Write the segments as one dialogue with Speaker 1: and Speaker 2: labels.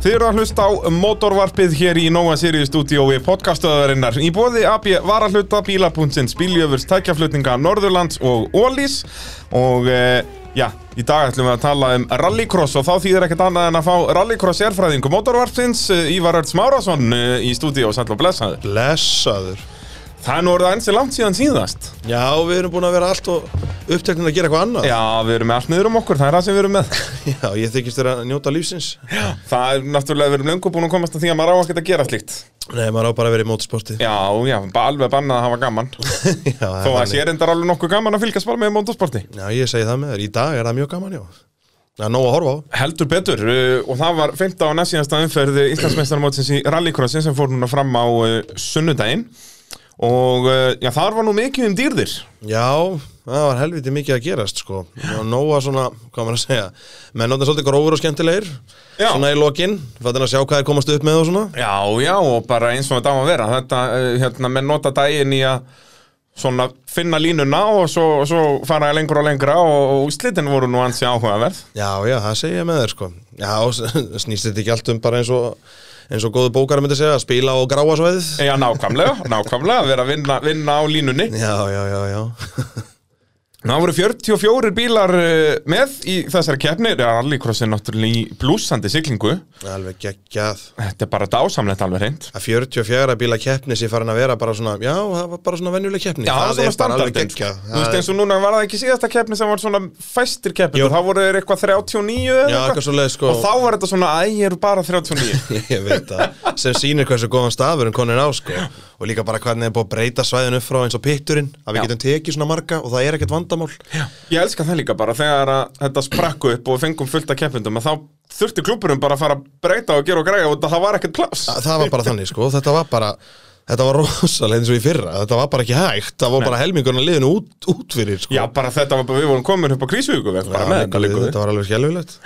Speaker 1: Þið eru að hlusta á motorvarpið hér í Nóa Sirius stúdíói podcastöðarinnar í bóði AB varahluta bíla.sins bíljöfurs tækjaflutninga Norðurlands og Ólís og e, já, í dag ætlum við að tala um rallycross og þá þýðir ekkert annað en að fá rallycross erfræðingu motorvarpsins e, Ívar Örts Márásson e, í stúdíó sæll og blessaður.
Speaker 2: Blessaður
Speaker 1: Það er nú orðið ansi langt síðan síðast.
Speaker 2: Já, við erum búin að vera allt og uppteknir um að gera eitthvað annað
Speaker 1: Já, við erum með allt niður um okkur, það er það sem við erum með.
Speaker 2: Já, ég þykist þér að njóta lífsins
Speaker 1: Það er náttúrulega, við erum löngu búin að komast að því að maður á ekkert að gera slíkt.
Speaker 2: Nei, maður á bara að vera í mótorsporti
Speaker 1: Já, já, bara alveg bannað að hafa gaman.
Speaker 2: Já, það er
Speaker 1: Þó að
Speaker 2: þannig.
Speaker 1: sé reyndar alveg nokkuð gaman að fylgjast bara með motorsporti
Speaker 2: Já, ég segi það með þér, í dag er það mjög gaman, já Það er nóg að horfa á
Speaker 1: Heldur betur uh, og það var 15 á næstíðasta umferð Íslandsmeistarmótsins í rallycrossin sem fór núna fram á uh, sunnudaginn og uh, já, þar var nú mikið um dýrðir
Speaker 2: Já, það var helviti mikið að gerast, sko Og nóga svona, hvað maður að segja Menn áttan svolítið grófur og skemmtilegir
Speaker 1: Já.
Speaker 2: Svona í lokin, fattin að sjá hvað er komast upp með og svona
Speaker 1: Já, já og bara eins og þetta á að vera þetta, uh, hérna, menn nota daginn í að svona finna línuna og svo, svo fara lengur og lengra og, og úslitin voru nú ansi áhugaverð
Speaker 2: Já, já, það segi ég með þér sko Já, s- snýst þetta ekki allt um bara eins og eins og góðu bókar myndi segja, spila og gráa svæðið
Speaker 1: Já, nákvæmlega, nákvæmlega, vera að vinna, vinna á línunni
Speaker 2: Já, já, já, já
Speaker 1: Ná voru 44 bílar eh, með í þessari keppni Rallycross er náttúrulega í blúsandi siglingu
Speaker 2: Alveg geggjað
Speaker 1: Þetta er bara dásamlegt alveg reynd
Speaker 2: Að 44 bíla keppni sé farin að vera bara svona Já, það var bara svona venjuleg keppni
Speaker 1: Já, það svona
Speaker 2: það er bara alveg
Speaker 1: standardin
Speaker 2: geggjað
Speaker 1: Þú veist
Speaker 2: Það-
Speaker 1: eins og núna var það ekki síðasta keppni sem var svona fæstir keppni
Speaker 2: Jú.
Speaker 1: og þá voru þeir eitthvað 39 eða
Speaker 2: Já, eitthvað svoleiðis, sko.
Speaker 1: Og þá var þetta svona, æ, ég eru bara 39
Speaker 2: Ég veit það Sem sýnir hversu góðan stafur en konin á sko Og líka bara hvernig er búið að breyta svæðinu upp frá eins og pitturinn Að við
Speaker 1: Já.
Speaker 2: getum tekið svona marga og það er ekkert vandamál Já,
Speaker 1: Ég elska það líka bara þegar að þetta sprakku upp og við fengum fullt af keppindum að þá þurfti klúburum bara að fara að breyta og gera og græja og það var ekkert pláss
Speaker 2: Þa- það var bara þannig sko, þetta var bara þetta var rosalega eins og í fyrra þetta var bara ekki hægt, það var bara helmingurinn að liðinu út, út fyrir sko
Speaker 1: Já, bara þetta var bara, við vorum komin upp á krísvíku bara með þetta
Speaker 2: þetta,
Speaker 1: líka
Speaker 2: þetta var alveg skelvilegt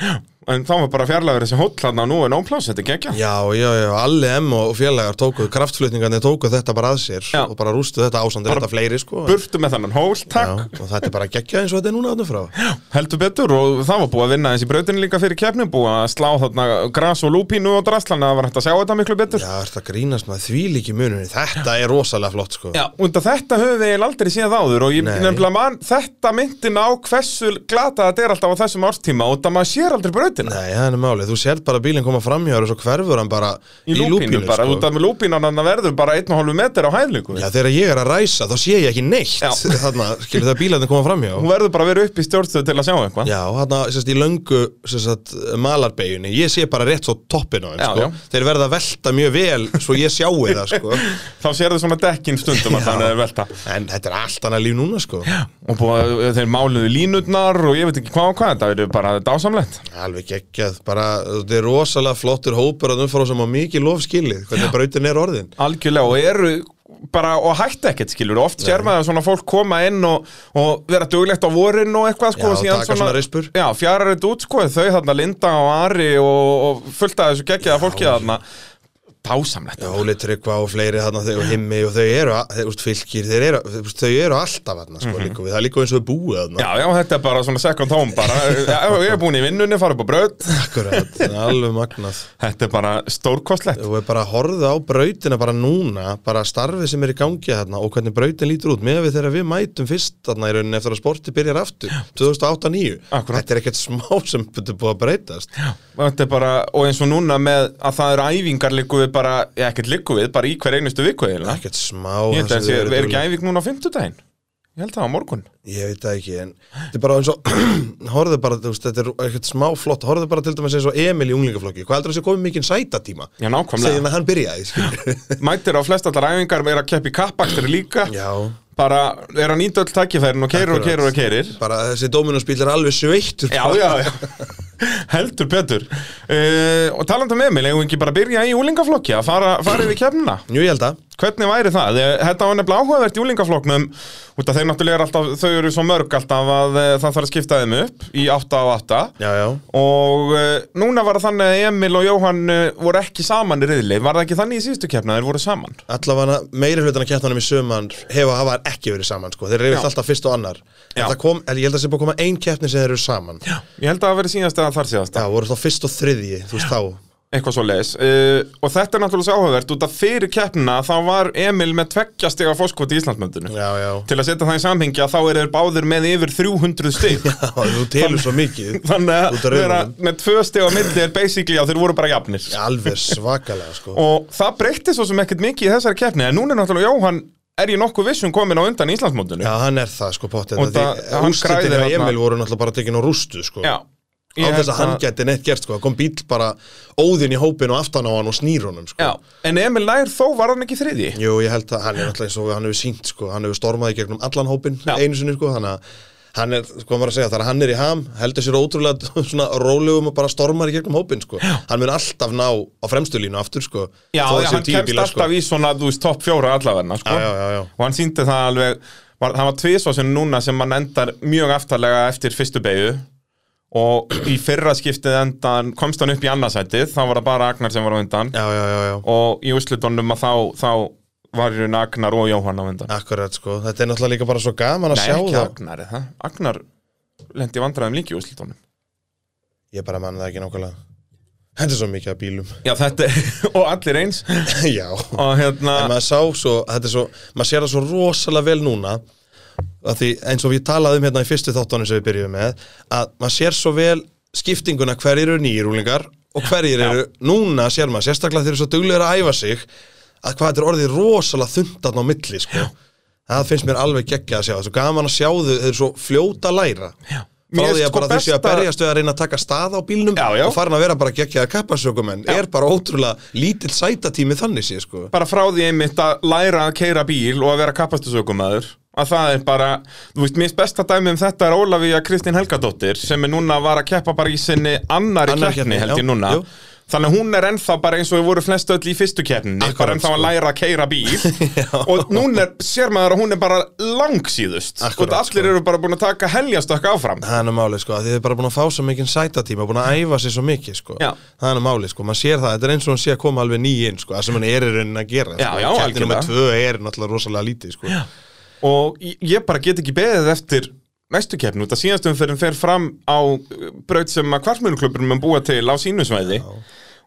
Speaker 1: En þá var bara fjarlæður þessi hóll hann að nú er nóplás, þetta er gegja.
Speaker 2: já, já, já, allir M og félagar tókuð kraftflutningarnir tókuð þetta bara að sér
Speaker 1: Já.
Speaker 2: og bara rústuð þetta ásandir, þetta fleiri sko en-
Speaker 1: Burtu með þannan hól,
Speaker 2: já,
Speaker 1: takk,
Speaker 2: og þetta er bara geggja eins og þetta er núna áttum frá
Speaker 1: heldur betur og það var búið að vinna eins í brautinu líka fyrir keppnum, búið að slá þarna gras og lúpínu og draslan það var hægt að sjá þetta miklu betur.
Speaker 2: já, þetta grínast maður því líki mununni þetta er rosalega flott sko
Speaker 1: Já, undan þetta höfum við eiginlega aldrei séð áður og ég
Speaker 2: Nei.
Speaker 1: nefnilega mann, þetta myndin á hversu glata þetta er alltaf á þessum árstíma og það maður sér aldrei brautina.
Speaker 2: Nei, það er málið, þú sért bara bílinn koma framhjá þér og svo hverfur hann bara
Speaker 1: Í lúpínu bara,
Speaker 2: sko.
Speaker 1: út af með lúpínan hann verður bara 1,5 metr á hæðlíku.
Speaker 2: Já, þegar ég er að ræsa þá sé ég ekki neitt
Speaker 1: Já.
Speaker 2: Þarna, skilur það bílarnir koma fram hjá
Speaker 1: Hún verður bara að vera upp í stjórnstöðu til að sjá eitthvað.
Speaker 2: Já, þarna, sérst, í löngu sérst, malarbeginni, ég sé bara rétt svo toppin á þeim,
Speaker 1: Já,
Speaker 2: sko
Speaker 1: já.
Speaker 2: Þeir verða að velta mjög vel svo ég sjáu það, sko
Speaker 1: Þá sér svona dekkin stundum að
Speaker 2: Já.
Speaker 1: þannig er velta.
Speaker 2: En þetta er allt annað líf núna, sko
Speaker 1: og búið, að- þeir máluðu línutnar og ég veit ekki hvað og hvað, þetta verður bara dásamlett
Speaker 2: Alveg geggjað, bara, þetta er rosalega flottur hópur að umfara sem á mikið lof skilið Hvernig brautin er orðin
Speaker 1: algjörlega og eru bara og hætta ekkert skilur, oft sér maður svona fólk koma inn og, og vera duglegt á vorin og eitthvað sko,
Speaker 2: Já,
Speaker 1: og síðan
Speaker 2: taka svona rispur.
Speaker 1: já, fjarar þetta út sko, þau þarna Linda og Ari og, og fullt af þessu geggjaða fólki þarna dásamlett
Speaker 2: Já, Óli Tryggva og fleiri þarna þau og himmi og þau eru, að- þeir, úst, fylgir, þeir eru, þú veist, þau eru alltaf þarna, sko, líka við, það er líka eins og við búið þarna
Speaker 1: Já, já, þetta er bara svona second home bara, Já, ég er búin í vinnunni, fara upp á braut
Speaker 2: Akkurat, alveg magnað
Speaker 1: Þetta er bara stórkostlegt
Speaker 2: og er bara að horfa á brautina bara núna, bara starfið sem er í gangi þarna og hvernig brautin lítur út með við þegar við mætum fyrst þarna í rauninni eftir að sporti byrjar aftur 2008-9
Speaker 1: Akkúrat.
Speaker 2: þetta er ekkert smá sem betur búið að breytast já,
Speaker 1: Þetta er bara, og eins og núna með að það eru æfingar liggu við bara, eða ekkert liggu við, bara í hver einustu viku eiginlega
Speaker 2: ekkert smá
Speaker 1: Ég held að
Speaker 2: það sem þau
Speaker 1: það
Speaker 2: eru
Speaker 1: er ekki
Speaker 2: dugleg-
Speaker 1: æfing núna á fimmtudaginn Ég held það á morgun
Speaker 2: ég veit það ekki, en þetta er bara eins og horfðu bara, þú veist, þetta er ekkert smá flott horfðu bara til dæmis eins og Emil í unglingaflokki hvað heldur að sé komið mikinn sætatíma
Speaker 1: Já, nákvæmlega
Speaker 2: segðum að hann byrjaði skilur.
Speaker 1: Mætir á flest allar æfingar, er að keppa í kappaktir líka
Speaker 2: já,
Speaker 1: Bara er að nýta öll tækifærin og keirir og
Speaker 2: Akkurat.
Speaker 1: keirir og keirir
Speaker 2: bara þessi Dominos-bíl er alveg sveittur
Speaker 1: Já, já, já Heldur betur uh, Og talandi um Emil, eigum við ekki bara að byrja í úlingaflokki að fara, fara yfir kemna
Speaker 2: Jú, ég held að
Speaker 1: Hvernig væri það? Eh, Þetta var nefnilega áhugavert í úlingafloknum út af þeir náttúrulega er alltaf, þau eru svo mörg alltaf að eh, það þarf að skipta þeim upp í 8 á 8
Speaker 2: já, já
Speaker 1: og uh, núna var það þannig að Emil og Jóhann uh, voru ekki saman í riðli var það ekki þannig í síðustu keppna að þeir voru saman
Speaker 2: allavega meiri hlutan að keppnunum í söman hefa hafa þær ekki verið saman sko. þeir eru
Speaker 1: Já.
Speaker 2: yfirleitt alltaf fyrst og annar
Speaker 1: Já.
Speaker 2: En það kom, en ég held að það sé búið að koma ein keppni sem þeir eru saman já.
Speaker 1: ég held að það hafi verið síðast eða þar síðast
Speaker 2: voru þá fyrst og þriðji þú veist þá
Speaker 1: eitthvað svo leiðis og þetta er náttúrulega svo áhugavert út af fyrir keppnina þá var Emil með tveggja stiga fórskot í Íslandsmöndinu
Speaker 2: Já, já,
Speaker 1: til að setja það í samhengja þá eru þeir báðir með yfir 300 stig
Speaker 2: já þú telur svo mikið
Speaker 1: þannig
Speaker 2: Út af
Speaker 1: að vera
Speaker 2: rauðanum.
Speaker 1: með tvö stiga milli er basically að þeir voru bara jafnir
Speaker 2: Alveg svakalega sko
Speaker 1: og það breytti svo sem ekkert mikið í þessari keppni en núna er náttúrulega Jóhann er ég nokkuð vissum komin á undan Íslandsmótinu
Speaker 2: Já, hann er það sko potið
Speaker 1: Og það- hann
Speaker 2: Ústitir
Speaker 1: græðir
Speaker 2: að
Speaker 1: þarna.
Speaker 2: Emil voru náttúrulega bara tekin á rústu sko
Speaker 1: Já.
Speaker 2: Á
Speaker 1: Ég
Speaker 2: þess að
Speaker 1: held
Speaker 2: hann geti neitt gert sko Það kom bíl bara óðinn í hópin og aftan á hann og snýr honum sko
Speaker 1: Já, en Emil Lær þó var hann ekki þriði
Speaker 2: Jú, ég held að hann er náttúrulega eins og hann hefur sínt sko Hann hefur stormað í gegnum allan hópin
Speaker 1: Já.
Speaker 2: einu sinni sko Þannig að hann er, sko maður að segja, þegar hann er í ham Heldur sér ótrúlega svona rólegum og bara stormar í gegnum hópin sko Já. Hann mun alltaf ná á fremstu línu aftur sko
Speaker 1: Já,
Speaker 2: þó að
Speaker 1: já
Speaker 2: séu
Speaker 1: hann
Speaker 2: tíu
Speaker 1: kemst
Speaker 2: bílar, sko.
Speaker 1: alltaf í svona, þú veist, topp fjóra allavegna, sko.
Speaker 2: Já, já, já, já.
Speaker 1: Og hann síndi það alveg, var, það var tvisvar sem núna sem hann endar mjög aftarlega eftir fyrstu beigju og í fyrra skiptið endan komst hann upp í annarsætið, þá var það bara Agnar sem var á undan
Speaker 2: Já, já, já, já
Speaker 1: og í úrslutunum að þá, þá var hann Agnar og Jóhann á undan.
Speaker 2: Akkurat sko, þetta er náttúrulega líka bara svo gaman að
Speaker 1: Nei,
Speaker 2: sjá
Speaker 1: ekki
Speaker 2: það
Speaker 1: Agnar, eða? Agnar lendi í vandræðum líki í úrslutunum.
Speaker 2: Ég bara manna það ekki nákvæmlega Þetta er svo mikið af bílum
Speaker 1: Já, þetta, og allir eins,
Speaker 2: Já
Speaker 1: og hérna...
Speaker 2: En maður sá svo, þetta er svo, maður sér það svo rosalega vel núna að Því eins og við talaði um hérna í fyrstu þáttunum sem við byrjuðum með Að maður sér svo vel skiptinguna hverjir eru nýjirúlingar Og hverjir
Speaker 1: Já.
Speaker 2: eru, núna sér maður, sérstaklega þeir eru svo duglegur að æfa sig Að hvað þetta er orðið rosalega þundan á milli sko Það finnst mér alveg geggja að sjá, það er svo gaman að sjá þau, þau eru svo fljóta að læra
Speaker 1: Já.
Speaker 2: Frá
Speaker 1: Mér finnst
Speaker 2: því að
Speaker 1: sko
Speaker 2: bara þau séu að
Speaker 1: besta-
Speaker 2: berjast við að reyna að taka stað á bílnum
Speaker 1: Já, já.
Speaker 2: og farin að vera bara geggjaða kappasökumenn er bara ótrúlega lítill sætatími þannig sé sko
Speaker 1: bara frá því einmitt að læra að keira bíl og að vera kapastusökumæður að það er bara, þú veist, minnst besta dæmi um þetta er Ólafía Kristín Helgadóttir sem er núna var að keppa bara í sinni annari
Speaker 2: Annarri
Speaker 1: keppni
Speaker 2: keppni,
Speaker 1: held ég
Speaker 2: já,
Speaker 1: núna
Speaker 2: jú.
Speaker 1: Þannig að hún er ennþá bara eins og við voru flest öll í fyrstu keppninni,
Speaker 2: Akkurat,
Speaker 1: bara ennþá að
Speaker 2: sko.
Speaker 1: læra að keira bíl og núna er, sér maður að hún er bara langsíðust
Speaker 2: Akkurat,
Speaker 1: og allir
Speaker 2: sko.
Speaker 1: eru bara búin að taka helgjastökk áfram
Speaker 2: Það er nú málið sko, að þið er bara búin að fá svo mikinn sætatíma búin að æfa sér svo mikið sko
Speaker 1: Já.
Speaker 2: það er nú málið sko, maður sér það, þetta er eins og hann sé að koma alveg ný inn sko, það sem hann er í rauninni að gera
Speaker 1: Já,
Speaker 2: sko.
Speaker 1: já,
Speaker 2: Keppni númer
Speaker 1: algjörlega.
Speaker 2: tvö er náttúrulega rosalega lítið sko já.
Speaker 1: og ég- ég bara get ekki beðið eftir næstu keppn út að síðastum fyrir fer fram á uh, braut sem að kvartmjölklubburum mun búa til á sínusvæði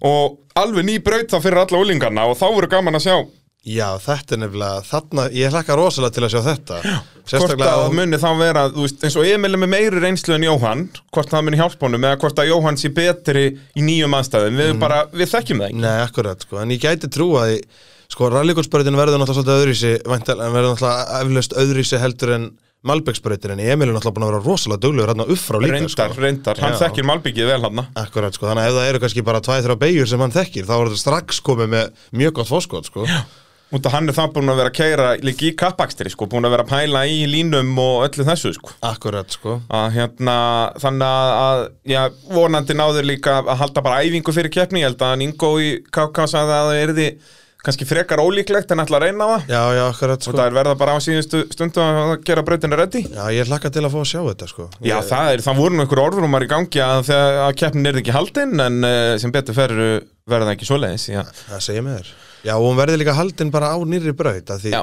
Speaker 1: og alveg ný braut þá fyrir alla úlingarna og þá voru gaman að sjá
Speaker 2: þetta er nefnilega, þarna, ég hlakka rosalega til að sjá þetta já.
Speaker 1: hvort
Speaker 2: sérstaklega
Speaker 1: að
Speaker 2: á-
Speaker 1: muni þá vera þú veist, eins og Emil er með meiri reynslu en Jóhann hvort það muni hjálpa honum eða hvort að Jóhann sé betri í nýjum aðstæðum
Speaker 2: Mhm.
Speaker 1: við, bara, við þekkjum það ekki
Speaker 2: Nei, akkurat, sko, en ég gæti trú að ég, sko, rallygolfsbrautin verður náttúrulega svolítið öðruvísi, væntal, en verður náttúrulega eflaust öðruvísi heldur en Malbeksbrautin, en Emil er náttúrulega búin að vera rosalega duglegur hérna upp frá líka,
Speaker 1: reyndar,
Speaker 2: sko.
Speaker 1: reyndar, hann
Speaker 2: Já.
Speaker 1: þekkir malbyggið vel hann
Speaker 2: Akkurat, sko, þannig að ef það eru kannski bara tvæð þrjá beigjur sem hann þekkir, þá er þetta strax komið með mjög gott fóskot, sko. Já.
Speaker 1: út að hann er það búin að vera að keira líka í kappakstri sko, búin að vera að pæla í línum og öllu þessu sko
Speaker 2: Akkurat, sko.
Speaker 1: að hérna, þannig að, að já, vonandi náður líka að halda bara æfingu fyrir keppni, ég held að Ingo í KK sagði að það erði kannski frekar ólíklegt en ætla að reyna það
Speaker 2: Já, já, akkurat,
Speaker 1: og
Speaker 2: sko.
Speaker 1: það er verða bara á síðustu stundu að gera brautinu reddi
Speaker 2: Já, ég hlakka til að fá að sjá þetta, sko.
Speaker 1: Já,
Speaker 2: ég,
Speaker 1: það er, það voru nú einhver orðrúmar í gangi að, þegar- að keppnin er ekki haldin en uh, sem betur fer uh, verða ekki svoleiðis já.
Speaker 2: Það segja með þér. Já, og hún verður líka haldin bara á nýrri braut, að því
Speaker 1: Já.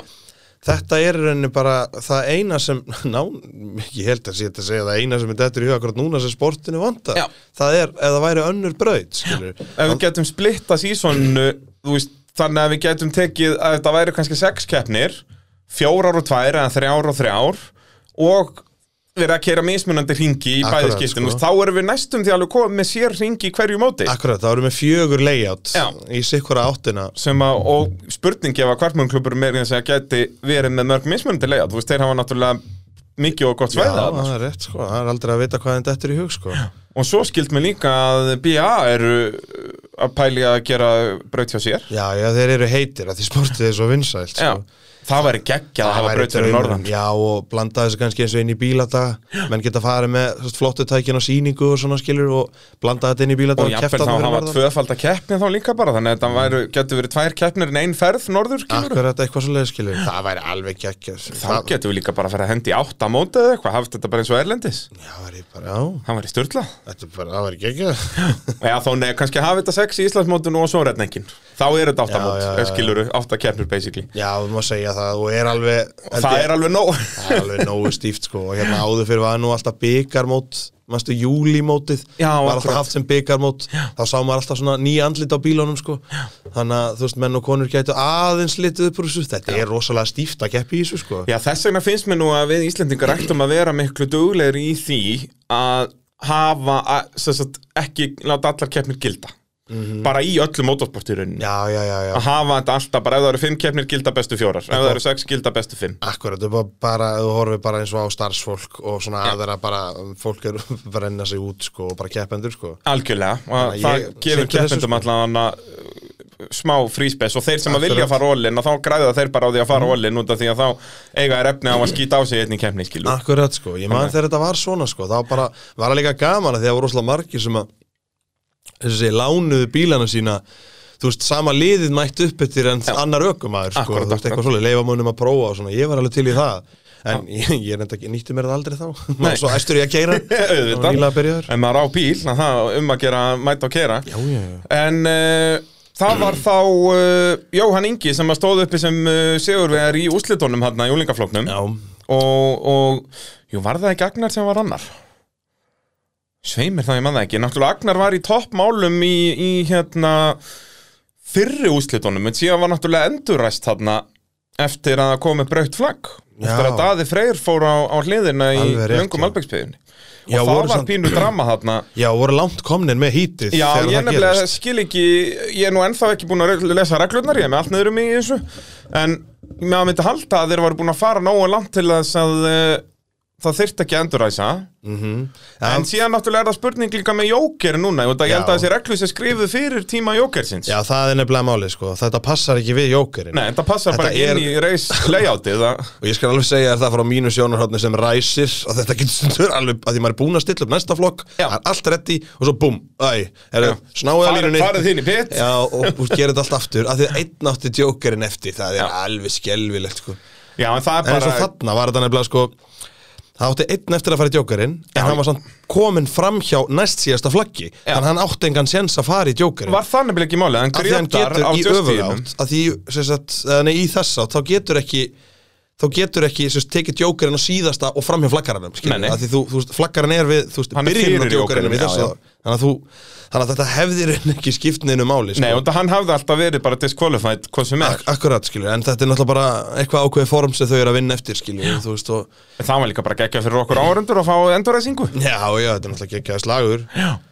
Speaker 2: þetta er í rauninni bara það eina sem, ná, ég held að sé þetta að segja það eina sem er dættur í huga akkurat núna sem sportinu vantar.
Speaker 1: Já.
Speaker 2: Það er, ef það væri önnur braut, skilur.
Speaker 1: Ef við getum splitta sísonu þú veist, þannig að við getum tekið að þetta væri kannski sex keppnir fjórar og tvær eða þrjár og þrjár og verið að keira mismunandi ringi í
Speaker 2: Akkurat,
Speaker 1: bæði skiptin
Speaker 2: sko.
Speaker 1: sko. þá erum við næstum því alveg komið með sér ringi í hverju móti
Speaker 2: Akkurat, það voru með fjögur layout
Speaker 1: Já.
Speaker 2: í sikkura áttina.
Speaker 1: sem að, og spurning ef að kvartmönnklubur meira eins að geti verið með mörg mismunandi leiða, þú veist, þeir hafa náttúrulega mikið og gott
Speaker 2: Já,
Speaker 1: svæða þarna,
Speaker 2: það er rétt, sko. Það er aldrei að vita hvað þetta eftir í hug, sko.
Speaker 1: sko. og svo skilt mér líka að BA eru uh, að pæli að gera braut hjá sér
Speaker 2: Já, já, þeir eru heitir að því sportið er svo vinsælt, sko.
Speaker 1: Já, það væri geggjað að hafa
Speaker 2: væri
Speaker 1: braut fyrir
Speaker 2: draumurinn.
Speaker 1: norðan
Speaker 2: Já, og blanda þessu kannski eins og inn í bíladaga menn geta farið með þú veist, flottu tækin og síningu og svona skilur og blanda þetta inn í bíladaga
Speaker 1: og jafnvel þá hafa tvöfalda keppni þá líka bara þannig að þetta væru, getur verið tvær keppnir en einn ferð norður kemur
Speaker 2: Akkurat eitthvað svoleiðis skilur Það væri alveg geggjast
Speaker 1: þá getur við líka bara að fara að hendi í átta móti eða eitthvað, haft þetta bara eins og erlendis
Speaker 2: Já, það væri bara, já,
Speaker 1: það væri störtla
Speaker 2: þetta er bara, það væri geggjast
Speaker 1: Já, þá neða kannski hafa þetta sex í Íslandsmótinu og svo retningin þá er þetta átta
Speaker 2: Já, já, já,
Speaker 1: mót,
Speaker 2: já.
Speaker 1: skiluru, átta keppnir basically
Speaker 2: Já, þú má segja það og er alveg
Speaker 1: það er alveg nóg
Speaker 2: Það er alveg nógu stíft sko og hérna áður fyrir var nú alltaf byggarmót mannstu júlímótið
Speaker 1: Já, akkurat.
Speaker 2: var alltaf haft sem byggarmót þá sá maður alltaf svona nýja andlit á bílunum sko. þannig að þú veist, menn og konur gætu aðeins litið upp úr þessu, þetta er rosalega stíft að keppi í þessu sko.
Speaker 1: Já, þess vegna finnst mér nú að við Íslendingar ættum að vera miklu duglegri í því að hafa, að, sem sagt, ekki láta allar keppnir gilda.
Speaker 2: Mhm.
Speaker 1: Bara í öllu mótorsportirunni.
Speaker 2: já, já, já, já.
Speaker 1: Að hafa þetta alltaf, bara ef það eru fimm keppnir gilda bestu fjórar, ef það eru sex gilda bestu fimm.
Speaker 2: Akkurat, þú bara- bara, þú horfir bara eins og á starfsfólk og svona aðra bara, fólk er að renna sig út sko og bara keppendur sko.
Speaker 1: Algjörlega, og
Speaker 2: Þannig að
Speaker 1: það
Speaker 2: ég
Speaker 1: gefur
Speaker 2: sinnti þessu,
Speaker 1: keppendum allan að uh, smá fríspes og þeir sem að vilja
Speaker 2: Akkurat.
Speaker 1: fara ólinn og þá græða þeir bara á því að fara ólinn út af því að þá eiga er efni á að skýta á sig í einni keppni skilu
Speaker 2: Akkurat sko, ég man þegar þetta var svona sko, þá bara var það líka gaman að því það voru rosalega margir sem að, þess að segja, lánuðu bílana sína, þú veist, sama liðið mætt upp eftir en annar ökumæður sko,
Speaker 1: Akkurat,
Speaker 2: þú veist, eitthvað svolítið, leifa munum að prófa og svona, ég var alveg til í það. En ég, ég reynda ekki, nýtti mér það aldrei þá,
Speaker 1: Nei.
Speaker 2: svo æstur ég að keira, þá var nýlega að
Speaker 1: auðvitað,
Speaker 2: byrja þér.
Speaker 1: en maður á bíl að það um að gera, mæta og kera
Speaker 2: Já, já, já.
Speaker 1: en uh, það var þá uh, Jóhann Ingi sem að stóð uppi sem uh, sigurvegar í úslitónum hann í úlingaflóknum
Speaker 2: Já,
Speaker 1: og, og jú, var það ekki Agnar sem var annar? Sveimir það, ég man það ekki Náttúrulega Agnar var í toppmálum í, í hérna fyrri úrslitunum, en síðan var náttúrulega endurræst þarna eftir að það komi braut flagg eftir
Speaker 2: Já.
Speaker 1: að Daði Freyr fór á, á hliðina í
Speaker 2: Alveg rétt,
Speaker 1: löngum
Speaker 2: já.
Speaker 1: albegspiðunni og
Speaker 2: Já,
Speaker 1: það
Speaker 2: voru
Speaker 1: var
Speaker 2: samt-
Speaker 1: pínu drama þarna
Speaker 2: já, voru langt komnin með hítið
Speaker 1: Já,
Speaker 2: þegar
Speaker 1: ég
Speaker 2: það
Speaker 1: nefnilega
Speaker 2: gerist.
Speaker 1: skil ekki, ég er nú ennþá ekki búin að re- lesa reglurnar, ég er með allt niður um mig í þessu En með að myndi halda að þeir voru búin að fara nógu langt til þess að uh, það þyrfti ekki að enduræsa
Speaker 2: Já,
Speaker 1: En síðan náttúrulega er það spurning líka með jóker núna og Ég held að
Speaker 2: Já.
Speaker 1: þessi reglur sem skrifuð fyrir tíma jókersins
Speaker 2: Já, það er nefnilega málið, sko. Þetta passar ekki við jókerinn.
Speaker 1: Nei, þetta passar
Speaker 2: Þetta
Speaker 1: bara ekki
Speaker 2: er-
Speaker 1: inn í reis layoutið að-
Speaker 2: Og ég skal alveg segja þér það frá mínu sjónarhóttni sem ræsir og þetta getur stundur alveg að því maður er búinn að stilla upp næsta flokk,
Speaker 1: Já.
Speaker 2: það er allt reddi og svo búm, æ,
Speaker 1: Já.
Speaker 2: er það snáðið að
Speaker 1: Farið-
Speaker 2: línunni.
Speaker 1: farið þín í pit.
Speaker 2: Já, og þú gerir þetta allt aftur að því að einn átti jókerinn eftir, það er
Speaker 1: Já.
Speaker 2: alveg skelvilegt, sko.
Speaker 1: Já, en það er
Speaker 2: En eins og
Speaker 1: bara
Speaker 2: þarna var þetta nefnilega, sko, það átti einn eftir að fara í jókerinn, en hann var samt komin fram hjá næst síðasta flaggi,
Speaker 1: Já.
Speaker 2: þannig hann átti engan séns að fara í jókerinn.
Speaker 1: Var það nefnilega ekki málið, hann
Speaker 2: að því hann
Speaker 1: grétar á
Speaker 2: getur í
Speaker 1: justíðum
Speaker 2: öfugátt að því, sem sagt, eða nei, í þess átt þá getur ekki þá getur ekki, sem sagt, tekið djókarinn á síðasta og framhjá flaggaranum, skilur,
Speaker 1: Nei, nei.
Speaker 2: að því þú, þú veist, flaggarinn er við, þú veist,
Speaker 1: Hann er
Speaker 2: byrjun á
Speaker 1: fyrir
Speaker 2: djókarinnum í
Speaker 1: jókerinum, já,
Speaker 2: þess
Speaker 1: já.
Speaker 2: átt þannig að þú, þannig að þetta hefðir ekki skipt neinu máli,
Speaker 1: Nei, og það hann hafði alltaf verið bara disqualified hvað sem er
Speaker 2: Ak akkurat, skilur, en þetta er náttúrulega bara eitthvað ákveðið form sem þau eru að vinna eftir, skilur, þú veist, og
Speaker 1: En það var líka bara geggja fyrir okkur áhörundur að fá enduræsingu
Speaker 2: já, já, þetta er náttúrulega ekki aðeins lagur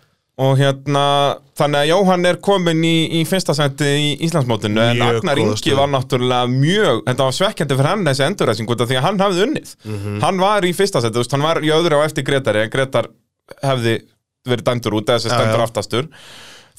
Speaker 1: Og hérna, þannig að Jóhann er komin í, í fyrsta senti í Íslandsmótinu En
Speaker 2: Mjög
Speaker 1: Agnar
Speaker 2: góða
Speaker 1: Ingi
Speaker 2: stöðu.
Speaker 1: var náttúrulega mjög Þetta var svekkjandi fyrir hann þessi enduræsing út af Því að hann hafði unnið
Speaker 2: Mhm.
Speaker 1: Hann var í fyrsta senti, þú veist, hann var í öðru á eftir Gretari En Gretar hefði verið dæmdur út eða þessi
Speaker 2: Já,
Speaker 1: dæmdur
Speaker 2: já.
Speaker 1: aftastur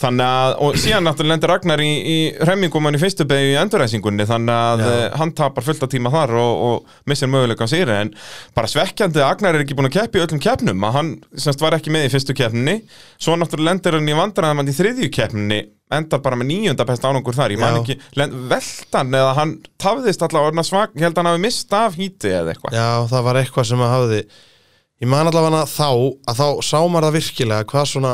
Speaker 1: Þannig að, og síðan náttúrulega lendir Ragnar í, í remmingum hann í fyrstu beigju í enduræsingunni þannig að
Speaker 2: Já.
Speaker 1: já. hann tapar fullt af tíma þar og, og missir möguleika á sigri en bara svekkjandi að Ragnar er ekki búin að keppi í öllum keppnum að hann semst var ekki með í fyrstu keppninni svo náttúrulega lendir hann í vandræðum hann í þriðju keppninni endar bara með nýjunda besta ánungur þar ég man
Speaker 2: Já.
Speaker 1: ekki, lend, veltan eða hann tafðist allavega svak, ég held að hann hafi mist af híti eða eitthvað
Speaker 2: Já, það var eitthvað sem að hafði Ég man allavega þá að þá sá maður það virkilega hvað svona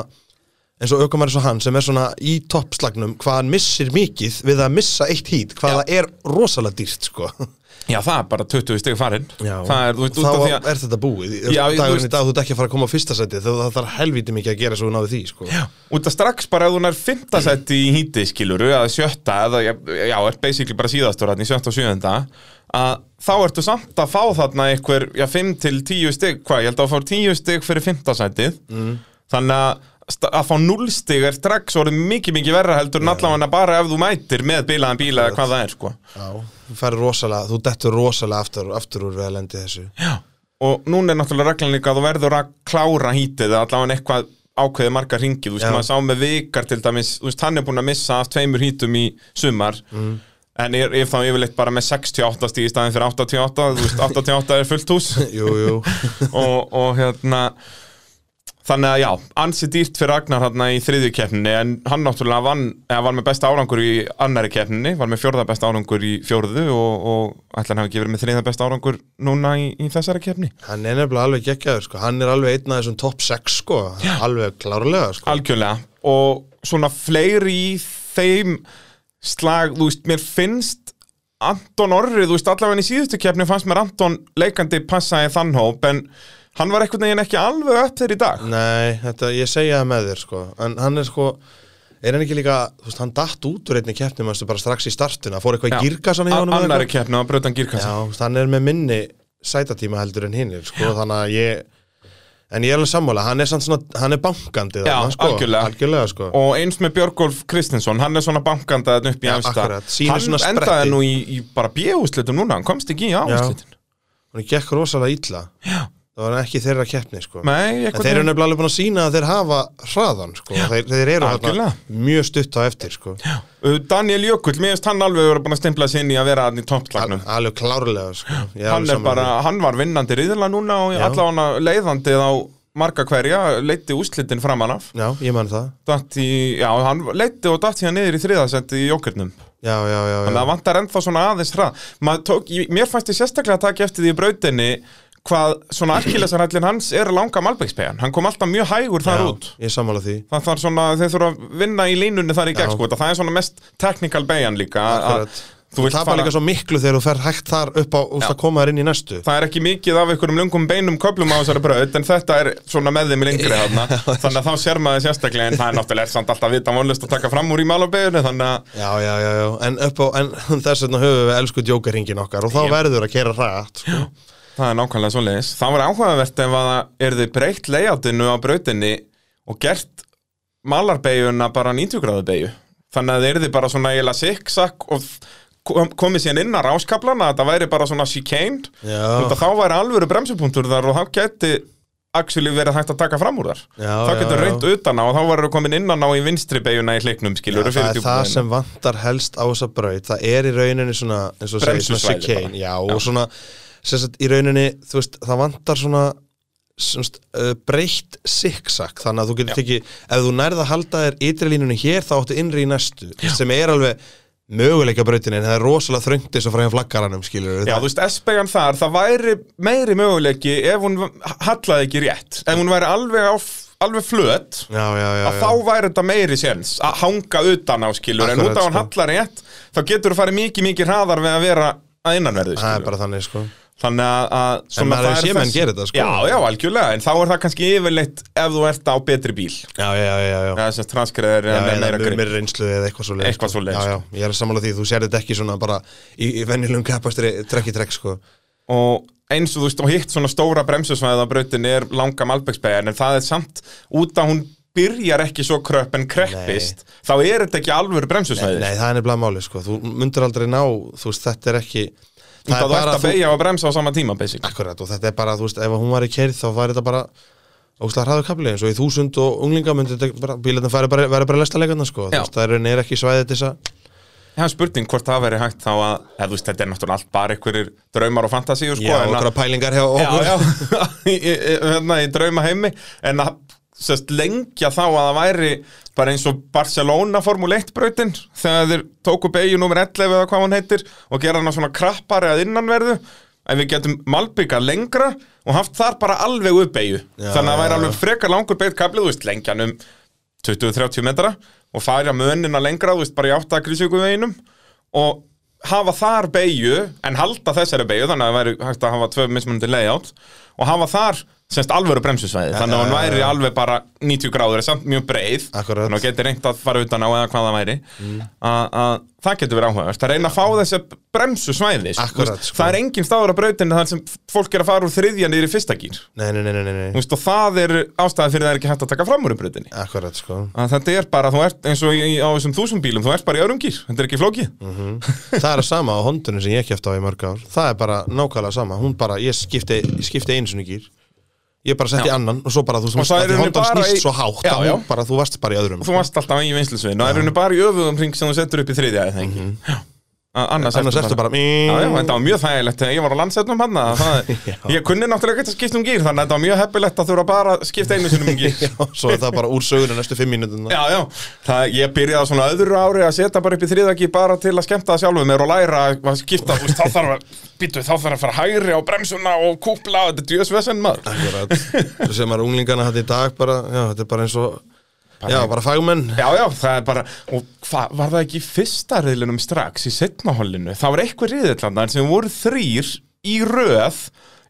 Speaker 2: eins og aukumar eins og hann sem er svona í toppslagnum hvað hann missir mikið við að missa eitt hít hvað það er rosalega dýrt sko
Speaker 1: Já, það er bara 20 stig farinn það er, þú veist,
Speaker 2: Og
Speaker 1: út af því
Speaker 2: þá
Speaker 1: að
Speaker 2: er þetta búið
Speaker 1: Já,
Speaker 2: já,
Speaker 1: ég- þú
Speaker 2: dagurinn
Speaker 1: veist-
Speaker 2: í dag þú ert ekki að fara að koma á fyrsta seti þá það þarf helviti mikið að gera svo náðu því sko já.
Speaker 1: Út af strax bara ef hún er fymta sett í híti skiluru, eða sjötta eða, já, er basically bara síðastur hann í sjötta og sjöunda að þá ertu samt að fá þarna einhver, já, 5 til 10 stig hvað, ég held að fá 10 stig fyrir fymta setið mm. þannig að sta- að fá 0 stig er strax orðið mikið mikið verra heldur en allavega bara ef þú mætir með bílaðan bíla eða hvað það er, sko
Speaker 2: þú ferð rosalega, þú dettur rosalega aftur, aftur úr við að lendi þessu
Speaker 1: já. og núna er náttúrulega reglan líka að þú verður að klára hítið eða allavega eitthvað ákveðið marga ringi, þú veist,
Speaker 2: Já.
Speaker 1: maður sá með vikar til dæmis, þú veist, hann er búin að missa af tveimur hítum í sumar en er, er þá yfirleitt bara með 68 stíð í staðin fyrir 88, þú veist, 88 er fullt hús
Speaker 2: Jú, jú,
Speaker 1: og, og hérna þannig að já, ansi dýrt fyrir Agnar hérna í þriðju keppninni en hann náttúrulega vann, eða var með besta árangur í annari keppninni, var með fjórða besta árangur í fjórðu og, og ætla hann hafi ekki verið með þriðja besta árangur núna í, í þessari keppni
Speaker 2: hann er nefnilega alveg geggjaður sko hann er alveg einn af þessum top 6 sko alveg klárlega sko
Speaker 1: algjörlega og svona fleiri í þeim slag, þú veist, mér finnst Anton Orri, þú veist, allavega í síðustu keppni fannst mér Anton leikandi passa í þann hóp en hann var einhvern veginn ekki alveg upp þegar í dag
Speaker 2: Nei, þetta, ég segja það með þér sko En hann er sko Er hann ekki líka, þú veist, hann datt út úr einni keppni Mæstu bara strax í startuna, fór eitthvað í girkassan í honum eða
Speaker 1: annari
Speaker 2: eitthvað?
Speaker 1: keppni á brötan
Speaker 2: Já,
Speaker 1: gírkassa
Speaker 2: þú veist, hann er með minni sætatíma heldur en hinn sko, Þannig að ég En ég er alveg sammála, hann er samt svona Hann er bankandi
Speaker 1: Já,
Speaker 2: þarna, sko,
Speaker 1: algjörlega.
Speaker 2: sko.
Speaker 1: og eins með Björgolf Kristinsson hann er svona bankanda þetta upp í
Speaker 2: Já,
Speaker 1: efsta
Speaker 2: akkurat. Sýnir svona
Speaker 1: hann
Speaker 2: spretti.
Speaker 1: endaði nú í, í bara bjögúslitum núna hann komst ekki í áhúslitin
Speaker 2: Hann gekk rosalega illa Já. Það var ekki þeirra keppni sko.
Speaker 1: nei,
Speaker 2: En þeir eru
Speaker 1: eitthvað
Speaker 2: nefnilega alveg búin að sína að þeir hafa hraðan sko. þeir, þeir eru
Speaker 1: algjörlega.
Speaker 2: þarna mjög stutt á eftir sko.
Speaker 1: Uh, Daniel Jökull, mér finnst hann alveg vera búin að stimpla sig inn í að vera hann í
Speaker 2: Al,
Speaker 1: toppslagnum
Speaker 2: alveg klárlega sko. Ég
Speaker 1: hann
Speaker 2: alveg
Speaker 1: er
Speaker 2: sammála
Speaker 1: bara, hann var vinnandi riðla núna og
Speaker 2: Já.
Speaker 1: allavega hann leiðandið á marga hverja, leitti úslitin framan af
Speaker 2: því. Já, ég man það
Speaker 1: datt í, já, hann leitti og datt hérna niður í þriðasendi í jókernum
Speaker 2: Já, já, já,
Speaker 1: þannig að það
Speaker 2: já.
Speaker 1: vantar ennþá svona aðeins hrað Maður tók, ég- mér fannst ég sérstaklega að taka eftir því í brautinni hvað svona arkilesarhællin hans er langa malbyggspegan, hann kom alltaf mjög hægur þar
Speaker 2: já
Speaker 1: út
Speaker 2: Ég sammála því
Speaker 1: það þarf svona, þeir þurfa að vinna í línunni þar í gegn
Speaker 2: Já.
Speaker 1: sko, það er svona mest technical beigjan líka að- að
Speaker 2: Akkurat.
Speaker 1: þú
Speaker 2: Það
Speaker 1: vilt
Speaker 2: tapar
Speaker 1: fara-
Speaker 2: líka svo miklu þegar þú fer hægt þar upp á úst,
Speaker 1: Já.
Speaker 2: að koma þar inn í næstu
Speaker 1: það er ekki mikið af einhverjum lungum beinum köplum á þessari braut en þetta er svona með þeim lengri þarna þannig að þá sér maður sérstaklega en það er náttúrulega samt alltaf vita vonlust að taka fram úr í malabeginni þannig að
Speaker 2: Já, já, já, já En, upp á, en þess vegna höfum við elsku djókaringin okkar og þá verður að kera hratt sko.
Speaker 1: það er nákvæmlega svo leiðis það var áhugavert ef að er þið breytt layoutinu á brautinni og gert malarbeginna bara 90 gráðu beigju þannig að þið er þið bara svona eiginlega siksak og kom- komið síðan inn að ráskaplana þetta væri bara svona chicane
Speaker 2: Já,
Speaker 1: Þetta þá væri alvöru bremsupunktur þar og þá geti actually verið hægt að taka fram úr þar
Speaker 2: Já,
Speaker 1: þá
Speaker 2: já,
Speaker 1: getur
Speaker 2: já.
Speaker 1: reynt utan á og þá verður komin innan á í vinstri beiguna í hleiknum skilur
Speaker 2: það er það sem vantar helst á þessa braut það er í rauninni svona, eins og segir, svona
Speaker 1: Bremsusvæði
Speaker 2: chicane,
Speaker 1: bara.
Speaker 2: já, og svona sem sagt, í rauninni, þú veist, það vantar svona semst, uh, breytt siksak, þannig að þú getur tekið ef þú nærð að halda þér ytri línunni hér þá áttu innri í næstu, sem er alveg möguleika brautin, en það er rosalega þröngt eins og fræðan flaggaranum, skilur
Speaker 1: Já, þú veist, S-began þar, það væri meiri möguleiki ef hún hallaði ekki rétt ef hún væri alveg, á, f- alveg flöt
Speaker 2: já, já, já,
Speaker 1: að
Speaker 2: já.
Speaker 1: þá væri þetta meiri séns að hanga utan á skilur en
Speaker 2: Akkurat,
Speaker 1: út af hún
Speaker 2: sko.
Speaker 1: hallar rétt þá getur þú farið mikið, mikið hraðar við að vera að innanverðu
Speaker 2: það
Speaker 1: skilur
Speaker 2: er bara þannig, sko
Speaker 1: Þannig að, að svona,
Speaker 2: maður
Speaker 1: það
Speaker 2: hefur
Speaker 1: er
Speaker 2: séð menn
Speaker 1: þessi-
Speaker 2: gera þetta, sko.
Speaker 1: Já, já, algjörlega, en þá er það kannski yfirleitt ef þú ert á betri bíl
Speaker 2: já, já, já, já, já.
Speaker 1: eða sem transkriðar
Speaker 2: Já,
Speaker 1: eða meira
Speaker 2: eða
Speaker 1: grip
Speaker 2: mér reynslu eða eitthvað svo leið
Speaker 1: Eitthvað svoleiðis,
Speaker 2: Já, já, ég er að samála því, þú sér þetta ekki svona bara í, í venjulegum kappastri trekk í trekk sko
Speaker 1: og eins og þú veist og hitt svona stóra bremsusvæðið á brautinni er langa malbegsbegin en það er samt út að hún byrjar ekki svo kröpp en kreppist þá er þetta ekki alvöru bremsusvæði
Speaker 2: Nei, það er nefnilega máli sko, þú myndir aldrei ná, þú veist, þetta er Ah. ekki
Speaker 1: þú veist að þú ert að beigja og bremsa á sama tíma basic.
Speaker 2: Akkurat, og þetta er bara, þú veist, ef hún var í kerð þá var þetta bara ógstlega hraður kapli eins og í þúsund og unglinga myndi þetta bara, bílarnir færi bara, verið bara lesta leikarna sko,
Speaker 1: Já.
Speaker 2: þú veist, það er, er ekki svæðið þess að
Speaker 1: Það er spurning hvort það veri hægt þá að eða, þú veist, þetta er náttúrulega allt bara einhverjir draumar og fantasíu sko,
Speaker 2: Já,
Speaker 1: en að-
Speaker 2: okkur pælingar hjá
Speaker 1: já,
Speaker 2: okkur
Speaker 1: já, í, í, í- hérna, í drauma heimi en að sest, lengja þá að það væri bara eins og Barcelona Formule 1 brautin þegar þeir tóku beigju nummer 11 eða hvað hann heitir og gera hann svona krappari að innanverðu en við getum malbygga lengra og haft þar bara alveg upp beigju
Speaker 2: Já,
Speaker 1: þannig að það væri
Speaker 2: já,
Speaker 1: alveg frekar langur beigt kaplið, þú veist, lengja hann um 20-30 metra og færa munina lengra, þú veist, bara í 8 grísjöku veginum og hafa þar beigju en halda þessari beigju þannig að það væri hægt að hafa tvö mismunandi layout og hafa þar semst alvöru bremsusvæði þannig að hún
Speaker 2: já, já,
Speaker 1: væri
Speaker 2: já.
Speaker 1: alveg bara 90 gráður er samt mjög breið
Speaker 2: Akkurat.
Speaker 1: þannig
Speaker 2: Mm.
Speaker 1: að hún geti reynt að fara utan á eða hvað það væri að að það getur verið áhugavert að reyna að fá þessi bremsusvæði sko.
Speaker 2: Akkurat,
Speaker 1: Þú veist,
Speaker 2: sko.
Speaker 1: það er engin staður á brautinu þar sem fólk er að fara úr þriðja niður í fyrsta gýr
Speaker 2: Nei, nei, nei, nei, nei, nei.
Speaker 1: Þú veist, og það er ástæði fyrir það er ekki hægt að taka fram úr í brautinni
Speaker 2: Akkurat, sko
Speaker 1: að þetta er bara, þú ert eins og í, á þessum þúsund bílum, þú ert bara í örungir, þetta er ekki flókið
Speaker 2: Mhm. það er að sama á hondunum sem ég kæfti á í mörg ár það er bara nákvæmlega sama hún bara, ég skipti, ég skipti einu sinni gýr ég bara setti annan og svo bara þú
Speaker 1: Og
Speaker 2: veist
Speaker 1: það er
Speaker 2: að því
Speaker 1: í rauninni
Speaker 2: hondan
Speaker 1: bara
Speaker 2: snýst
Speaker 1: í-
Speaker 2: svo hátt
Speaker 1: Já,
Speaker 2: að hún
Speaker 1: já.
Speaker 2: bara, þú varst bara í öðrum
Speaker 1: þú varst alltaf í vinslisvinn og það er henni bara í öfugum ring sem þú setur upp í þriðja eða ekki mm annars,
Speaker 2: Mhm. annars ertu bara mmm.
Speaker 1: Já, já, þetta var mjög þægilegt, ég var á landsetnum hann það,
Speaker 2: Já.
Speaker 1: ég kunni náttúrulega ekki að skipta um gýr þannig að þetta var mjög heppilegt að þurfa bara að skipta einu sinum um gýr
Speaker 2: já, svo er það bara úr söguna næstu fimm mínútuna
Speaker 1: Já, já, það, ég byrjaði á svona öðru ári að setja bara upp í þriðagi bara til að skemmta það sjálfum mér og læra að skipta, þú veist, þá þarf að, býtu, þá þarf að fara hægri á bremsuna og kúpla, þetta er djöðsvesen maður.
Speaker 2: Akkurat. Svo sem er unglingana hætti í dag bara, já, þetta er bara eins og já, bara fagmenn
Speaker 1: Já, já, það er bara, og hvað, var það ekki í fyrsta riðlinum strax í setna holinu? Það var eitthvað riðillandar sem voru þrýr í röð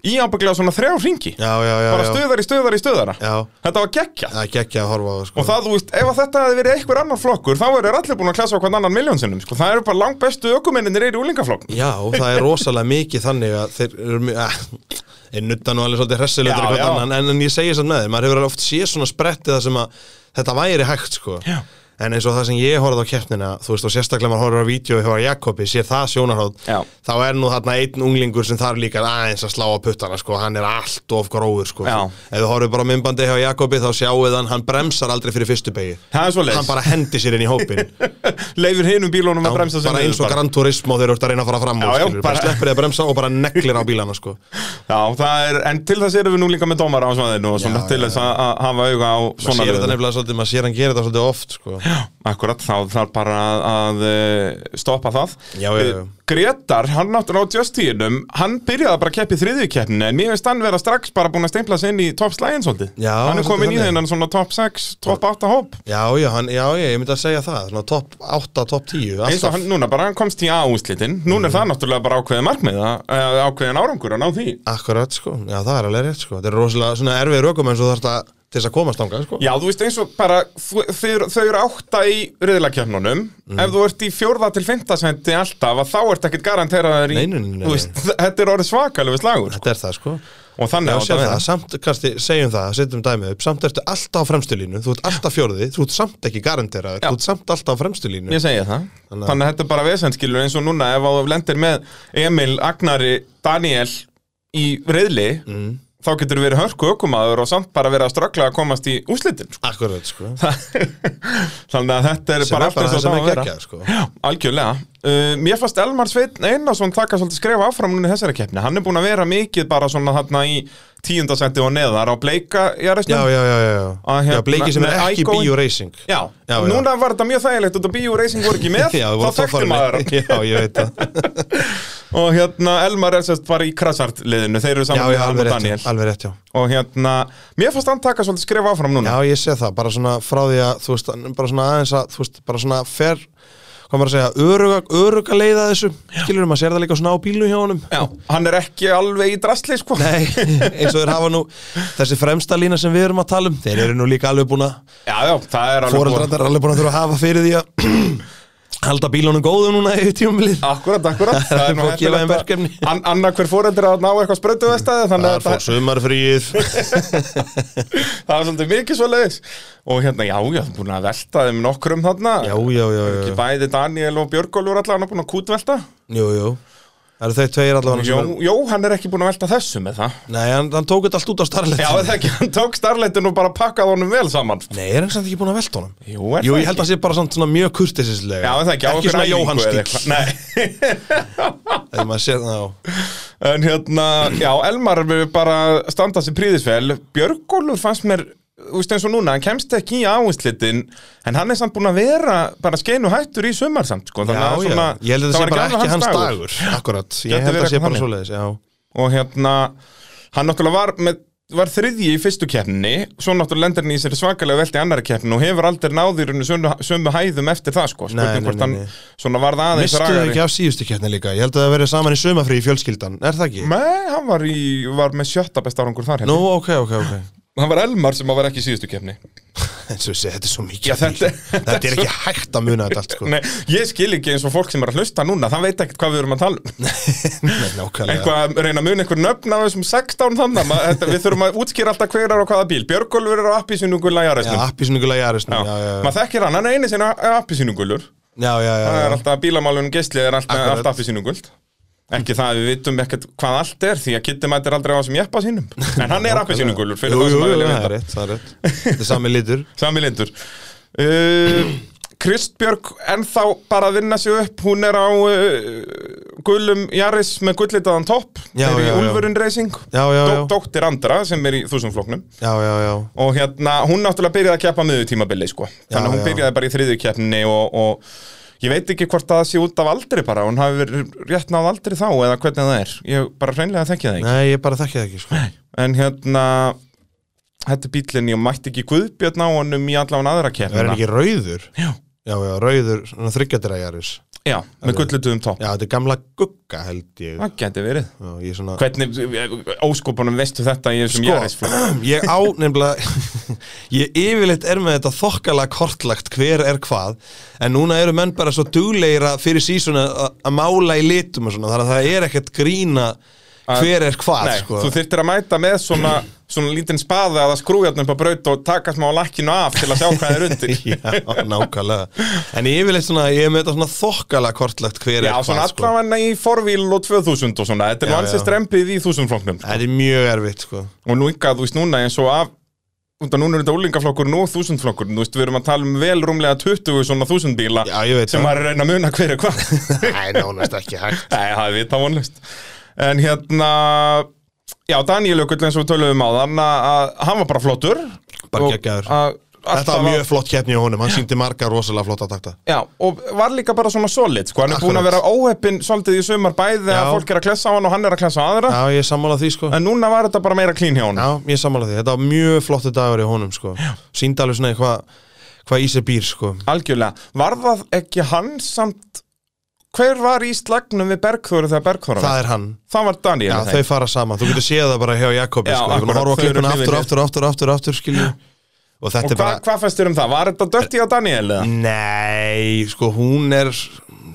Speaker 1: í ábygglega svona þrjá ringi
Speaker 2: já, já, já,
Speaker 1: bara
Speaker 2: já.
Speaker 1: stöðar í stöðar í stöðara
Speaker 2: já,
Speaker 1: þetta var gekkja
Speaker 2: það er geggja að horfa á það, sko.
Speaker 1: og það, þú veist, ef að þetta hefði verið einhver annar flokkur þá eru allir búin að klasa á hvern annan miljónsinnum sko. það eru bara langt bestu ökumenninir er í úlingaflokkn
Speaker 2: Já, það er rosalega mikið þannig að þeir eru mjög, að, ég nutta nú alveg svolítið hressilegt
Speaker 1: Já,
Speaker 2: eitthvað
Speaker 1: já.
Speaker 2: annan, en, en ég segi samt með þeim, maður hefur alveg oft séð svona sprettið það sem að þetta væri hægt, sko.
Speaker 1: Já.
Speaker 2: En eins og það sem ég horfði á keppnina, þú veist, og sérstaklega maður horfður á vídeo hjá Jakobi, sér það sjónarhóð,
Speaker 1: Já.
Speaker 2: þá er nú þarna einn unglingur sem þar líka aðeins að slá á puttana, sko, hann er allt of gróður, sko.
Speaker 1: Já.
Speaker 2: Ef þú horfður bara á myndbandi hjá Jakobi, þá sjáuð hann, hann bremsar aldrei fyrir fyrstu beigju.
Speaker 1: það er svo
Speaker 2: Hann bara hendi sér inn í hópin.
Speaker 1: leifir hinum bílónum að bremsa sem
Speaker 2: bara eins
Speaker 1: niður
Speaker 2: og
Speaker 1: bara.
Speaker 2: Gran Turismo þegar þú ert að reyna að fara fram úr
Speaker 1: Já, já,
Speaker 2: skilur, bara
Speaker 1: bara-
Speaker 2: sleppir þið að bremsa og bara neglir á bílana sko.
Speaker 1: Já, það er, en til þess erum við nú líka með dómara á svaðinu og svona
Speaker 2: Já,
Speaker 1: til
Speaker 2: já,
Speaker 1: þess að að hafa auga á
Speaker 2: maður
Speaker 1: svona
Speaker 2: sér þetta
Speaker 1: röðum.
Speaker 2: nefnilega svolítið, maður sér hann gera þetta svolítið oft sko.
Speaker 1: Akkurat, þá þarf bara að, að eh, stoppa það
Speaker 2: Já, já, já.
Speaker 1: Eh, Gretar, hann náttúrulega á Justinum hann byrjaði bara að keppi þriðjukeppninu en mér finnst hann vera strax bara búin að steimpla sig inn í topp slægin svolítið
Speaker 2: Já,
Speaker 1: hann er
Speaker 2: svolítið
Speaker 1: komin í
Speaker 2: þannig.
Speaker 1: þennan svona topp 6, topp 8 hóp
Speaker 2: já, já, hann, já, já, ég myndi að segja það svona topp 8, topp 10
Speaker 1: eins og
Speaker 2: alltaf. Mhm.
Speaker 1: hann núna bara, hann komst í A-úslitin núna er það náttúrulega bara ákveðið markmið að- eh, ákveðin árangur að ná því
Speaker 2: akkurat, sko. já, það er alveg rétt sko. þetta er rosalega svona erfið rökum eins og þarf þetta til þess að komast ánga sko.
Speaker 1: Já, þú veist eins og bara þú- þeir, þau eru átta í riðlakefnunum
Speaker 2: Mhm.
Speaker 1: ef þú ert í fjórða til fymtasendi alltaf að þá ert ekkert garanteraður í
Speaker 2: Nei, nei, nei, nei.
Speaker 1: þú Veist, þetta er orðið svakalegu slagur sko.
Speaker 2: þetta er það sko.
Speaker 1: og þannig
Speaker 2: Já,
Speaker 1: á þetta
Speaker 2: sér
Speaker 1: að
Speaker 2: það,
Speaker 1: vera.
Speaker 2: samt, kannski, segjum það, setjum dæmið upp samt ertu alltaf á fremstu línu, þú ert alltaf fjórði þú ert samt ekki garanteraður, þú ert samt alltaf á fremstu línu
Speaker 1: Ég segi það Þannig að þetta er bara vesendskilur eins og núna ef þú lendir með Emil, Agnari, Daniel í riðli
Speaker 2: Mm.
Speaker 1: þá getur þú verið hörku ökumaður og samt bara verið að ströggla að komast í úslitin sko.
Speaker 2: akkurat, sko.
Speaker 1: Þannig að þetta er
Speaker 2: Sem
Speaker 1: bara
Speaker 2: er
Speaker 1: allt
Speaker 2: bara
Speaker 1: eins
Speaker 2: það
Speaker 1: og
Speaker 2: sem
Speaker 1: það á
Speaker 2: er
Speaker 1: að vera
Speaker 2: geggjað, sko.
Speaker 1: Já, algjörlega. Uh, mér fannst Elmar Sveitn Einarsson taka svolítið skrefa áfram núna í þessari keppni. Hann er búin að vera mikið bara svona þarna í tíundasendi og neðar á bleika í
Speaker 2: já,
Speaker 1: aðreistnum.
Speaker 2: já, já, já, já.
Speaker 1: Að hérna-
Speaker 2: já bleiki sem er
Speaker 1: með
Speaker 2: ekki
Speaker 1: Igo-
Speaker 2: Bio Racing
Speaker 1: Já,
Speaker 2: Já, já.
Speaker 1: núna var þetta mjög þægilegt út af bíó racing voru ekki með,
Speaker 2: Já,
Speaker 1: þá
Speaker 2: við vorum
Speaker 1: þekkti
Speaker 2: toppfarmi.
Speaker 1: maður hann.
Speaker 2: Já, ég veit það
Speaker 1: og hérna Elmar er sérst bara í Krasart liðinu, þeir eru
Speaker 2: Já,
Speaker 1: saman
Speaker 2: já,
Speaker 1: með
Speaker 2: alveg
Speaker 1: Alvar Daniel
Speaker 2: rétt, alveg rétt, já
Speaker 1: og hérna, mér fannst hann taka svolítið skref áfram
Speaker 2: Já,
Speaker 1: núna
Speaker 2: ég sé það, bara svona frá því að þú veist, hann bara svona aðeins að þú veist, bara svona fer hvað maður að segja, öruga, öruga leiða þessu skilur maður sér það líka svona á bílnum hjá honum
Speaker 1: hann er ekki alveg í drasli sko
Speaker 2: Nei, eins og þeir hafa nú þessi fremsta lína sem við erum að tala um þeir eru nú líka alveg búin að
Speaker 1: já, já, það er alveg búið.
Speaker 2: fóreldrandar er alveg búin að þurfa að hafa fyrir því að halda bílunum góðu núna í tíumilið
Speaker 1: Akkurat, akkurat
Speaker 2: Það er fólk gefa þeim
Speaker 1: heppilegt
Speaker 2: um verkefni.
Speaker 1: að- An Annar hver fóreldri að ná eitthvað sprautuðastæði Þannig
Speaker 2: Það
Speaker 1: að
Speaker 2: fór
Speaker 1: það,
Speaker 2: sumarfríð
Speaker 1: það var svolítið mikið svo leiðis Og hérna, já, já, þú er búin að velta þeim nokkrum þarna
Speaker 2: Já, já, já, já,
Speaker 1: Ekki
Speaker 2: já.
Speaker 1: bæði Daniel og Björgólfur allan að búin að kútvelta
Speaker 2: Jú, jú Það eru þau tveir allavega sem
Speaker 1: Jó,
Speaker 2: eru-
Speaker 1: jó, hann er ekki búin að velta þessu með það
Speaker 2: Nei, hann, hann tók þetta allt út á starlet
Speaker 1: Já, er það ekki, hann tók starleitin og bara pakkaði honum vel saman sko.
Speaker 2: Nei, er hann samt ekki búin að velta honum?
Speaker 1: Jú, er
Speaker 2: Jú,
Speaker 1: það
Speaker 2: ég held að það sé bara samt svona mjög kurtisislega
Speaker 1: Já, er það ekki á
Speaker 2: Ekki
Speaker 1: okkur
Speaker 2: svona
Speaker 1: æfingu
Speaker 2: Jóhann
Speaker 1: eða
Speaker 2: stíl
Speaker 1: eitthvað? Nei,
Speaker 2: Þegar maður sér það á
Speaker 1: En hérna, já, Elmar við bara standa sér príðisvel Björgólfur fannst mér, þú veist eins og núna hann kemst ekki í áherslitin en hann er samt búin að vera bara skeinu hættur í sumar samt, sko
Speaker 2: Já,
Speaker 1: þannig að
Speaker 2: já,
Speaker 1: svona,
Speaker 2: ég held að það
Speaker 1: var
Speaker 2: sé bara ekki hans dagur Akkurat,
Speaker 1: Gæti
Speaker 2: ég held að
Speaker 1: verið
Speaker 2: það sé
Speaker 1: eitthvað
Speaker 2: bara
Speaker 1: þannig.
Speaker 2: svoleiðis Já,
Speaker 1: og hérna, hann náttúrulega var með var þriðji í fyrstu keppni svo náttúrulega lendir hann í sér svakalega velt í annari keppni og hefur aldrei náðirinu sömu, sömu hæðum eftir það sko,
Speaker 2: Nei,
Speaker 1: spurning
Speaker 2: nei,
Speaker 1: hvort
Speaker 2: nei,
Speaker 1: hann
Speaker 2: nei.
Speaker 1: svona varð aðeins
Speaker 2: mistu þau
Speaker 1: ragari.
Speaker 2: ekki af síðustu keppni líka Ég held að það verið saman í sumafrí í fjölskyldan, er það ekki?
Speaker 1: Nei, hann var, í, var með sjötta besta árangur þar
Speaker 2: Nú,
Speaker 1: held ég.
Speaker 2: ok, ok, ok
Speaker 1: hann var Elmar sem að var ekki í síðustu keppni
Speaker 2: En svo sé, þetta er svo mikið
Speaker 1: Já, þetta-
Speaker 2: þetta er ekki hægt að muna þetta allt sko.
Speaker 1: Nei, ég skil ekki eins og fólk sem er að hlusta núna það veit ekkert hvað við erum að tala um
Speaker 2: Nei, nákvæmlega
Speaker 1: eitthvað, að reyna að muna einhver nöfn af þessum 16 þannig maður- þetta- við þurfum að útskýra alltaf hver er á hvaða bíl Björgólfur er á appisínungul að
Speaker 2: Já,
Speaker 1: jarðisnum
Speaker 2: appisnugulega jarisnum Já, já, já.
Speaker 1: maður þekkir hann, hann er einu sinna appisínungulur
Speaker 2: já, já, já,
Speaker 1: það er
Speaker 2: já.
Speaker 1: alltaf bílamálunum geislið er alltaf,
Speaker 2: Akkurat.
Speaker 1: alltaf appisínungult ekki það að við vitum ekkert hvað allt er því að Kitty mætir aldrei á sem jeppa sínum en hann er appisínungulur fyrir
Speaker 2: Jú,
Speaker 1: það
Speaker 2: jú,
Speaker 1: sem að
Speaker 2: jú,
Speaker 1: vilja
Speaker 2: það
Speaker 1: vita
Speaker 2: er rétt, það er rétt Þetta er sami litur
Speaker 1: Sami lindur uh, Kristbjörg ennþá bara að vinna sig upp hún er á uh, gullum Jaris með gullitaðan topp
Speaker 2: Já,
Speaker 1: er í
Speaker 2: já, já.
Speaker 1: Ulfurinn Racing
Speaker 2: Já, já, já.
Speaker 1: dóttir Andra sem er í þúsumfloknum
Speaker 2: Já, já, já
Speaker 1: og hérna, hún náttúrulega byrjaði að keppa miður tímabili sko. þannig að hún
Speaker 2: já.
Speaker 1: byrjaði bara í þriðju keppninni og, og ég veit ekki hvort það sé út af aldri bara, hún hafi verið rétt náð aldri þá eða hvernig það er, ég bara hreinlega þekki það ekki
Speaker 2: Nei, ég bara þekki það ekki sko.
Speaker 1: en hérna þetta er bílinni og mætti ekki Guðbjörn á honum í allan aðra
Speaker 2: Það er
Speaker 1: keppnina
Speaker 2: ekki rauður
Speaker 1: Já.
Speaker 2: Já, já, rauður, svona þryggjadræjaris
Speaker 1: já, með gullutum topp
Speaker 2: Já, þetta er gamla gugga held ég
Speaker 1: það geti verið
Speaker 2: Já, ég er svona
Speaker 1: hvernig óskopunum veistu þetta í þessum
Speaker 2: Sko,
Speaker 1: jarðisflug
Speaker 2: ég á nefnilega Ég yfirleitt er með þetta þokkalega kortlagt hver er hvað En núna eru menn bara svo dugleira fyrir sísuna að mála í litum og svona Þannig að það er ekkert grína hver er hvað
Speaker 1: Nei,
Speaker 2: sko.
Speaker 1: þú þyrftir að mæta með svona, svona lítinn spaða eða skrújarnum på braut og taka smá lakkinu af til að sjá hvað er undir
Speaker 2: Já, nákvæmlega En ég yfirleitt svona, ég er með þetta svona þokkalega kortlagt hver
Speaker 1: Já,
Speaker 2: er
Speaker 1: svona
Speaker 2: hvað sko.
Speaker 1: allavega í forvíl og 2000 og svona, þetta er
Speaker 2: Já,
Speaker 1: nú ansið
Speaker 2: já.
Speaker 1: strempið í 1000 flokknum
Speaker 2: Það er mjög erfitt sko.
Speaker 1: og nú ykkar, þú veist, núna eins og af Unda, núna er þetta úlingaflokkur og þúsundflokkur Þú veist, við erum að tala um vel rúmlega 20 svona þúsundbíla
Speaker 2: Já, ég veit
Speaker 1: sem
Speaker 2: það
Speaker 1: maður er að reyna að muna hver er hvað Nei,
Speaker 2: Nei, nánast ekki hægt
Speaker 1: það er vita vonlist En hérna Já, Daniel Jökull eins og við töluðum á þann að hann var bara flottur
Speaker 2: Bara
Speaker 1: Og
Speaker 2: geggjaður.
Speaker 1: að
Speaker 2: Þetta
Speaker 1: alltaf
Speaker 2: var
Speaker 1: að-
Speaker 2: mjög flott keppni á honum, hann síndi marga rosalega flotta takta
Speaker 1: Já, og var líka bara svona solid sko. Hann er búin að vera
Speaker 2: Akkurat.
Speaker 1: óheppin svolítið í sumar bæði
Speaker 2: Já.
Speaker 1: að fólk er að klessa á hann og hann er að klessa á aðra
Speaker 2: Já, ég er sammála því sko
Speaker 1: En núna var þetta bara meira klín hjá hann
Speaker 2: Já, ég er sammála því, þetta var mjög flottu dagur í honum sko Síndi alveg svona hvað hva í sér býr sko
Speaker 1: Algjörlega, var það ekki hann samt Hver var í slagnum við Bergþóru þegar Bergþóra var?
Speaker 2: Það er hann,
Speaker 1: Það var Daniel
Speaker 2: já,
Speaker 1: er það
Speaker 2: þau
Speaker 1: ekki?
Speaker 2: fara saman Þú getur séð það bara hjá Jakobi
Speaker 1: Já,
Speaker 2: sko Ég er
Speaker 1: akkurat,
Speaker 2: búin að horfa á
Speaker 1: þau eru
Speaker 2: klippuna aftur,
Speaker 1: hlýðinir.
Speaker 2: aftur, aftur, aftur, aftur skilju Og
Speaker 1: Og
Speaker 2: þetta er
Speaker 1: hva,
Speaker 2: bara Mm.
Speaker 1: hvað fæstur um það? Var þetta dötti á Daniel eða?
Speaker 2: Nei, sko hún er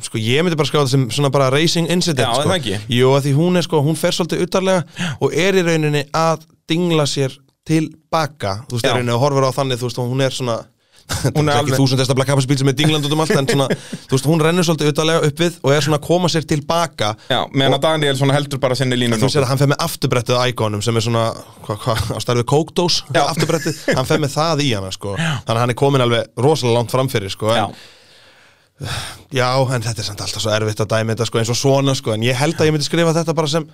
Speaker 2: Sko ég myndi bara skáða sem svona bara racing incident
Speaker 1: Já,
Speaker 2: sko.
Speaker 1: er það ekki?
Speaker 2: Jú, að því hún er sko, hún fer svolítið utarlega Og er í rauninni að dingla sér tilbaka Þú
Speaker 1: Já.
Speaker 2: veist, er rauninni og horfir á þannig, þú veist, og hún er svona
Speaker 1: Hún
Speaker 2: hún
Speaker 1: er
Speaker 2: er ekki
Speaker 1: alveg-
Speaker 2: þúsundesta blakkaparsbíl sem er dingland út um allt en svona, þú veist, hún rennur svolítið utarlega upp við og er svona að koma sér tilbaka
Speaker 1: Já, meðan að Daniel svona heldur bara sinni línu
Speaker 2: þú sér að hann fer með afturbrettið á íkonum sem er svona, hvað, hva, á starfið kókdós
Speaker 1: Já.
Speaker 2: afturbrettið, hann fer með það í hana sko. þannig að hann er komin alveg rosalega langt framfyrir sko,
Speaker 1: Já,
Speaker 2: en, já, en þetta er samt alltaf svo erfitt að dæmi þetta sko, eins og svona, sko, en ég held að ég myndi skrifa þetta bara sem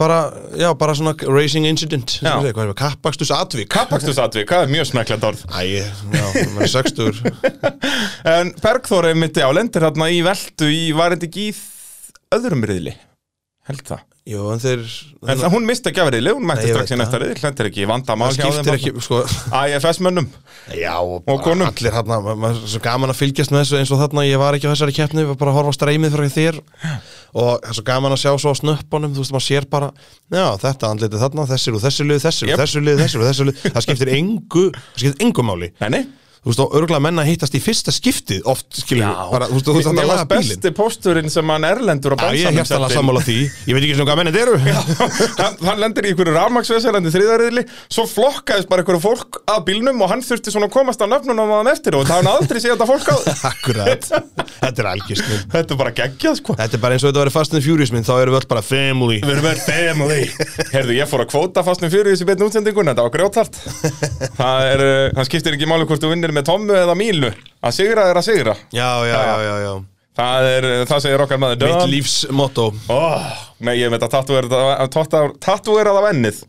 Speaker 2: bara, já, bara svona racing incident
Speaker 1: Já.
Speaker 2: kappakstus atvik
Speaker 1: kappakstusatvi, hvað er mjög smekklegt orð
Speaker 2: Æ, já, maður er sextur
Speaker 1: En Bergþór er myndi á lendir hérna í veltu í, var þetta ekki í þ- öðrum riðli? Held það.
Speaker 2: Jú, en þeir
Speaker 1: En það, hún misti ekki af riðli, hún mætti
Speaker 2: Nei, ég
Speaker 1: strax í
Speaker 2: veit
Speaker 1: næsta
Speaker 2: það.
Speaker 1: riðli, hlendir ekki, vandamál
Speaker 2: það
Speaker 1: hjá þeim
Speaker 2: skiptir
Speaker 1: þarna.
Speaker 2: ekki, sko
Speaker 1: IFS mönnum.
Speaker 2: Já, og,
Speaker 1: Og konum.
Speaker 2: allir hann, maður maður er svo gaman að fylgjast með þessu eins og þarna, ég var ekki á þessari keppni, ég var bara að horfa á streymið frá þér og það er svo gaman að sjá svo á snöppunum, þú veist, maður sér bara já, þetta andlitið þarna, þessir og þessi lið, þessir
Speaker 1: Jep.
Speaker 2: og þessi lið, þessir og þessi lið það skiptir engu, það skiptir engu máli
Speaker 1: Nei, nei.
Speaker 2: þú veist, og örgulega menna hittast í fyrsta skiptið oft, skilur, við, bara, þú veist, þú veist,
Speaker 1: Mér
Speaker 2: þetta
Speaker 1: varst
Speaker 2: laga bílinn
Speaker 1: besti pósturinn sem hann erlendur á
Speaker 2: Já, ég er
Speaker 1: bransanum
Speaker 2: hérstanlega
Speaker 1: setti.
Speaker 2: sammála því, ég veit ekki svona hvað mennið eru
Speaker 1: hann, hann lendir í einhverju rafmaksveserandi þriðariðli svo flokkaðist bara einhverju fólk að bílnum og hann þurfti svona að komast á nöfnunum að hann eftir og það hann aldrei séð þetta fólk á
Speaker 2: Akkurat, þetta er algjörstnum
Speaker 1: Þetta er bara geggjað sko
Speaker 2: Þetta er bara eins og þetta verið Fast and Furious minn, þá erum við öll bara family
Speaker 1: Við erum verið family Herðu, ég fór að kvóta fastnum fyrir þessi betn útsendingun Þetta var grjótart Það er, uh, hann skiptir ekki máli hvort þú vinnir með Tommu eða Mílu Að sigra er að sigra
Speaker 2: Já, já, já, já, já.
Speaker 1: Það er, uh, það segir okkar maður
Speaker 2: Mitt
Speaker 1: Done.
Speaker 2: lífs motto
Speaker 1: oh, Nei, ég veit að tattuverað af ennið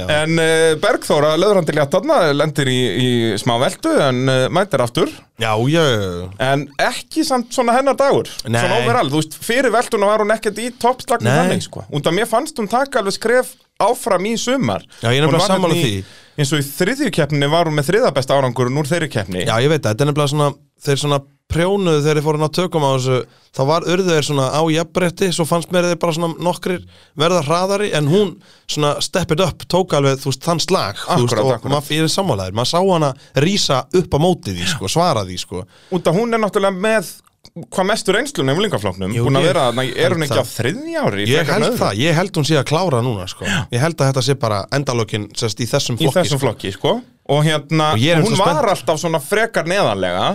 Speaker 1: En uh, Bergþóra löður hann til hjátt þarna Lendir í, í smá veldu En uh, mætir aftur
Speaker 2: Já, já, já.
Speaker 1: En ekki samt svona hennar dagur
Speaker 2: Nei.
Speaker 1: Svona overall, þú veist, fyrir veltuna var hún ekkert í toppslagni
Speaker 2: Nei.
Speaker 1: þannig sko Und að mér fannst hún taka alveg skref áfram í sumar
Speaker 2: Já, ég er
Speaker 1: Hún
Speaker 2: nefnilega
Speaker 1: var
Speaker 2: sammála
Speaker 1: hérna í- Eins og í þriðju keppni var hún með þriða besta árangurinn úr þeirri keppni
Speaker 2: já, ég veit það, þetta er nefnilega svona þeir svona prjónuðu þegar þeir fóru að tökum á þessu þá var urðu þeir svona á jafnbretti svo fannst mér þeir bara svona nokkrir verða hraðari en hún svona step it up tók alveg, þú veist, þann slag þú veist,
Speaker 1: Akkurat,
Speaker 2: og
Speaker 1: akkurat.
Speaker 2: maður, ég er sammálaður, maður sá hana rísa upp á móti því, sko, svara því, sko
Speaker 1: Und að hún er náttúrulega með hvað mestur einslunum í umlingafloknum
Speaker 2: Jú,
Speaker 1: Hún að
Speaker 2: ég
Speaker 1: vera, þarna- er hún
Speaker 2: held
Speaker 1: ekki á
Speaker 2: það.
Speaker 1: þriðja ári í
Speaker 2: ég
Speaker 1: frekar en
Speaker 2: held
Speaker 1: öðru?
Speaker 2: það, ég held hún sé að klára núna, sko ég held að þetta sé bara endalókin sérst, í þessum
Speaker 1: Í
Speaker 2: flokki,
Speaker 1: þessum flokki, sko Og hérna,
Speaker 2: Og Mm. ég er
Speaker 1: hún
Speaker 2: svo
Speaker 1: var alltaf svona frekar neðanlega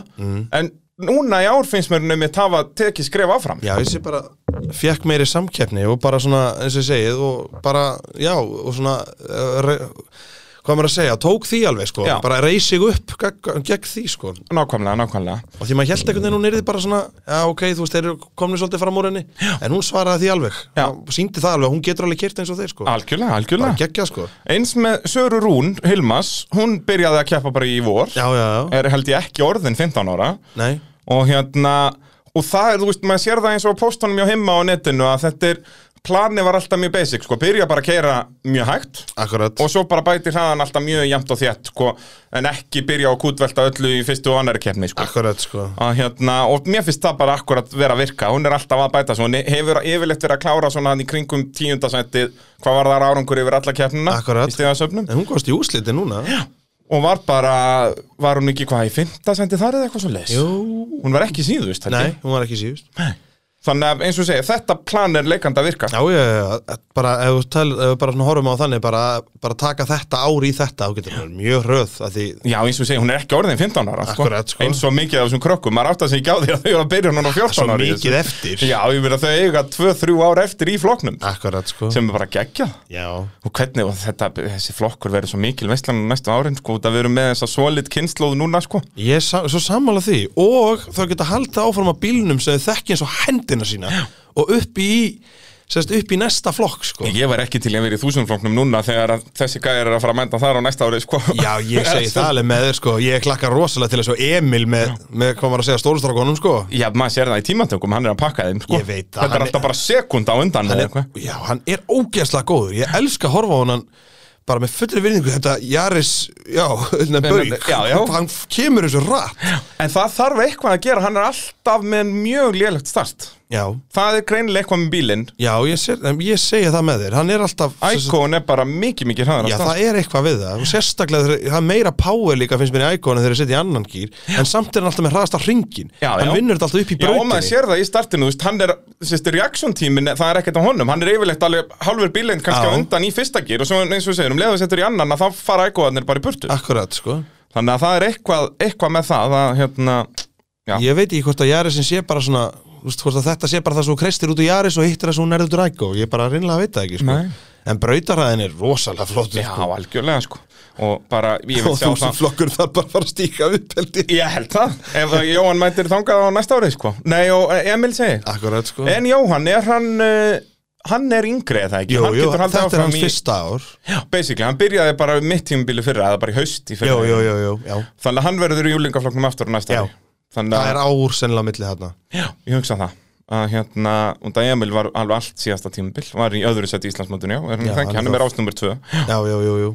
Speaker 1: En núna í ár finnst mér henni mitt hafa tekið skref áfram
Speaker 2: Já, ég sé bara, fekk meiri samkeppni og bara svona, eins og ég segið og bara, já, og svona uh, re, hvað maður að segja, tók því alveg sko,
Speaker 1: Já.
Speaker 2: bara reis sig upp gegn, gegn því sko,
Speaker 1: Nákvæmlega, nákvæmlega
Speaker 2: og því maður held einhvern veginn hún yrði bara svona, já ok, þú veist, þeir eru komni svolítið fram úr henni, en hún svaraði því alveg
Speaker 1: Já.
Speaker 2: og síndi það alveg, hún getur alveg kert eins og þeir sko,
Speaker 1: Algjörlega, algjörlega
Speaker 2: bara geggja sko
Speaker 1: Eins með Söru Rún, Hilmas, hún byrjaði að keppa bara í vor
Speaker 2: Já, já, já,
Speaker 1: Er held ég ekki orðin 15 ára
Speaker 2: nei
Speaker 1: Og hérna, og það er, þú veist, maður sér það eins og á póstunum hjá himma á netinu Að þetta er planið var alltaf mjög basic sko, byrja bara að keira mjög hægt
Speaker 2: Akkurat
Speaker 1: og svo bara bæti hraðan alltaf mjög jæmt og þétt sko, en ekki byrja á kútvelta öllu í fyrstu og annari keppni sko.
Speaker 2: Akkurat sko
Speaker 1: að, hérna, og mér finnst það bara akkurat vera að virka hún er alltaf að bæta svo, hún hefur yfirleitt verið að klára svona hann í kringum tíundasættið hvað var þar árangur yfir alla keppnina
Speaker 2: Akkurat.
Speaker 1: í stigasöfnum
Speaker 2: En hún komst í úsliti núna
Speaker 1: og var bara, var hún ekki hvað í fimmtasættið þar eða eitthvað svo leis
Speaker 2: Jú
Speaker 1: hún var ekki síðust held ég.
Speaker 2: Nei, hún var ekki síðust
Speaker 1: þannig að eins og segja, þetta plan er leikandi að virka
Speaker 2: Já, já, já, já, bara ef við, tal, ef við bara svona horfum á þannig bara, bara taka þetta ár í þetta þá getur verið mjög hröð að því
Speaker 1: Já, eins og segja, hún er ekki orðin 15 ára
Speaker 2: Akkurat, sko.
Speaker 1: Eins og mikið af þessum krökkum, maður átt að segja á því að þau eru að byrja hún á 14
Speaker 2: svo
Speaker 1: ára í þessu.
Speaker 2: mikið eftir
Speaker 1: Já, ég verið að þau eiga 2-3 ára eftir í flokknum
Speaker 2: Akkurat sko
Speaker 1: sem er bara geggja
Speaker 2: Já,
Speaker 1: og hvernig og þetta, þessi flokkur verður svo mikil veistlan næstu árin, sko, út að við erum með þessa solid kynnslóð núna, sko
Speaker 2: ég er sa svo sammála því og þá geta haldið áfram á bílnum sem þau þekki eins og hendina sína og upp í, sérst, upp í næsta flokk sko
Speaker 1: Ég var ekki til að vera í þúsundflokknum núna þegar að þessi gæðir er að fara að mænda þar á næsta ári, sko
Speaker 2: Já, ég segi það alveg með þér sko Ég klakkar rosalega til þessu Emil með, með hvað maður að segja stórustrákonum sko
Speaker 1: Já, maður sér það í tímatökum, hann er að pakka þeim, sko
Speaker 2: Ég veit það,
Speaker 1: Þetta
Speaker 2: hann
Speaker 1: er
Speaker 2: er-
Speaker 1: alltaf bara sekund á undan eða
Speaker 2: hann er,
Speaker 1: eitthvað.
Speaker 2: Já, hann er ógeðslega góður Ég elska að horfa á hann bara með fullri virðingu Þetta Jaris, já, hérna bauk
Speaker 1: Já, já.
Speaker 2: Hann kemur þessu rætt
Speaker 1: En það þarf eitthvað að gera, hann er alltaf með mjög lélegt start
Speaker 2: Já,
Speaker 1: Það er greinilega eitthvað með bílinn
Speaker 2: já, ég, ser, en ég segja það með þér Hann er alltaf
Speaker 1: Ækón er bara mikið, mikið hraðan
Speaker 2: Já, það er eitthvað við það og sérstaklega þegar það er meira power líka finnst mér í ækonu þegar þeir setja í annan gýr en samt er hann alltaf með hraðasta hringin
Speaker 1: Já,
Speaker 2: hann
Speaker 1: já.
Speaker 2: vinnur þetta alltaf upp í
Speaker 1: Já, og maður
Speaker 2: brautinni
Speaker 1: sér það í startinu, þú veist, hann er, sérst, reaction tímin, það er ekkert á honum, hann er yfirleitt alveg halvur bílinn kannski
Speaker 2: Já.
Speaker 1: á undan í fyrsta gýr og svo eins og við segjum, um leiðu settur í annan að þá fara ækóðanir bara í burtu.
Speaker 2: Akkurat, sko
Speaker 1: Þannig að það er eitthvað, eitthvað með það að, hérna, Já.
Speaker 2: Ég veit ekki hvort að Jarisin sé bara svona þú veist, hvort að þetta sé bara það svo kreistir út úr Jaris og hittir það svo nærður út úr Ægó ég bara reynilega veit það ekki sko.
Speaker 1: Nei.
Speaker 2: en brautarhæðin er rosalega flott
Speaker 1: já, algjörlega, sko, og bara, ég vil
Speaker 2: og
Speaker 1: sjá
Speaker 2: þú sem
Speaker 1: það.
Speaker 2: flokkur þar bara fara að stíka upp held ég
Speaker 1: Ég held það, ef að Jóhann mætir þangað á næsta árið, sko. Nei, og eh, Emil segir.
Speaker 2: Akkurat sko
Speaker 1: En Jóhann, er hann, uh, hann er yngri eða ekki?
Speaker 2: jú,
Speaker 1: hann
Speaker 2: jú,
Speaker 1: getur haldið
Speaker 2: Þetta er
Speaker 1: áfram
Speaker 2: hans
Speaker 1: í-
Speaker 2: fyrsta ár
Speaker 1: Já, basically, hann byrjaði bara mitt tímubili fyrra, eða bara í haust í
Speaker 2: Jú,
Speaker 1: fyrra
Speaker 2: jú, jú, jú, já
Speaker 1: Þannig að hann verður í júlingaflokknum aftur á næsta
Speaker 2: Já.
Speaker 1: ári Þannig að,
Speaker 2: Það er ár sennilega á milli þarna
Speaker 1: já, ég hugsa það að hérna, und að Emil var alveg allt síðasta tímubil, var í öðru sett í Íslandsmótinu, já, er hann,
Speaker 2: Já,
Speaker 1: já,
Speaker 2: hann
Speaker 1: þengi, hann
Speaker 2: er
Speaker 1: er mér ásnumur 2
Speaker 2: Já, jú, jú, jú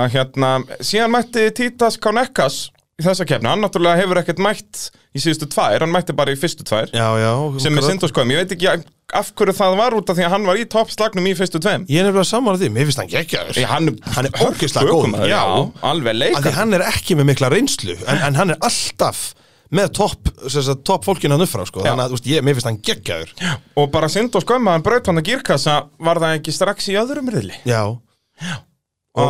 Speaker 1: að hérna, síðan mætti Títas Kánekas í þessa kefni, hann náttúrulega hefur ekkert mætt í síðustu tvær, hann mætti bara í fyrstu tvær
Speaker 2: Já, já
Speaker 1: sem er
Speaker 2: akkurat.
Speaker 1: syndoskoðum, ég veit ekki að- af hverju það var út af því að hann var í toppslagnum í fyrstu tveim
Speaker 2: Ég er nefnilega saman að því, mér finnst hann geggjaður
Speaker 1: Ég, hann,
Speaker 2: Hann er ógeðslega góður,
Speaker 1: já,
Speaker 2: já.
Speaker 1: alveg
Speaker 2: að því
Speaker 1: leikar
Speaker 2: hann er ekki með mikla reynslu en, en hann er alltaf með topp top fólkinu hann uppfrá sko.
Speaker 1: Já.
Speaker 2: þannig að þú veist, ég, mér finnst hann geggjaður já.
Speaker 1: Og bara synd og skömm að hann braut hann að gírkassa Var það ekki strax í öðrum riðli?
Speaker 2: og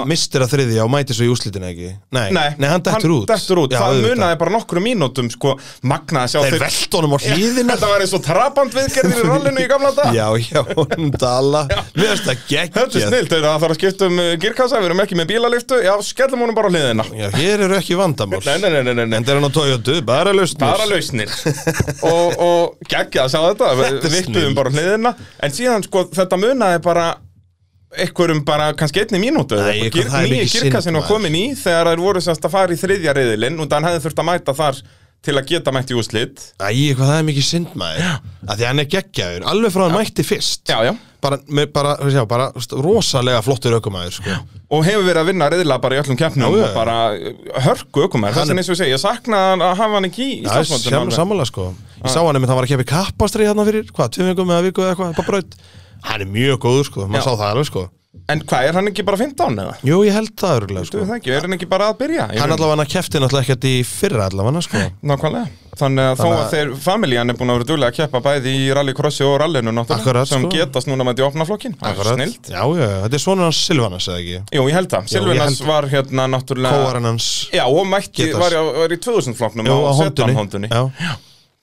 Speaker 2: mistir að þriðja og mætir svo í úslitinu ekki nei, hann dettur út, já,
Speaker 1: Það
Speaker 2: auðvitað.
Speaker 1: munaði bara nokkru mínútum sko, Magnaði að sjá
Speaker 2: þeir velt honum á hlýðina
Speaker 1: Þetta var eins og trabant viðgerðir í rollinu í gamla dag
Speaker 2: já, já, honum dala mér
Speaker 1: Þetta
Speaker 2: finnst það
Speaker 1: er
Speaker 2: geggjað
Speaker 1: snilt, það þarf að skipta um uh, gírkassa Við erum ekki með bílaliftu, já, skellum honum bara á hliðina
Speaker 2: já, hér eru ekki vandamál
Speaker 1: Nei, nei, nei, nei, nei, nei.
Speaker 2: en það er hann á Toyota, bara lausnir
Speaker 1: bara lausnir og, og geggja að sjá þetta,
Speaker 2: Þetta
Speaker 1: þetta
Speaker 2: er
Speaker 1: vittuðum
Speaker 2: snilld.
Speaker 1: bara hliðina en síðan sko þetta munaði bara einhverjum bara kannski einni mínútu
Speaker 2: Nei, hvað það er
Speaker 1: nýju
Speaker 2: mikið
Speaker 1: kirkasinn var
Speaker 2: synd, maður.
Speaker 1: komin í þegar þær voru semst að fara í þriðja reyðilinn og þannig hefði þurft að mæta þar til að geta mætt í úslit
Speaker 2: Æ, hvað það er mikið synd maður að því hann er geggjaður, alveg frá hann mætti fyrst
Speaker 1: já, já.
Speaker 2: bara, með, bara, þú veist, já, bara þú veist, rosalega flottur ökumæður sko.
Speaker 1: og hefur verið að vinna reyðila bara í öllum keppnum
Speaker 2: Já, já.
Speaker 1: og bara uh, hörku ökumar þess
Speaker 2: Hann er-
Speaker 1: að eins og ég segi, ég sakna að hafa hann ekki í
Speaker 2: Já, sem,
Speaker 1: stafsmóttunum
Speaker 2: samanlega sko Ég sá hann einmitt, hann var að keppi kappastrið hérna fyrir Hvað, tveim vikum eða viku eða eitthvað, bara braut Hann er mjög góður sko,
Speaker 1: Já.
Speaker 2: maður sá það alveg sko
Speaker 1: en hvað, er hann ekki bara 15 eða?
Speaker 2: Jú, ég held það örgulega
Speaker 1: Þú
Speaker 2: sko
Speaker 1: veist það ekki, er hann ekki bara að byrja? Ég
Speaker 2: Hann
Speaker 1: meina-
Speaker 2: allavega keppti náttúrulega ekkert í fyrra allavega sko
Speaker 1: Nákvæmlega, þannig að þó
Speaker 2: Þannig
Speaker 1: að
Speaker 2: að-
Speaker 1: þeir familjan er búin að vera duglega að keppa bæði í rallycrossi og rallinu náttúrulega
Speaker 2: Akkurat,
Speaker 1: sem
Speaker 2: sko.
Speaker 1: getast núna með því opna flokkin Snill
Speaker 2: Já, já, þetta er svona hans Silvanas eða ekki
Speaker 1: Jú, ég held það,
Speaker 2: ég
Speaker 1: Silvinas
Speaker 2: held-
Speaker 1: var hérna náttúrulega
Speaker 2: Kóarinn hans
Speaker 1: Já, og mætti
Speaker 2: Getast.
Speaker 1: var, í- var í 2000 flokknum
Speaker 2: Jú, á
Speaker 1: Sedan
Speaker 2: hondunni Já,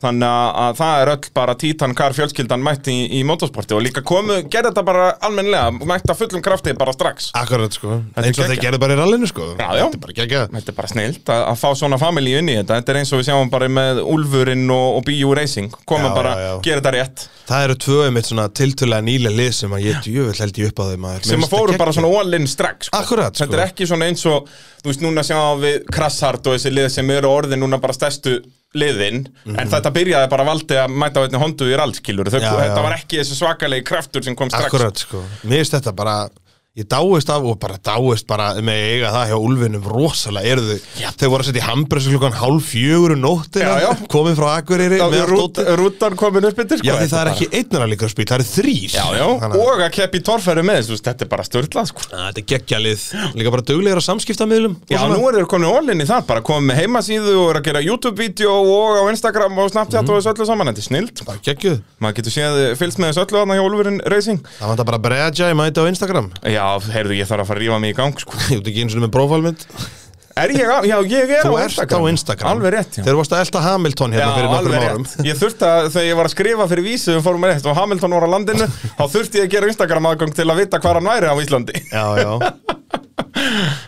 Speaker 1: Þannig að- að það er öll bara títan hvar fjölskyldan mætti í, í motorsporti og líka komu, gerði þetta bara almennilega mætti að fullum krafti bara strax
Speaker 2: akkurat sko
Speaker 1: er
Speaker 2: Eins og þeir
Speaker 1: geggjað.
Speaker 2: gerðu bara í rallinu sko
Speaker 1: Já, já.
Speaker 2: Þetta er bara geggjað
Speaker 1: Þetta er bara snilt að, að fá svona familju inn í þetta Þetta er eins og við sjáum bara með Úlfurinn og, og Bíu Racing koma
Speaker 2: Já,
Speaker 1: bara,
Speaker 2: já, já.
Speaker 1: gera þetta rétt
Speaker 2: Það eru tvö einmitt svona tiltölulega nýlega lið sem að ég djöfull held ég upp á þeim maður.
Speaker 1: sem
Speaker 2: Mér
Speaker 1: að
Speaker 2: finnst
Speaker 1: fóru bara
Speaker 2: geggjað.
Speaker 1: svona all-in strax sko.
Speaker 2: Akkurat,
Speaker 1: þetta er
Speaker 2: sko.
Speaker 1: ekki svona eins og þú veist núna sjáum við Krasshart og þessi lið sem eru orðin núna bara stærstu liðin en þetta byrjaði bara valdi að mæta á einni hondu í rallskilur þau,
Speaker 2: Mhm. Já,
Speaker 1: þetta
Speaker 2: já.
Speaker 1: var ekki þessi svakalegi kraftur sem kom strax
Speaker 2: Akkurat, sko. Mér finnst þetta bara, ég dáist af og bara dáist bara með eiga það hjá Ulfinum rosalega, eru þau, þau voru að setja í hambresu klukkan hálf fjögur um nóttina,
Speaker 1: Já, já.
Speaker 2: komin frá Akureyri
Speaker 1: Þá
Speaker 2: með
Speaker 1: er
Speaker 2: allt
Speaker 1: rút,
Speaker 2: dótið.
Speaker 1: rútan komin upp yfir sko,
Speaker 2: Já, því
Speaker 1: þetta
Speaker 2: það er
Speaker 1: bara-
Speaker 2: ekki einnara líka spil, það eru þrýr.
Speaker 1: Já, já, og að keppi torfæru með þessu, þetta er bara störtlað sko.
Speaker 2: Þetta er geggjalið, líka bara duglegar á samskiptamiðlum. og
Speaker 1: Já,
Speaker 2: svona.
Speaker 1: nú eru þeir komin ólinn í það, bara komið með heimasíðu og eru að gera YouTube-vídeó og á Instagram og Snapchat
Speaker 2: Mhm.
Speaker 1: og þessu öllu saman, þetta er snilt.
Speaker 2: Það er geggjuð.
Speaker 1: Maður getur séð eh, fylgst með þessu öllu þarna hjá Olfurinn Racing.
Speaker 2: Það vantar bara að bregja í mæti á Instagram.
Speaker 1: Já, heyrðu, ég þarf að fara að rífa mig í gang sko.
Speaker 2: Ég veit ekki eins og með prófálmynd.
Speaker 1: Er ég, á- já, ég er á
Speaker 2: Þú ert
Speaker 1: Instagram.
Speaker 2: á Instagram.
Speaker 1: Alveg rétt, já.
Speaker 2: Þeir varst að elta Hamilton
Speaker 1: Já,
Speaker 2: hérna fyrir nokkrum
Speaker 1: alveg
Speaker 2: árum.
Speaker 1: rétt. Ég þurfti að, þegar ég var að skrifa fyrir vísu um fórum rétt og Hamilton var á landinu, þá þurfti ég að gera Instagram aðgang til að vita hvar hann væri á Íslandi.
Speaker 2: Já, já.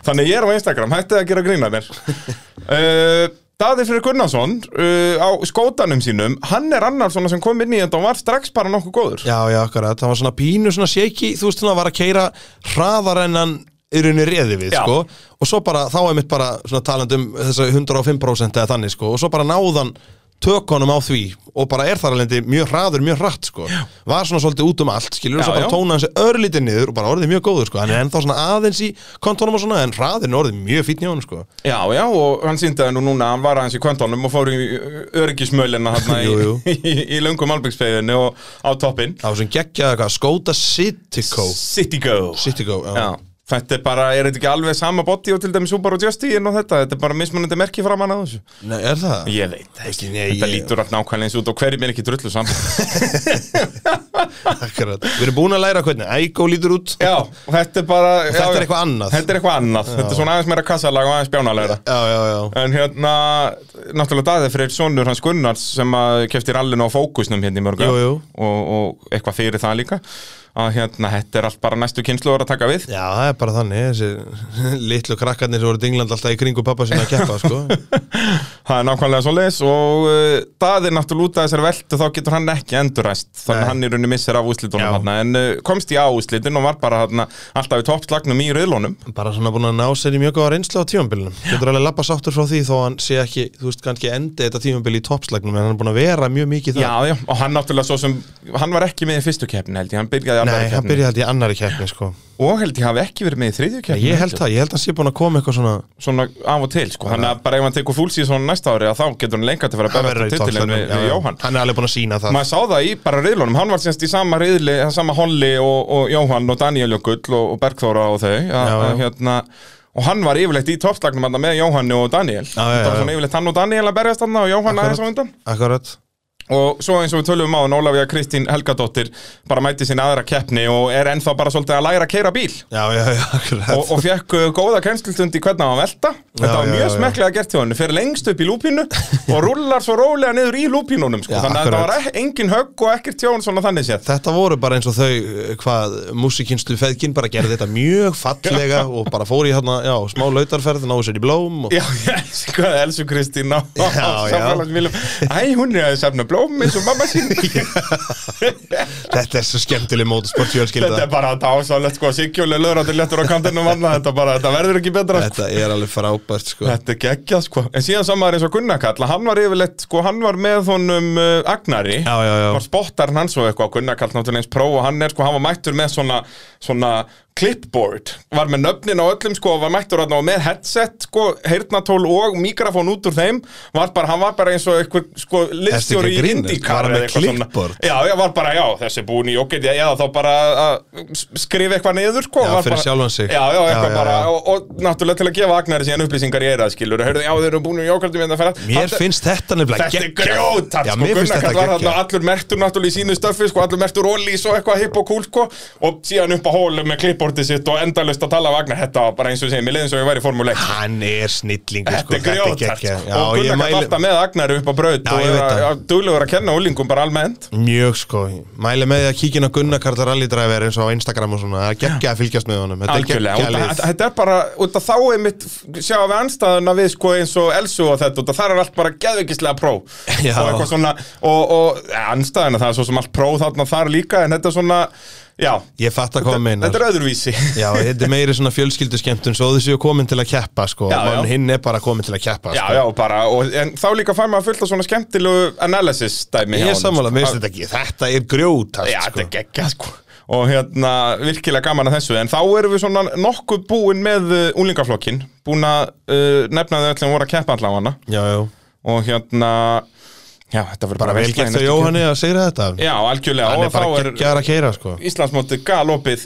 Speaker 1: Þannig ég er á Instagram, hættið að gera grína mér uh, Daði Freyr Gunnarsson uh, á skótanum sínum hann er annar svona sem kom inn í þetta og var strax bara nokkuð góður
Speaker 2: Já, já, akkurat, það var svona pínu, svona shaky, þú veist, hann var að keira hraðar en hann í rauninni reði við,
Speaker 1: Já.
Speaker 2: sko og svo bara, þá er mitt bara svona talandi um þessa 105% eða þannig, sko og svo bara náðan tökunum á því og bara er þar alveg mjög hraður, mjög hratt, sko já. var svona svolítið út um allt, skilur og
Speaker 1: Já,
Speaker 2: svo
Speaker 1: já.
Speaker 2: bara tóna hans örlítið niður og bara orðið mjög góður, sko hann er ennþá svona aðeins í kontónum og svona en hraðin er orðið mjög fínn í honum, sko
Speaker 1: Já, já, og hann síndi það nú núna hann var aðeins í kvöntónum og fór í eh, öryggismölina hann í,
Speaker 2: Jú, jú.
Speaker 1: í, í löngum albyggsfeginu og á toppinn
Speaker 2: það var svona geggjað eitthvað, skóta Cityco
Speaker 1: City Go
Speaker 2: Cityco, já,
Speaker 1: Já, þetta er bara, er þetta ekki alveg sama botti og til dæmis Subaru Justin og þetta þetta er bara mismunandi merki framan að þessu
Speaker 2: Nei, er það?
Speaker 1: Ég veit ekki,
Speaker 2: Nei,
Speaker 1: þetta
Speaker 2: ég-
Speaker 1: lítur allt nákvæmlega eins út og hverjum er ekki drullu saman
Speaker 2: Akkurat. Við erum búin að læra hvernig Ægó lítur út
Speaker 1: Já, og þetta er bara
Speaker 2: Og þetta
Speaker 1: já,
Speaker 2: er eitthvað annað.
Speaker 1: Þetta er eitthvað annað, þetta er svona aðeins meira kassalag og aðeins bjánalegra
Speaker 2: Já, já, já
Speaker 1: En hérna, náttúrulega Daði Freyr Sónur hans Gunnars sem að kefti rallinu á fókusnum hérna í mörgu
Speaker 2: Jú, jú.
Speaker 1: Og, og eitthvað fyrir það líka að hérna, þetta er allt bara næstu kynslu að taka við
Speaker 2: Já, það er bara þannig, þessi litlu krakkarnir sem voru dingland alltaf í kringu pappa sinna að keppa, sko.
Speaker 1: Það er nákvæmlega svo leis og uh, Daði náttúrulega út af þessari veltu þá getur hann ekki enduræst þannig
Speaker 2: Nei.
Speaker 1: að hann í rauninni missir af úslitunum
Speaker 2: Já.
Speaker 1: hérna en uh, komst í á úslitin og var bara hérna, alltaf í toppslagnum í rauðlónum
Speaker 2: Bara svona búin að ná sér í mjög góða reynslu á tímambilunum. Getur alveg lappa sáttur frá því þó að hann sé ekki, þú veist, kannski endi þetta tímambil í toppslagnum, en hann er búin að vera mjög mikið það.
Speaker 1: Já, já, og hann náttúrulega svo sem, hann var ekki með í fyrstu keppni held ég, hann byrjaði í
Speaker 2: Nei,
Speaker 1: annari
Speaker 2: hann
Speaker 1: keppni
Speaker 2: byrjaði held í annari keppni, sko.
Speaker 1: og held ég hafi ekki verið með í þriðju keppni
Speaker 2: Ég held það, ég held að hann sé búin að koma eitthvað svona,
Speaker 1: Svona af og til, sko, þannig að bara ef hann tekur fúlsíð svona næsta ári að þá getur hann lengat að fara að
Speaker 2: hann
Speaker 1: berja
Speaker 2: verður í
Speaker 1: til titilin
Speaker 2: toppslagnum.
Speaker 1: við, við
Speaker 2: já, já.
Speaker 1: Jóhann
Speaker 2: Hann er alveg búin að sína það.
Speaker 1: Maður sá það í bara riðlunum, hann var semst í sama riðli, sama holli og, og Jóhann og Daniel og Gull og, og Bergþóra og þau að,
Speaker 2: já.
Speaker 1: að, hérna, Og hann var yfirleitt í toppslagnum þarna með Jóhanni og Daniel
Speaker 2: já,
Speaker 1: Þetta var
Speaker 2: já.
Speaker 1: svona yfirleitt hann og Daniel að berjast þarna og Jóhann aðeins á
Speaker 2: Akkurat.
Speaker 1: undan
Speaker 2: Akkurat.
Speaker 1: Og svo eins og við tölum á hann, Ólafía Kristín Helgadóttir bara mæti sinna aðra keppni og er ennþá bara svolítið að læra að keira bíl
Speaker 2: Já, já, já, akkurat.
Speaker 1: og, og fekk uh, góða kennslutund í hvernig hann var að velta þetta
Speaker 2: Já,
Speaker 1: var
Speaker 2: já,
Speaker 1: mjög
Speaker 2: já.
Speaker 1: smekklega gert hjá hann, fer lengst upp í lúpínu og rullar svo rólega niður í lúpínunum sko.
Speaker 2: Já,
Speaker 1: þannig að
Speaker 2: akkurat.
Speaker 1: þetta var e- engin högg og ekkert tjón svona þannig séð
Speaker 2: Þetta voru bara eins og þau eh, hvað músikinstu feðkin bara gerði þetta mjög fallega og bara fór í hérna, já, smá lautarferð, náðu sér í blóm og
Speaker 1: Já, ég elsku hvað Elsu Kristín á
Speaker 2: Já, já.
Speaker 1: samfélagsmiðlum Æ, hún er að safna blóm eins og mamma sín
Speaker 2: þetta er svo skemmtileg mótorsport
Speaker 1: Þetta
Speaker 2: fjölskylda
Speaker 1: er bara dásalegt sko, Sigjóli löðrandi léttur á kantinu vanna þetta, bara, þetta verður ekki betra sko.
Speaker 2: Þetta er alveg frábært sko
Speaker 1: Þetta er geggjað sko En síðan samaður eins og Gunnar Kall Hann var yfirleitt, sko, hann var með honum uh, Agnari
Speaker 2: Já, já, já.
Speaker 1: Var spottarinn hans og eitthvað Gunnar Kall náttúrulega eins pró Og hann er, sko, hann var mættur með svona Svona clipboard Var með nöfnin á öllum, sko og Var mættur hann og með headset, sko Heyrnatól og mikrofón út úr þeim Var bara, hann var bara eins og eitthvað, sko
Speaker 2: Ertu
Speaker 1: Liðstjóri
Speaker 2: ekki að
Speaker 1: í
Speaker 2: grínast? Var
Speaker 1: Indikar
Speaker 2: hann með clipboard?
Speaker 1: Já, já, var bara, já, þessi er búin í jókert Eða þá bara að skrifa eitthvað niður, sko
Speaker 2: Já,
Speaker 1: var
Speaker 2: fyrir
Speaker 1: bara-
Speaker 2: sjálfan sig.
Speaker 1: Já, já,
Speaker 2: Já,
Speaker 1: eitthvað
Speaker 2: já,
Speaker 1: bara
Speaker 2: já.
Speaker 1: og, og náttúrulega til að gefa Agnari síðan upplýsingar í eirað skilur og heyrðu, já, þeir eru búin um jókaldum hérna fyrir
Speaker 2: Mér finnst þetta nefnilega
Speaker 1: Þetta er
Speaker 2: geggjað.
Speaker 1: grjótart,
Speaker 2: Já,
Speaker 1: sko,
Speaker 2: mér finnst
Speaker 1: Gunnar Kall
Speaker 2: þetta
Speaker 1: var þarna
Speaker 2: geggjað.
Speaker 1: allur mertur náttúrulega í sínu stöffi, sko, allur mertur ólís og eitthvað hipp og kúl, sko, og síðan upp á hólu með klippbortið sitt og endalust að tala af Agnar, þetta var bara eins og segja, mér leiðin svo ég væri í formule 1
Speaker 2: Hann er snillingur
Speaker 1: Þetta
Speaker 2: sko,
Speaker 1: er grjótart,
Speaker 2: geggjað.
Speaker 1: og
Speaker 2: Já, ég
Speaker 1: Gunnar Kall
Speaker 2: mæli
Speaker 1: alltaf með Agnar upp á braut
Speaker 2: Já,
Speaker 1: og
Speaker 2: ég
Speaker 1: er
Speaker 2: veit
Speaker 1: að-
Speaker 2: það.
Speaker 1: að duglegur að kenna úlingum bara almennt
Speaker 2: Mjög sko, mæli með því að kíkina Gunnar Karta rallydræver eins og á Instagram og svona Það er geggjað að fylgjast með honum Þetta er
Speaker 1: Algjörlega,
Speaker 2: geggjað
Speaker 1: út
Speaker 2: lið
Speaker 1: af- þetta er bara út af þá einmitt sjá við anstæðuna við sko eins og Elsu og þetta, út af það er allt bara geðvikislega pró
Speaker 2: Já.
Speaker 1: og eitthvað svona og, og ja, anstæðuna, það er svo sem allt pró þarna þar líka en þetta er svona Já,
Speaker 2: Ég fatt að hvað hann meinar
Speaker 1: þetta er öðruvísi
Speaker 2: Já, þetta er meiri svona fjölskyldu skemmtun Svo þessi er komin til að keppa sko
Speaker 1: Já, já.
Speaker 2: En hinn er bara komin til að keppa
Speaker 1: Já,
Speaker 2: sko.
Speaker 1: já, bara, og, en þá líka fær maður fullt af svona skemmtilegu analysis dæmi
Speaker 2: Ég
Speaker 1: hjá
Speaker 2: er
Speaker 1: honum,
Speaker 2: sammála,
Speaker 1: sko.
Speaker 2: mér finnst þetta ekki Þetta er grjótast
Speaker 1: Já,
Speaker 2: sko.
Speaker 1: þetta er geggja, sko Og hérna, virkilega gaman að þessu En þá erum við svona nokkuð búin með uh, unglingaflokkin Búin að uh, nefna þau öllum voru að keppa allavega hana
Speaker 2: já, já
Speaker 1: Og hérna, já, þetta verður
Speaker 2: Bara vel
Speaker 1: veisla í
Speaker 2: gert
Speaker 1: næstu
Speaker 2: þau Jóhanni að segja þetta
Speaker 1: keppni. Já, algjörlega,
Speaker 2: Hann er
Speaker 1: og þá
Speaker 2: bara
Speaker 1: er
Speaker 2: geggjar að keira sko
Speaker 1: Íslandsmóti galopið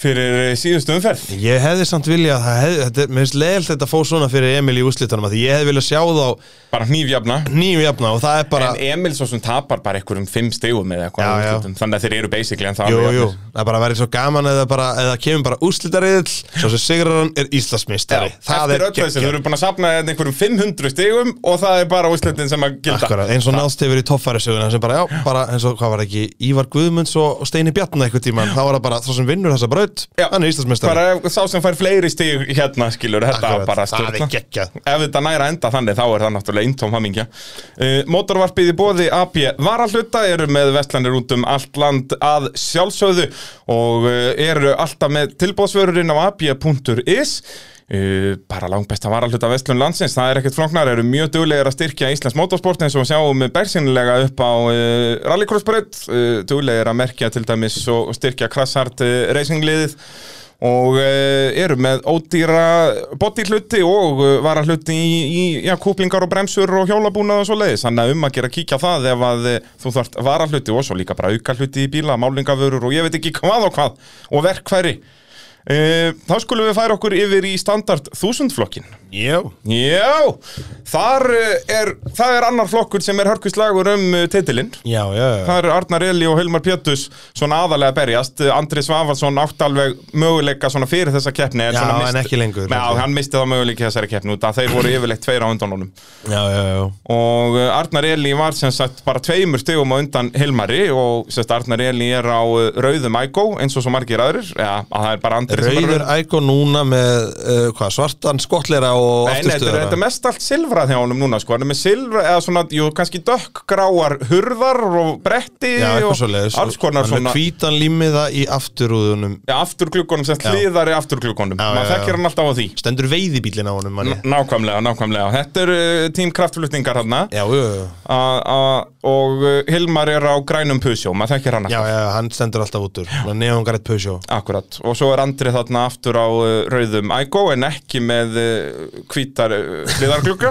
Speaker 1: fyrir eh, síðustu umferð
Speaker 2: Ég hefði samt viljað, það hefði, þetta er, mér finnst leiðilt þetta að fá svona fyrir Emil í úslitunum að því ég hefði viljað sjá þá
Speaker 1: Bara hnífjafna
Speaker 2: nýjum jafna og það er bara,
Speaker 1: En Emil svo sem tapar bara einhverjum fimm stegum eða eitthvað
Speaker 2: Já, já.
Speaker 1: í úrslitum. Þannig að þeir eru basically en það
Speaker 2: jú,
Speaker 1: alveg
Speaker 2: jú,
Speaker 1: jafnir.
Speaker 2: það er bara að vera svo gaman eða bara, eða kemur bara úslitariðl svo sem Sigurðan er Íslandsmeistari, það
Speaker 1: Eftir
Speaker 2: er
Speaker 1: öll þessu, þau eru búin að safna hérna einhverjum 500 stegum og það er bara úrslitin sem að gilda
Speaker 2: Akkurat, eins og náðst hefur í toffærisöguna sem bara, já, bara eins og hvað var ekki Ívar Guðmunds og og Steini Bjarna eitthvað tíman þá var það bara, þá sem vinnur þessa braut
Speaker 1: Já.
Speaker 2: hann er Íslandsmeistari
Speaker 1: Bara ef sá sem fær fleiri stig hérna skilur, þetta
Speaker 2: Akkurat,
Speaker 1: Akkurat, bara
Speaker 2: það
Speaker 1: stjórna
Speaker 2: er geggjað
Speaker 1: Ef þetta næra enda þannig þá er það náttúrulega eintóm hamingja uh, Mótorvarpið í bóði AP varahluta eru með vestlanir út um allt land að sjálfsögðu og uh, eru alltaf með tilbóðsvörurinn á ap.is Uh, bara langbesta varahluta vestlun landsins það er ekkert flóknar, eru mjög duglegir að styrkja Íslands motorsport eins og sjáum bersinlega upp á uh, rallycrossbraut uh, duglegir að merkja til dæmis og styrkja krassart uh, racingliðið og uh, eru með ódýra bodyhluti og uh, varahluti í, í já, kúplingar og bremsur og hjólabúnað og svo leiðis þannig að um að gera að kíkja á það ef að uh, þú þarft varahluti og svo líka bara auka hluti í bíla, málingavörur og ég veit ekki hvað og hvað og verkfæri uh, þá skulum við færa okkur yfir í standard þúsundflokkin
Speaker 2: Jú,
Speaker 1: Já, þar uh, er, það er annar flokkur sem er hörkustlagur um uh, titilinn
Speaker 2: já, já, já.
Speaker 1: Það eru Arnar Eli og Hilmar Pétus svona aðalega að berjast, Andri Svafarsson átt alveg möguleika svona fyrir þessa keppni
Speaker 2: Já,
Speaker 1: svona
Speaker 2: en ekki lengur.
Speaker 1: Já, hann misti það möguleika í þessari keppni út að þeir voru yfirleitt tveir á undan honum
Speaker 2: já, já, já.
Speaker 1: og uh, Arnar Eli var sem sagt bara tveimur stigum á undan Hilmari og sem sagt Arnar Eli er á uh, rauðum ægó eins og svo margir aðrir Já, að það er bara Andri sem er
Speaker 2: Rauður
Speaker 1: rauður
Speaker 2: ægó núna með uh, hvað, svartan skottlera og
Speaker 1: Nei, nei, þetta er- þetta er
Speaker 2: afturstöðara
Speaker 1: mest allt silfrað hjá honum núna sko, hann er með silfra eða svona, jú, kannski dökkgráar hurðar og bretti
Speaker 2: Já,
Speaker 1: og
Speaker 2: eitthvað svo leiðis
Speaker 1: alls konar
Speaker 2: Hann er
Speaker 1: svona
Speaker 2: með hvítan límiða í afturúðunum
Speaker 1: Já, afturgluggunum sem
Speaker 2: Já.
Speaker 1: hliðar í afturgluggunum
Speaker 2: Já,
Speaker 1: maður
Speaker 2: já, já.
Speaker 1: þekkir hann alltaf á því
Speaker 2: Stendur veiðibílinn á honum manni
Speaker 1: Nákvæmlega, nákvæmlega Þetta er uh, tím kraftflutningar hann
Speaker 2: Já, já, já,
Speaker 1: og uh, Hilmar er á grænum pusjó maður þekkir hann
Speaker 2: já, já, hann stendur alltaf út úr Neongarætt Peugeot
Speaker 1: Akkurat, og svo er Andri þarna aftur á uh, rauðum ægó en ekki með uh, hvítar uh, hliðarglugga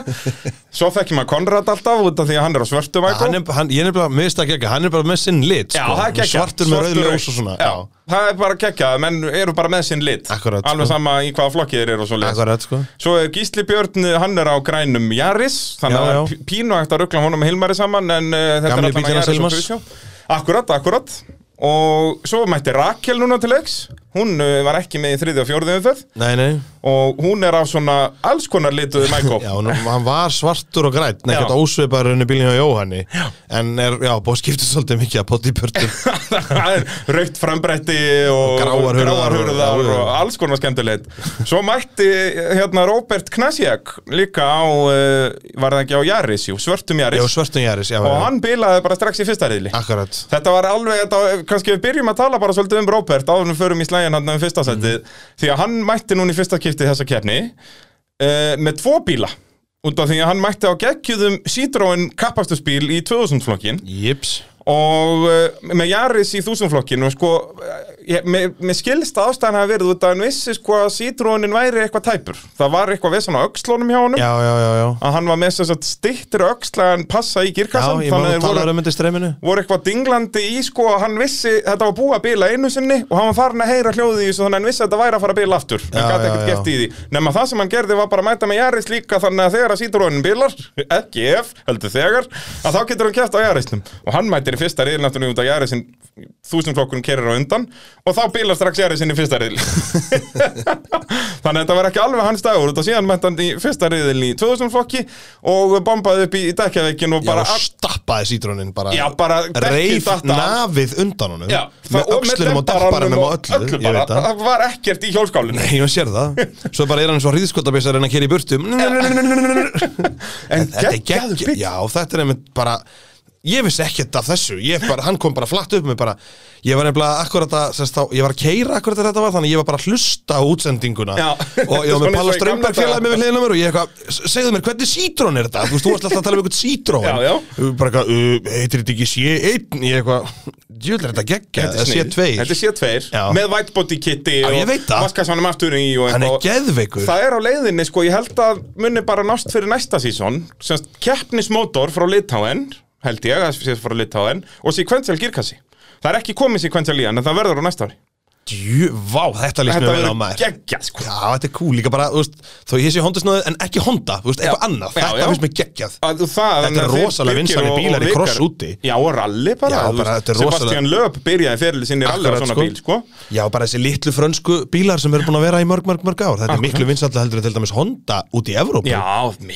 Speaker 1: Svo þekkir maður Konrad alltaf út af því að hann er á svörtum ægó
Speaker 2: hann er, hann, ég er bara, mér veist það ekki hann er bara með sinn lit
Speaker 1: Já, það er
Speaker 2: sko. Hann er
Speaker 1: geggjað
Speaker 2: svartur með rauðum
Speaker 1: Svartur-
Speaker 2: ljós og svona
Speaker 1: Já, það er bara geggjað, menn eru bara með sinn lit
Speaker 2: Akkurat,
Speaker 1: Alveg
Speaker 2: sko.
Speaker 1: sama í hvaða flokki þeir eru og svo
Speaker 2: akkurat sko
Speaker 1: Svo er Gísli Björn, eh, hann er á grænum Jaris, þannig
Speaker 2: Já,
Speaker 1: að
Speaker 2: já.
Speaker 1: það er pínu hægt að ruggla honum með Hilmari saman en uh, þetta
Speaker 2: Gamli
Speaker 1: er allan að
Speaker 2: bíllinn hans
Speaker 1: Jaris og
Speaker 2: Hilmars.
Speaker 1: Peugeot. Akkurat, akkurat. Og svo mætti Rakel núna til leiks, hún uh, var ekki með í þriði og fjórði umferð
Speaker 2: nei, nei,
Speaker 1: og hún er á svona alls konar lituðu mækó.
Speaker 2: já, nú, hann var svartur og grætt
Speaker 1: Já.
Speaker 2: nekkert ósveipar henni bílinn hjá Jóhanni já. en er, já, búið skiptið svolítið mikið að potti í pörtum
Speaker 1: það er raukt frambretti og,
Speaker 2: Og gráar
Speaker 1: og gráar
Speaker 2: hurðar og-
Speaker 1: hurðar
Speaker 2: já, já.
Speaker 1: og, alls konar skemmtilegt svo mætti hérna Robert Knasjak líka á uh, var það ekki á Jaris, jú, svörtum Jaris
Speaker 2: já, svartum Jaris, já,
Speaker 1: og
Speaker 2: já,
Speaker 1: hann bilaði bara strax í fyrsta riðli
Speaker 2: akkurat
Speaker 1: Þetta var alveg, þetta, kannski við byrjum að tala bara svolítið um Robert áður en við förum í slægin hann um
Speaker 2: Mhm.
Speaker 1: fyrsta setið því að hann mætti núna í fyrsta kipti þessa keppni uh, með tvo bíla út af því að hann mætti á geggjuðum Citroen kappastusbíl í 2000 flokkin
Speaker 2: jips,
Speaker 1: og uh, með Jaris í 1000 flokkin og sko, uh, með, með skilst að ástæðan hafa verið út af hann vissi sko að Citroenin væri eitthvað tæpur það var eitthvað vesan á öxlónum hjá honum
Speaker 2: já, já, já, já
Speaker 1: að hann var með þess að stittir öxla en passa í
Speaker 2: Já,
Speaker 1: girkassan
Speaker 2: ég maður að tala um þetta streyminu
Speaker 1: voru eitthvað dinglandi í sko að hann vissi þetta var búið að bila einu sinni og hann var farin að heyra hljóðið í þessu þannig að hann vissi að þetta væri að fara að bila aftur hann
Speaker 2: Já,
Speaker 1: gæti ekkert
Speaker 2: já, já.
Speaker 1: gert í því nema það sem hann gerði var bara að mæta með Jaris líka þannig að þegar að sítur honin bilar ekki ef, heldur þegar að þá getur hann kæft á Jarisnum og hann mætir í fyrsta riðil náttúrulega út að Jarisin þúsundflokkurinn kerir á undan og þá bilar strax Jarisin í fyrsta riðil þannig að þetta var ekki alveg hans dagur út að síðan mætti hann í fyrsta riðil í 2000 flokki og bombaði upp í, í dekkjaveikin og
Speaker 2: Já,
Speaker 1: bara
Speaker 2: og stappaði sítrónin bara
Speaker 1: Já, bara dekkið
Speaker 2: Reif
Speaker 1: datt af.
Speaker 2: nafið undan honum
Speaker 1: Já,
Speaker 2: Með
Speaker 1: það- og
Speaker 2: öxlunum og
Speaker 1: dembaranum
Speaker 2: dapparanum og öllu,
Speaker 1: öllu
Speaker 2: ég
Speaker 1: bara,
Speaker 2: veit það
Speaker 1: það var ekkert í hjólskálinu
Speaker 2: Nei, ég sér það Svo bara er hann svo hríðskotabisa að reyna að kera í burtu Þetta
Speaker 1: en
Speaker 2: er geggjað Já, þetta er einmitt bara ég vissi ekkert af þessu ég bara, hann kom bara flatt upp með bara ég var nefnilega akkurat að, sérst þá, ég var að keira akkurat þetta var, þannig ég var bara að hlusta á útsendinguna
Speaker 1: Já.
Speaker 2: og ég var
Speaker 1: Svona
Speaker 2: með Palla
Speaker 1: eins og í gamla
Speaker 2: Strömberg félagi
Speaker 1: daga.
Speaker 2: með við hliðina á mér og ég eitthvað, s- segðu mér, hvernig sítrón er þetta? Þú veist, þú varst alltaf að tala um einhvern sítrón
Speaker 1: Já, já.
Speaker 2: bara eitthvað, uh, heitir þetta ekki C1 ég eitthvað, djúlega þetta geggja
Speaker 1: Þetta er snið.
Speaker 2: C2
Speaker 1: Þetta er C2
Speaker 2: Já.
Speaker 1: Með whitebody kitti
Speaker 2: Já, ég veit það.
Speaker 1: Vaskasvanum aftur í og
Speaker 2: hann er
Speaker 1: eitthvað.
Speaker 2: geðveikur
Speaker 1: Það er á leiðinni, sko, ég held að munni bara nást fyrir næsta sísón Semst, keppnismótor frá Litáen Held ég að sé frá Litáen Og sekvensel girkassi Það er ekki komið sekvensel í hann En það verður á næsta ári
Speaker 2: djú, vá, þetta líst
Speaker 1: Þetta
Speaker 2: mér vel á
Speaker 1: verður
Speaker 2: maður
Speaker 1: geggjað, sko
Speaker 2: já, þetta er cool, líka bara, þú veist, þó ég sé Honda snöðu en ekki Honda, þú veist, eitthvað annað
Speaker 1: Já, já.
Speaker 2: þetta finnst mér geggjað
Speaker 1: að það,
Speaker 2: Þetta er
Speaker 1: þannig að
Speaker 2: rosalega
Speaker 1: þeir
Speaker 2: vinsælir
Speaker 1: Birgir og-
Speaker 2: bílar í
Speaker 1: og
Speaker 2: cross
Speaker 1: Vikar-
Speaker 2: úti.
Speaker 1: Já, og ralli bara,
Speaker 2: Já,
Speaker 1: þú
Speaker 2: bara,
Speaker 1: veist,
Speaker 2: þetta er rosalega-
Speaker 1: Sebastian Lööp byrjaði ferli sinni ralli á
Speaker 2: Akkurat,
Speaker 1: svona
Speaker 2: sko.
Speaker 1: bíl, sko
Speaker 2: Já, bara þessi litlu frönsku bílar sem eru búin að vera í mörg, mörg, mörg ár Þetta er miklu vinsalla heldur en til dæmis Honda út í Evrópu
Speaker 1: Já,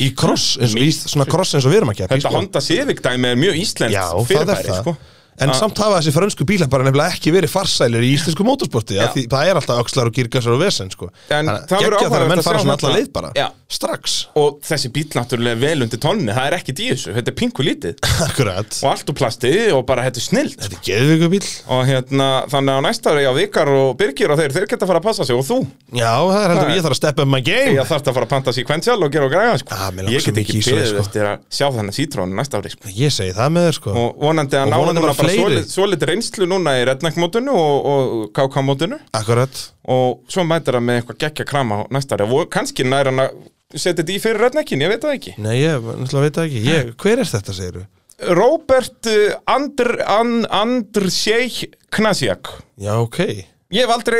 Speaker 2: Í cross, eins, í svona cross eins og við erum að keppa í,
Speaker 1: Þetta
Speaker 2: sko.
Speaker 1: Honda Civic dæmi er mjög íslenskt
Speaker 2: Já, það er
Speaker 1: fyrirbæri,
Speaker 2: það
Speaker 1: sko
Speaker 2: En samt hafa þessi frönsku bílar bara nefnilega ekki verið farsælir í íslensku mótorsporti
Speaker 1: Já.
Speaker 2: af því Það er alltaf öxlar og girgasar og vesen sko
Speaker 1: En
Speaker 2: Þannig
Speaker 1: það
Speaker 2: að
Speaker 1: verður
Speaker 2: geggjað þegar
Speaker 1: áhugavert
Speaker 2: menn
Speaker 1: að sjá
Speaker 2: fara svona
Speaker 1: þarna.
Speaker 2: alla leið bara
Speaker 1: Já.
Speaker 2: Strax
Speaker 1: Og þessi bíl náttúrulega vel undir tonni Það er ekkit í þessu, þetta er pinku lítið
Speaker 2: Akkurat
Speaker 1: Og allt úr plasti og bara þetta er snilt
Speaker 2: Þetta er geðvíku bíl
Speaker 1: Og hérna, þannig að á næsta ári á Vikar og Birgir og þeir, þeir geta að fara að passa sig og þú,
Speaker 2: Já, það er heldur
Speaker 1: Það er-
Speaker 2: ég þarf að steppa um my game
Speaker 1: ég þarft að fara að panta sequential og gera og græða, sko
Speaker 2: Ah, mér langar
Speaker 1: Ég
Speaker 2: svo
Speaker 1: get
Speaker 2: mikið
Speaker 1: ekki
Speaker 2: í svoleiðis,
Speaker 1: beðið
Speaker 2: sko.
Speaker 1: eftir að sjá þannig sítrónu næsta ári, sko
Speaker 2: Ég segi það með þér sko
Speaker 1: og vonandi að
Speaker 2: Og
Speaker 1: ná
Speaker 2: vonandi
Speaker 1: núna
Speaker 2: bara
Speaker 1: bara
Speaker 2: fleiri.
Speaker 1: svolít, svolít reynslu núna í Redneck-mótinu og, og KK-mótinu
Speaker 2: Akkurat
Speaker 1: og svo mætir það með eitthvað geggja krama á næsta ári og kannski nær hann að setja þetta í fyrir Redneckin, ég veit það ekki
Speaker 2: Nei, ég náttúrulega veit það ekki ég, Hver er þetta, segir þú?
Speaker 1: Robert uh, Andr, And, Andrzej Knasiak
Speaker 2: Já, ok
Speaker 1: ég hef aldrei,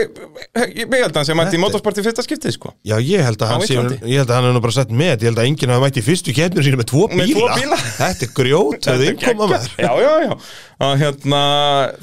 Speaker 1: ég, ég held að hann sem mætti
Speaker 2: Þetta
Speaker 1: í
Speaker 2: er-
Speaker 1: motorsporti fyrsta skiptið sko
Speaker 2: Já, ég held að
Speaker 1: Á
Speaker 2: hann sé,
Speaker 1: Íslandi?
Speaker 2: ég held að hann er nú bara sett með Ég held að enginn hafa mætt í fyrstu keppnum sínu með tvo bíla,
Speaker 1: Með tvo bíla.
Speaker 2: Þetta er grjót,
Speaker 1: Þetta
Speaker 2: þetta
Speaker 1: er
Speaker 2: er innkoma
Speaker 1: geggjað.
Speaker 2: maður
Speaker 1: Já, já, já að, hérna,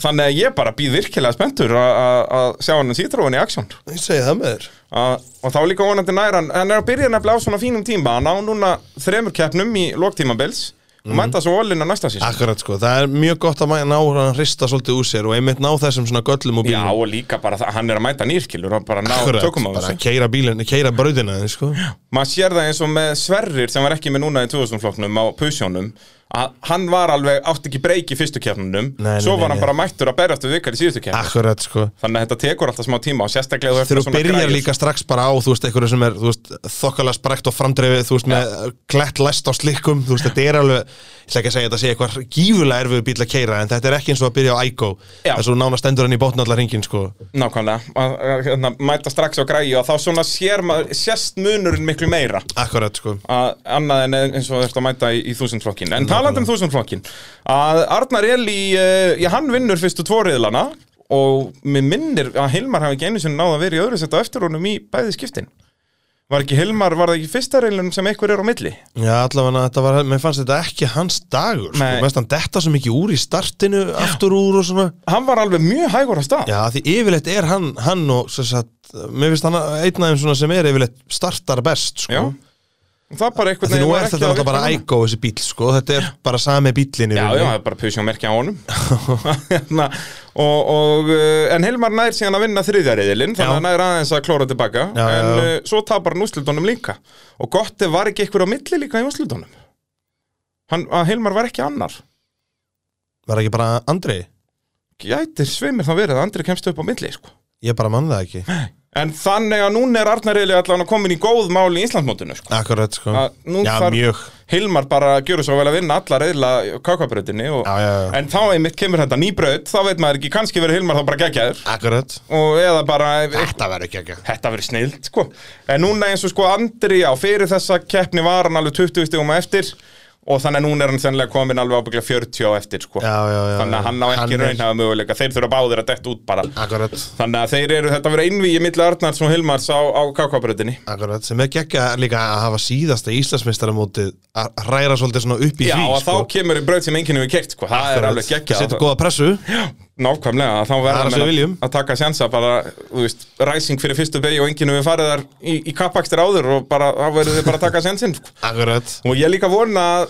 Speaker 1: Þannig að ég bara býð virkilega spenntur að- að að sjá hann sítróin í aksjón
Speaker 2: Ég segi það með þér
Speaker 1: að, og þá líka vonandi nær hann hann er að byrja nefnilega á svona fínum tíma hann á núna þremur keppnum í loktímabils og mæta svo ólinn á næsta sísón
Speaker 2: Akkurat sko, það er mjög gott að mæ- ná hann hrista svolítið úr sér og einmitt ná þessum svona göllum og
Speaker 1: já
Speaker 2: bílum
Speaker 1: og líka bara það, hann er að mæta nýrkilur og bara ná tökum á
Speaker 2: bara
Speaker 1: þessu
Speaker 2: keira bílinn, keira brautina þín, sko.
Speaker 1: maður sér það eins og með Sverrir sem var ekki með núna í 2000 flokknum á pusjónum að hann var alveg átt ekki breyk í fyrstu keppnunum
Speaker 2: Nei, nei,
Speaker 1: svo
Speaker 2: nei,
Speaker 1: var hann
Speaker 2: nei.
Speaker 1: bara mættur að berjast við vikar í síðustu keppnum
Speaker 2: Akkurat sko
Speaker 1: þannig að þetta tekur alltaf smá tíma og sérstaklega þú ert með
Speaker 2: Þegar þú
Speaker 1: svona
Speaker 2: byrjar
Speaker 1: græjur.
Speaker 2: líka strax bara á, þú veist, einhverju sem er, þú veist, þokkala sprekt og framdrefið, þú veist, með klett læst á slikkum, þú veist, þetta er alveg, ég ætla ekki að segja þetta sé eitthvað gífulega erfiðu bíl að keira, en þetta er ekki eins og að byrja á Ico,
Speaker 1: Já.
Speaker 2: þess að þú nánast endur hann í botn allar hringin, sko.
Speaker 1: nákvæmlega, að, að, hérna, mæta strax á græju og þá svona sér maður, sérst munurinn miklu meira
Speaker 2: Akkurat, sko.
Speaker 1: að annað en eins og þetta að mæta í, í þúsundflokkin en talandi um þúsundflokkin að Arnar Eli, uh, já hann vinnur fyrstu tvo riðlana og mér minnir að Hilmar hafi ekki einu sinni náða að vera í öðru setta eftir honum í bæði skiptin var ekki Hilmar, var það ekki fyrsta riðlunum sem einhver er á milli
Speaker 2: Já, allavega, þetta var, mér fannst þetta ekki hans dagur, sko.
Speaker 1: Nei.
Speaker 2: Mér fannst hann detta svo mikið úr í startinu, aftur úr og svona.
Speaker 1: hann var alveg mjög hægur að stað
Speaker 2: Já, því yfirleitt er hann, hann og, sem sagt, mér finnst hann einn af þeim svona sem er yfirleitt startar best, sko.
Speaker 1: Já. það bara einhvern
Speaker 2: Því nú
Speaker 1: var
Speaker 2: er
Speaker 1: ekki
Speaker 2: þetta
Speaker 1: að
Speaker 2: alltaf bara
Speaker 1: virka núna.
Speaker 2: ægó þessi bíl sko, þetta er bara sami bílinn
Speaker 1: Já, já, það er bara pusjómerkja á honum Hérna, og, og, uh, En Hilmar nær síðan að vinna þriðjariðilinn Þannig að
Speaker 2: Já.
Speaker 1: hann nær aðeins að klóra tilbaka
Speaker 2: Já, já,
Speaker 1: En
Speaker 2: já.
Speaker 1: uh, svo tapar hann úrslutunum líka Og gott ef var ekki einhver á milli líka í úrslutunum Hann, að Hilmar var ekki annar
Speaker 2: Var ekki bara Andri?
Speaker 1: Gætir svimir þá verið að Andri kemst upp á milli sko.
Speaker 2: Ég bara mann það ekki
Speaker 1: En þannig að núna er Arnariðli allan að komin í góð mál í Íslandsmótinu sko.
Speaker 2: Akkurat sko
Speaker 1: Að Nú
Speaker 2: Já,
Speaker 1: þarf
Speaker 2: mjög
Speaker 1: Hilmar bara að gjöra svo vel að vinna alla reyðla kakabröðinni og...
Speaker 2: Já, já, já
Speaker 1: En þá einmitt kemur þetta nýbröð, þá veit maður ekki, kannski verið Hilmar þá bara geggjaður
Speaker 2: Akkurat
Speaker 1: og eða bara
Speaker 2: Þetta verður ekki ekki
Speaker 1: þetta verið snild sko en núna eins og sko Andri á fyrir þessa keppni var hann alveg 20 stigum á eftir og þannig að núna er hann sennilega komin alveg ábygglega 40 á eftir sko
Speaker 2: Já, já, já
Speaker 1: þannig að hann á ekki
Speaker 2: er-
Speaker 1: raunhafa möguleika þeir þurfa báðir að detta út bara
Speaker 2: Akkurat
Speaker 1: þannig að þeir eru þetta verið einvíi milli Arnars og Hilmars á, á kákabröðinni
Speaker 2: Akkurat Sem er geggja líka að hafa síðasta Íslandsmeistaramótið að hræra svolítið svona upp í
Speaker 1: Já,
Speaker 2: því sko.
Speaker 1: og þá kemur í bröð sem enginn hefur kert sko. það er
Speaker 2: Akkurat.
Speaker 1: alveg geggjað
Speaker 2: Setur góða pressu
Speaker 1: Já, nákvæmlega, að þá
Speaker 2: Það er
Speaker 1: verður
Speaker 2: sem við viljum.
Speaker 1: menn að- að taka sjansa bara, þú veist, ræsing fyrir fyrstu beig og enginn hefur farið þar í, í kappakstir áður og bara, þá verður þið bara að taka sjansinn sko.
Speaker 2: Akkurat
Speaker 1: og ég líka vona að-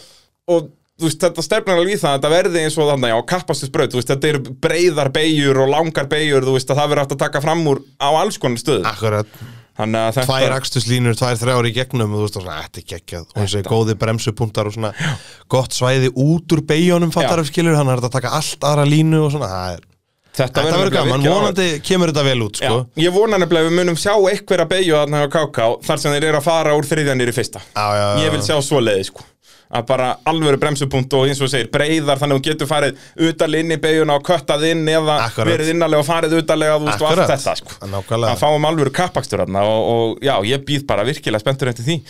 Speaker 1: og þú veist, þetta stefnar alveg í það að þetta verði eins og þannig á kappastusbraut, þú veist, þetta eru breyðar beigjur og langar beigjur, þú veist, að það verður hægt að taka fram úr á alls konar stöðu
Speaker 2: Akkurat
Speaker 1: Þannig að þetta
Speaker 2: Ah, tvær akstuslínur, tvær þrjár í gegnum og þú veist það, þetta er geggjað og þessi góði bremsupunktar og svona gott svæði út úr beigjónum fattar af skilur hann er þetta að taka allt aðra línu og svona það er,
Speaker 1: Þetta
Speaker 2: þetta verður
Speaker 1: nefnilega
Speaker 2: gaman,
Speaker 1: virkilega
Speaker 2: vonandi kemur þetta vel út
Speaker 1: Já,
Speaker 2: sko.
Speaker 1: ég vona nefnilega að við munum sjá eitthvað að beigja þarna á KK þar sem þeir eru að fara úr þriðjanir í fyrsta
Speaker 2: Já, já, já,
Speaker 1: Ég vil sjá svoleiði sko að bara alvöru bremsupunkt og eins og þú segir breyðar þannig að þú getur farið utarlega inn í beiguna og köttað inn eða
Speaker 2: Akkurat.
Speaker 1: verið innarlega og farið utarlega þú veist og allt
Speaker 2: Akkurat.
Speaker 1: þetta sko
Speaker 2: Nákvæmlega.
Speaker 1: að fáum alvöru kappakstur þarna og, og já, ég býð bara virkilega spenntur eftir því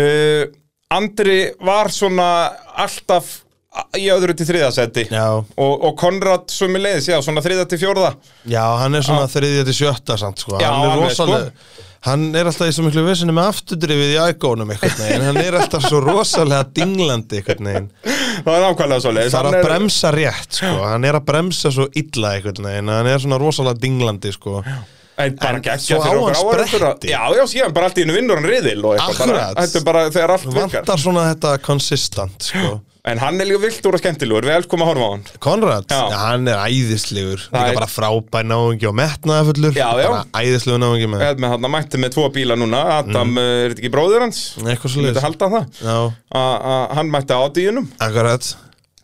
Speaker 1: uh, Andri var svona alltaf í öðru til þriðasetti
Speaker 2: Já.
Speaker 1: og, og Konrad sumi leiðis, já, svona þriða til fjórða
Speaker 2: já, hann er svona þriðja til sjötta samt, sko.
Speaker 1: Já,
Speaker 2: hann er
Speaker 1: alveg, sko.
Speaker 2: rosaleg hann er alltaf í svo miklu vesinu með afturdrifið í ægónum einhvern veginn, hann er alltaf svo rosalega dinglandi einhvern veginn
Speaker 1: það er nákvæmlega svo leiðis
Speaker 2: það er að bremsa rétt, sko. hann er að bremsa svo illa einhvern veginn, hann er svona rosalega dinglandi, sko
Speaker 1: En bara
Speaker 2: En
Speaker 1: geggja
Speaker 2: svo á
Speaker 1: fyrir okkur
Speaker 2: hann
Speaker 1: áhverjum
Speaker 2: spretti.
Speaker 1: Já, já, síðan bara allt í einu vinnur hann riðil og eitthvað bara,
Speaker 2: Akkurat.
Speaker 1: Þetta er bara þegar allt virkar
Speaker 2: vantar svona þetta consistent sko.
Speaker 1: En hann er líka vildur og skemmtilegur, við elskum að horfa á hann
Speaker 2: Konrad,
Speaker 1: Já.
Speaker 2: já, hann er æðislegur
Speaker 1: Það
Speaker 2: líka
Speaker 1: er-
Speaker 2: bara frábær náungi og metnaðafullur
Speaker 1: Já, Eh, já.
Speaker 2: bara æðislegur náungi með
Speaker 1: Eða með hann mætti með tvo bíla núna Adam, mm. er þetta ekki bróður hans?
Speaker 2: eitthvað svo
Speaker 1: Ég myndi halda það
Speaker 2: já,
Speaker 1: A- a- Hann mætti á díunum,
Speaker 2: akkurat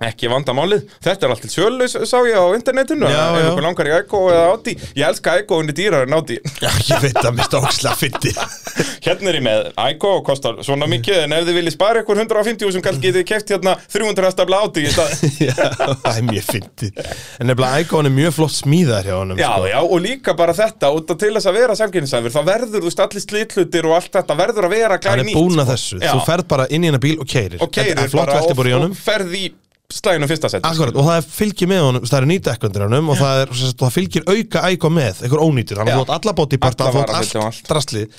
Speaker 1: ekki vandamálið Þetta er allt til sjölu, s- sá ég á internetinu
Speaker 2: Já,
Speaker 1: Ef
Speaker 2: já.
Speaker 1: einhver langar í Eiko eða Audi Ég elska Eiko, hún er dýrar en Audi
Speaker 2: já, ég veit að mér stóksla fyndi
Speaker 1: Hérna er ég með Eiko, kostar svona mikið En ef þið viljið spara ykkur 150 sem kannski getið keft hérna 300 hestafla Audi í stað
Speaker 2: já, það er mjög fyndi en nefnilega Icon er mjög flott smíðar hjá honum
Speaker 1: Já,
Speaker 2: sko.
Speaker 1: já, og líka bara þetta, út af til þess að vera samkynnsæfur, þá verður þú allir slitlutir og allt þetta verður að vera
Speaker 2: hann
Speaker 1: glæni
Speaker 2: er búin að þessu,
Speaker 1: sko. Já.
Speaker 2: þú ferð bara inn í hennar bíl og keirir,
Speaker 1: og
Speaker 2: Þetta
Speaker 1: keirir
Speaker 2: er flott
Speaker 1: bara
Speaker 2: veltibor í
Speaker 1: og-
Speaker 2: honum
Speaker 1: og ferð í slæðinu fyrsta set
Speaker 2: Akkurat, og það er fylgir með honum, það er nýtekkundir honum og það, er, sem sagt, það fylgir auka ægó með, einhver ónýtur, hann
Speaker 1: Já.
Speaker 2: er flott alla bótiparta,
Speaker 1: Alla
Speaker 2: hann er
Speaker 1: varahluti
Speaker 2: flott
Speaker 1: og
Speaker 2: allt
Speaker 1: allt.
Speaker 2: drasli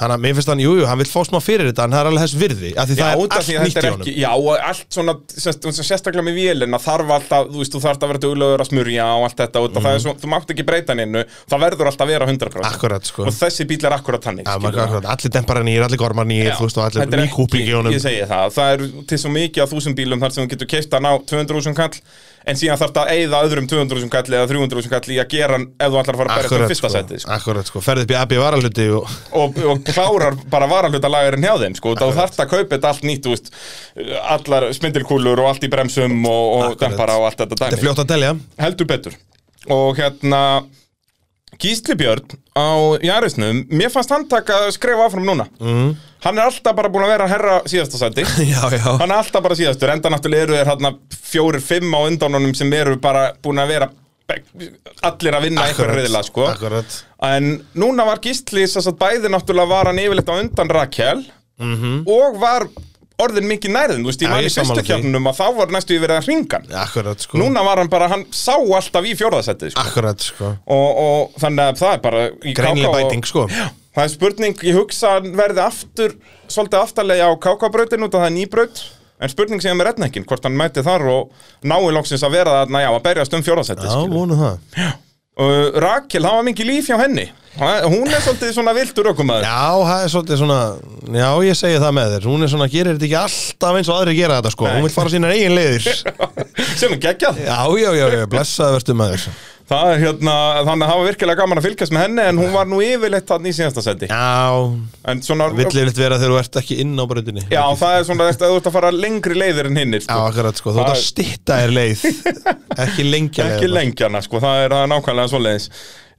Speaker 2: Þannig að mér finnst hann, jújú, jú, hann vil fá smá fyrir þetta en það er alveg þess virði, af því
Speaker 1: Já,
Speaker 2: það
Speaker 1: út af
Speaker 2: er
Speaker 1: því
Speaker 2: allt
Speaker 1: að
Speaker 2: nýtt
Speaker 1: þetta
Speaker 2: í
Speaker 1: er
Speaker 2: honum
Speaker 1: ekki, já, og allt svona, sérst, svona sérstaklega með vélina þarf alltaf, þú veist, þú þarf að vera duglegur að smurja og allt þetta, út af það er svo, þú mátt ekki breyta neinu, það verður alltaf að vera 100%
Speaker 2: Mhm. Akkurat, sko.
Speaker 1: Og þessi bíl er akkurat þannig,
Speaker 2: Já,
Speaker 1: skilurðu.
Speaker 2: maður, akkurat, allir dempar nýr, allir gormar nýr,
Speaker 1: Já,
Speaker 2: þú veist, og
Speaker 1: þetta
Speaker 2: allir
Speaker 1: er
Speaker 2: nýkúping
Speaker 1: ekki-
Speaker 2: í honum
Speaker 1: Ég segi það, það er til svo mikið af þúsund bílum þar sem þú getur keipt hann á 200.000 kall En síðan þarf það að eyða öðrum 200.000 kall eða 300.000 kall í að gera hann ef þú ætlar að fara að berja
Speaker 2: Akkurat,
Speaker 1: til fyrsta
Speaker 2: sko,
Speaker 1: seti sko.
Speaker 2: akkurat, sko, ferði upp í AB varaluti og
Speaker 1: og, og klárar bara varalutalægurinn hjá þeim sko, þá þarf það að kaupa þetta allt nýtt þú veist, allar smyndilkúlur og allt í bremsum og, og
Speaker 2: Akkurat.
Speaker 1: dempara og allt þetta
Speaker 2: þetta er
Speaker 1: dæmi
Speaker 2: fljótt að telja
Speaker 1: Heldur betur Og hérna Gísli Björn á Jarisnum Mér fannst hann taka skref áfram núna mm. Hann er alltaf bara búin að vera herra síðasta seti
Speaker 2: Já, já,
Speaker 1: hann er alltaf bara síðastur enda náttúrulega eru þeir hann fjórir, fimm á undanunum sem eru bara búin að vera allir að vinna eitthvað reyðilega sko.
Speaker 2: akkurat
Speaker 1: en núna var Gísli sem sagt, bæði náttúrulega var hann yfirleitt á undan Rakel -hmm. og var orðin mikið nærðin, þú veist, ég
Speaker 2: Mhm. Já,
Speaker 1: man í
Speaker 2: ég sammála
Speaker 1: fyrstu
Speaker 2: því.
Speaker 1: kjarnum að þá var næstu yfir að hringan
Speaker 2: Akkurat, sko,
Speaker 1: núna var hann bara, hann sá alltaf í fjórðasettið sko.
Speaker 2: akkurat, sko
Speaker 1: og, og þannig að það er bara í
Speaker 2: Greinileg
Speaker 1: KK og-
Speaker 2: bæting, sko
Speaker 1: Það er spurning, ég hugsa að hann verði aftur svolítið aftarlega á KK-brautin út að það er nýbraut en spurning sem er með rednekkin, hvort hann mæti þar og nái loksins að vera þarna, já, að berjast um
Speaker 2: Já,
Speaker 1: fjórðasetti og
Speaker 2: vonu það
Speaker 1: uh, Rakel, það var mikið líf hjá henni Ha- hún er svolítið svona vildur ökumæður
Speaker 2: Já, það er svolítið svona Já, ég segi það með þér Hún er svona, gerir þetta ekki alltaf eins og aðri gera þetta sko
Speaker 1: Nei.
Speaker 2: Hún vil fara sínar eigin leiðir Já,
Speaker 1: sem er geggjað
Speaker 2: já, já, já, blessaði verstu maður Já,
Speaker 1: það er hérna, þannig að hafa virkilega gaman að fylgjast með henni en hún var nú yfirleitt þannig í síðasta seti en svona,
Speaker 2: vill yfirleitt vera þegar þú ert ekki inn á bröndinni
Speaker 1: já, það er svona eftir að þú ert að fara lengri leiðir en hinnir
Speaker 2: já akkurat sko, þú ert að
Speaker 1: Það-
Speaker 2: stitta þér leið Ekki lengja
Speaker 1: ekki
Speaker 2: leiðina.
Speaker 1: lengjana sko, það er, það er nákvæmlega svoleiðis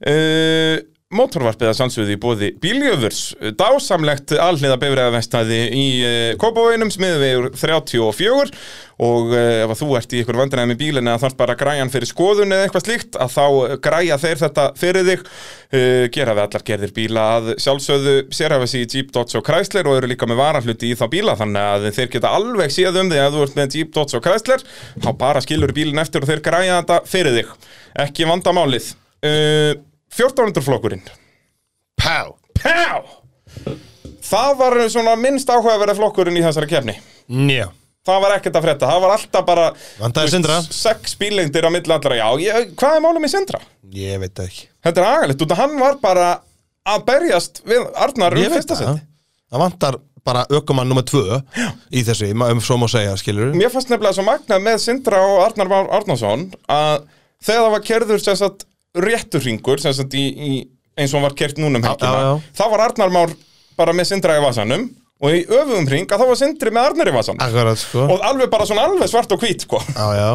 Speaker 1: uh, Mótorvarpið að sannsögðu í bóði bíljöfurs dásamlegt alniða bifræðavestæði í uh, Kópavöginum smiðvegur 34 og uh, ef að þú ert í ykkur vandræði með bílinn eða þarf bara græjan fyrir skoðun eða eitthvað slíkt að þá eh, græja þeir þetta fyrir þig uh, gera við allar gerðir bíla að sjálfsögðu sérhæfa sig í Jeep, Dodge og Chrysler og eru líka með varahluti í þá bíla þannig að þeir geta alveg séð um þig að þú ert með Jeep, Dodge og Chrysler þá bara skilur bílinn eftir og þeir græja þetta fyrir þig ekki vandamálið uh, 1400 flokkurinn
Speaker 2: Pá
Speaker 1: Pá! það var svona minnst áhugaverða flokkurinn í þessari kefni
Speaker 2: Njá
Speaker 1: það var ekkert að frétta, það var alltaf bara
Speaker 2: Vantaði
Speaker 1: þú
Speaker 2: Sindra.
Speaker 1: veist, sex bílengdir á milli allra, já, ég, hvað er málum í Sindra?
Speaker 2: Ég veit það ekki
Speaker 1: þetta er agalegt, út að hann var bara að berjast við Arnar um
Speaker 2: Ég veit
Speaker 1: fyrsta
Speaker 2: það
Speaker 1: seti
Speaker 2: Það vantar bara ökumann nummer tvö Í þessu, ma- um svo má segja, skilur
Speaker 1: mér fannst nefnilega svo magnað með Sindra og Arnar Már Arnason að þegar það var kerður sem sagt réttur ringur sem sagt í, í eins og hann var kert núna um helgina
Speaker 2: já, já.
Speaker 1: þá var Arnar Már bara með Sindra í vasanum og í öfum hring að þá var Sindri með Arnar í vasanum
Speaker 2: Akkurat, sko
Speaker 1: og alveg bara svona alveg svart og hvít sko.
Speaker 2: Já, já,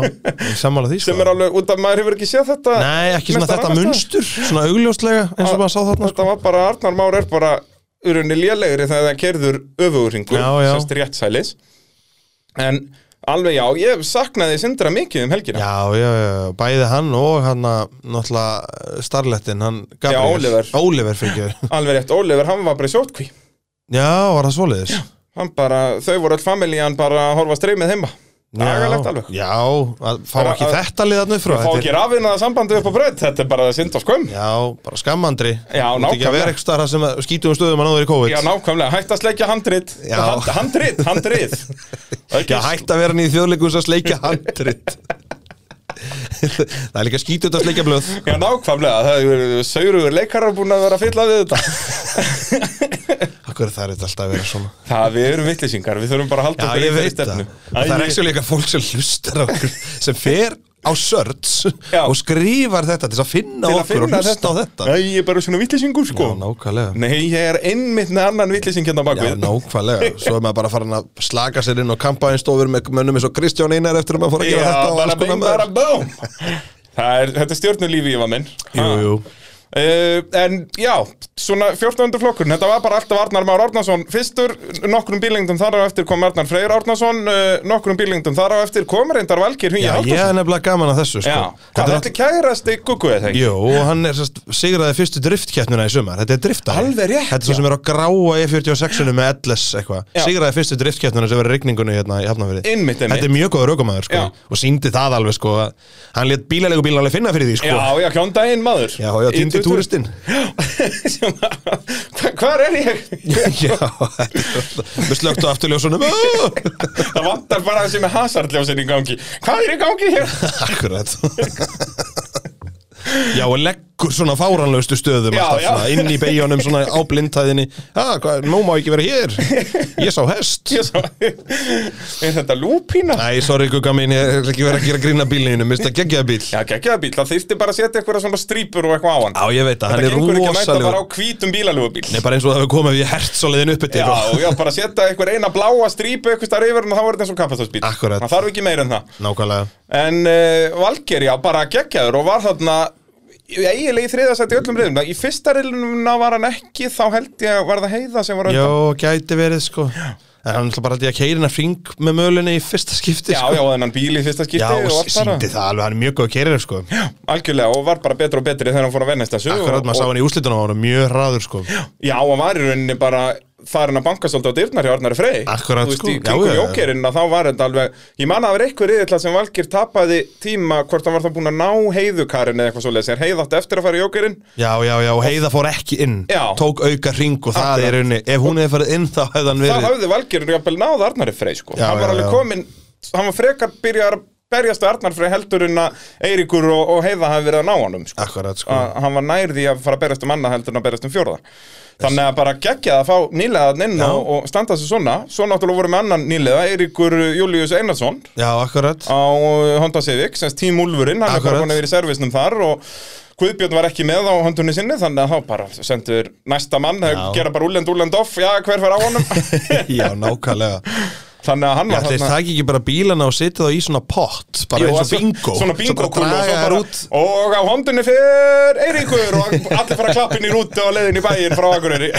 Speaker 2: ég sammála því, sko
Speaker 1: sem er alveg, út af maður hefur ekki séð þetta
Speaker 2: Nei, ekki svona
Speaker 1: mestar
Speaker 2: þetta
Speaker 1: annars staðar.
Speaker 2: munstur Svona augljóslega, eins og maður sá þarna, sko
Speaker 1: þetta var bara, Arnar Már er bara urunni lélegri þegar það kerður öfuguringur,
Speaker 2: Já, já.
Speaker 1: sérst réttsælis en alveg já, ég saknaði Sindra mikið um helgina
Speaker 2: Já, já, já, bæði hann og hann að, náttúrulega starlettinn, hann Gabriel.
Speaker 1: Oliver.
Speaker 2: Oliver fyrir.
Speaker 1: alveg rétt, Oliver, hann var bara í sótkví
Speaker 2: Já, var það svoleiðis?
Speaker 1: hann bara, þau voru öll familjan bara að horfa streymið heima dagalegt alveg
Speaker 2: Já, að fá
Speaker 1: Bara
Speaker 2: ekki
Speaker 1: að-
Speaker 2: þetta liðan upp frá.
Speaker 1: fá
Speaker 2: þetta er-
Speaker 1: ekki rafinaða sambandi upp á bröð þetta er bara synd og skömm
Speaker 2: Já, bara skammandri.
Speaker 1: Já,
Speaker 2: Þú ert Ekki að
Speaker 1: nákvæmlega.
Speaker 2: vera eitthvað starf sem að- skítum stöðum að náður í COVID.
Speaker 1: já, nákvæmlega, hætt að sleikja handrit
Speaker 2: Já.
Speaker 1: Hand, handrit, handrit
Speaker 2: ekki að hætta að vera hann í þjóðleikus að sleikja handrit. það er líka skítut að sleikja blöð.
Speaker 1: já, nákvæmlega, það eru saurugur leikarar búin að vera að fylla við þetta
Speaker 2: Akkur það er þetta alltaf að vera svona.
Speaker 1: Það, við erum vittlýsingar, við þurfum bara að halda okkur
Speaker 2: Já,
Speaker 1: í
Speaker 2: ég
Speaker 1: þeirri
Speaker 2: veit það.
Speaker 1: stefnu.
Speaker 2: Það er
Speaker 1: Æi,
Speaker 2: ekki svo líka fólk sem hlustar á okkur, sem fer á sörts
Speaker 1: Já.
Speaker 2: og skrifar þetta til að finna
Speaker 1: til að
Speaker 2: okkur
Speaker 1: finna
Speaker 2: og hlusta á þetta.
Speaker 1: Æ, ég er bara svona vittlýsingur, sko.
Speaker 2: Já, nákvæmlega.
Speaker 1: Nei, ég er einmitt með annan vittlýsing hérna á
Speaker 2: Já,
Speaker 1: bakvið.
Speaker 2: nákvæmlega. Svo er maður bara farin að slaka sér inn og kampa einn stofur með mönnum eins og Kristján Einar eftir að maður fór að
Speaker 1: Já,
Speaker 2: gera þetta og
Speaker 1: bara
Speaker 2: alls konar
Speaker 1: bing,
Speaker 2: með
Speaker 1: bara búm. Það er, þetta er stjórnulífi, ég var minn.
Speaker 2: Jú, jú.
Speaker 1: Uh, en já, svona 14. flokkur, þetta var bara alltaf Arnar Már Árnason fyrstur, nokkrum bílengdum þar á eftir kom Arnar Freyr Árnason, uh, nokkrum bílengdum þar á eftir kom reyndar Valgir Hugi
Speaker 2: Já, ég
Speaker 1: Halldórsson.
Speaker 2: er nefnilega gaman að þessu, sko.
Speaker 1: Já, hvað þetta er kærasti gugguðið þegar?
Speaker 2: Jó, og hann er sérst, sigraði fyrstu driftkeppnuna í sumar Þetta er driftari
Speaker 1: Alveg rétt,
Speaker 2: Þetta er svo
Speaker 1: já.
Speaker 2: sem er á gráa E46-unu með LS eitthvað
Speaker 1: Já.
Speaker 2: Sigraði fyrstu driftkeppnuna sem verið rigningunni hérna í Hafnafyrði
Speaker 1: Einmitt, einmitt.
Speaker 2: Þetta er mjög góður aukumæður sko
Speaker 1: Já.
Speaker 2: Og síndi það alveg sko að Hann létt bílalegu bílan alveg finna fyrir því sko
Speaker 1: Já, já, kjóndaginn maður
Speaker 2: já, já týndi túristinn
Speaker 1: Sem að- hva- Hvar er ég?
Speaker 2: Já, þetta er- með slögt á afturljósunum
Speaker 1: Það vantar bara þessi með hasardljósin í gangi Hvað er í gangi hér?
Speaker 2: Akkurat Já, og leggur svona fáranlaustu stöðum
Speaker 1: Já,
Speaker 2: alltaf,
Speaker 1: já.
Speaker 2: Svona, inn í beigjónum, svona á blindhæðinni ah, hvað, Nú má ekki vera hér Ég sá hest
Speaker 1: Ég sá- Er þetta lúpína?
Speaker 2: Æ, sorry gugga mín, ég ætla ekki verið að gera grína bílinu Mista geggjaða bíl Já,
Speaker 1: Já, geggjaða bíl, það þyrfti bara að setja eitthvað svona strípur og eitthvað á hann
Speaker 2: ég veit að
Speaker 1: Það
Speaker 2: hann er
Speaker 1: gengur ekki að mæta
Speaker 2: rosalegur
Speaker 1: bara á hvítum bílalögu bíl
Speaker 2: Nei, bara eins og það hefur komið við hert svo leiðin uppi til
Speaker 1: Já, já, bara setja eitthvað eina bláa strípu eitthvað starf yfir en þá er þetta eins og kappastóðsbíl
Speaker 2: Akkúrat.
Speaker 1: Það þarf ekki meira en það
Speaker 2: Nákvæmlega
Speaker 1: En uh, Valger, já, bara geggjaður og var þarna eiginlega í þriðasætt í öllum reyðum. Í fyrsta reyðumna var hann ekki, þá held ég var það heiða sem var á
Speaker 2: Jó,
Speaker 1: undan.
Speaker 2: gæti verið sko En hann ætla bara að ég keirina fring með mölinni í fyrsta skipti
Speaker 1: Já,
Speaker 2: sko.
Speaker 1: já, og þennan bíl í fyrsta skipti
Speaker 2: Já,
Speaker 1: og
Speaker 2: og
Speaker 1: allt þar.
Speaker 2: síndi það alveg, hann er mjög góð keirir sko.
Speaker 1: Algjörlega, og var bara betur og betri þegar hann fór að vennast þessu.
Speaker 2: Akkurat, maður sá
Speaker 1: og,
Speaker 2: hann í úslitunum á hann mjög hraður sko.
Speaker 1: Já, og var í rauninni bara farin að banka svolítið á dyrnar hjá Arnari Frey.
Speaker 2: Akkúrat,
Speaker 1: Þú veist,
Speaker 2: sko.
Speaker 1: í
Speaker 2: Já, já,
Speaker 1: kringum
Speaker 2: já.
Speaker 1: jókerinn að þá var þetta alveg, ég manna að vera eitthvað riðill sem Valgir tapaði tíma hvort hann var þá búin að ná heiðukarinn eða eitthvað svoleiðis, en heiðátt eftir að fara í jókerinn.
Speaker 2: Já, já, já, og Heiða fór ekki inn
Speaker 1: Já.
Speaker 2: Tók auka ring og það
Speaker 1: Akkurat.
Speaker 2: er unni Ef hún hefði farið inn þá hefði hann
Speaker 1: það
Speaker 2: verið
Speaker 1: hafði Valgerinn jafnvel náð Arnari Frey sko.
Speaker 2: Já,
Speaker 1: hann var
Speaker 2: já,
Speaker 1: alveg
Speaker 2: já.
Speaker 1: kominn, hann var frekar byrjar að berjast við Arnar Frey heldur en að Eiríkur og, og Heiða hafi verið að ná honum sko.
Speaker 2: Akkurat, sko
Speaker 1: að hann var nær því að fara að berjast um annað heldur en að berjast um fjórða þannig að bara geggjað að fá nýlegaðan inn og, og standa sig svona svo náttúrulega voru með annan nýlega Eiríkur Július Einarsson
Speaker 2: Já, akkurat
Speaker 1: á eh, Honda Civic, semst Tím Úlfurinn hann er bara
Speaker 2: Akkurat.
Speaker 1: konar verið í servisnum þar og Guðbjörn var ekki með á höndunni sinni þannig að þá bara sendur næsta mann
Speaker 2: Já.
Speaker 1: gera bara úlend, úlend off, já hver fer á honum
Speaker 2: Já, nákvæmlega
Speaker 1: Þannig að hann
Speaker 2: Já,
Speaker 1: var
Speaker 2: þeir
Speaker 1: Ah. þarna
Speaker 2: taki ekki bara bílana og setja þá í svona pott Bara
Speaker 1: Jú, að
Speaker 2: eins og
Speaker 1: svo-
Speaker 2: bingo
Speaker 1: Svona bingo
Speaker 2: Svo
Speaker 1: kúlu
Speaker 2: bara
Speaker 1: og svo
Speaker 2: draga
Speaker 1: bara
Speaker 2: þær út
Speaker 1: Og á hondunni fyrr Eiríkur Og allir fara klappin í rútu og leiðin í bæin frá Akureyri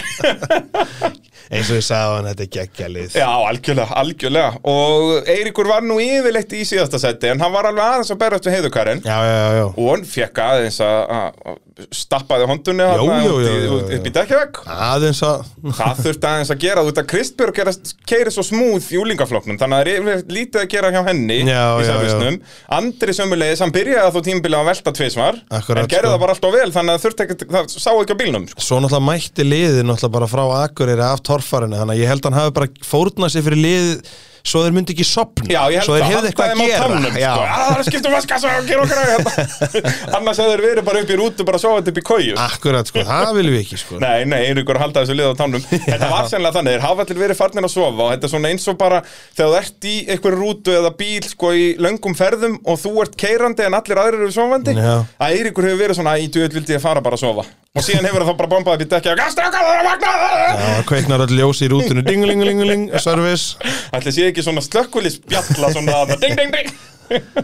Speaker 2: Eins og ég sagði á hann, þetta er geggjalið
Speaker 1: Já, algjörlega, algjörlega Og Eiríkur var nú yfirleitt í síðasta seti En hann var alveg aðeins að berast við heiðukarinn
Speaker 2: Já, já, já, já
Speaker 1: Og hann fekk aðeins að að stappaði hondunni
Speaker 2: Jú,
Speaker 1: þarna
Speaker 2: jú,
Speaker 1: út í-
Speaker 2: jú, jú,
Speaker 1: út-
Speaker 2: jú.
Speaker 1: Upp í dekkjavegg
Speaker 2: Aðeins að
Speaker 1: Það þurfti aðeins að gera út að Kristbjörg er að keiri svo smúð í úlingaflokknum þannig að það er yfirleitt lítið að gera hjá henni
Speaker 2: Já,
Speaker 1: í
Speaker 2: já,
Speaker 1: servisnum Andri sömulegis, hann byrjaði þá tímabilið að velta tvismar
Speaker 2: Akkurat,
Speaker 1: en gerði
Speaker 2: sko.
Speaker 1: það bara alltaf vel þannig að þurfti ekki, það sá ekki á bílnum sko.
Speaker 2: Svo náttúrulega mætti liðið náttúrulega bara frá Akureyri af torfarinu Þannig að ég held að hann hafi bara fórnað sér fyrir liðið svo þeir myndi ekki sopna
Speaker 1: Já, ég held
Speaker 2: svo þeir
Speaker 1: að
Speaker 2: hefði
Speaker 1: halda
Speaker 2: eitthvað
Speaker 1: þeim á
Speaker 2: að gera
Speaker 1: tánum sko.
Speaker 2: já.
Speaker 1: Já, það er skiptum vaskassa og gera okkar hérna. Annars hefur þeir verið bara upp í rútu bara sofandi upp í kóju
Speaker 2: Akkurat sko, það viljum við ekki sko
Speaker 1: Nei, nei, einhver að halda þessu lið á tánum Þetta var sennilega þannig, þeir hafa allir verið farnir að sofa og þetta er svona eins og bara þegar þú ert í einhver rútu eða bíl sko í löngum ferðum og þú ert keirandi en allir aðrir eru sofandi
Speaker 2: Já.
Speaker 1: að Eiríkur hefur verið svona í duð vildi ég fara bara að sofa og síðan hefur það bara bombað upp í dekki og gastrákar það er að vakna
Speaker 2: Já, Eh, kveiknar all ljósi í rútunni Dinglinglinglingling, service
Speaker 1: Ætli sé ekki svona slökkulisbjalla svona að ding ding ding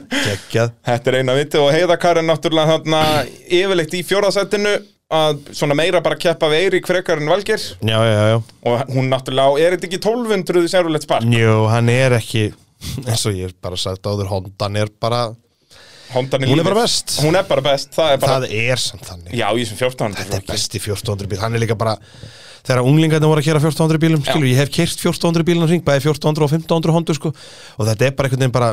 Speaker 2: Gekkjað
Speaker 1: Þetta er eina vitið og heiðakar er náttúrulega þarna yfirleitt í fjórðasættinu að svona meira bara keppa við Eirík frekar en Valgir
Speaker 2: Já, já, já
Speaker 1: og hún náttúrulega, er þetta ekki 1200 sérulegt spark?
Speaker 2: Njó, hann er ekki eins og ég er bara sagt áður Hondan er bara,
Speaker 1: Hondan
Speaker 2: Hún er
Speaker 1: lífið.
Speaker 2: bara best.
Speaker 1: Hún er bara best, það er bara
Speaker 2: það er samt þannig
Speaker 1: Já, í þessum 14.
Speaker 2: Þetta er
Speaker 1: flokki.
Speaker 2: besti 1400 bíl, hann er líka bara þegar unglingarnir voru að kera 1400 bílum skilur, ég hef kert 1400 bílum hring, bæði 1400 og 1500 hondu sko, og þetta er bara einhvern veginn bara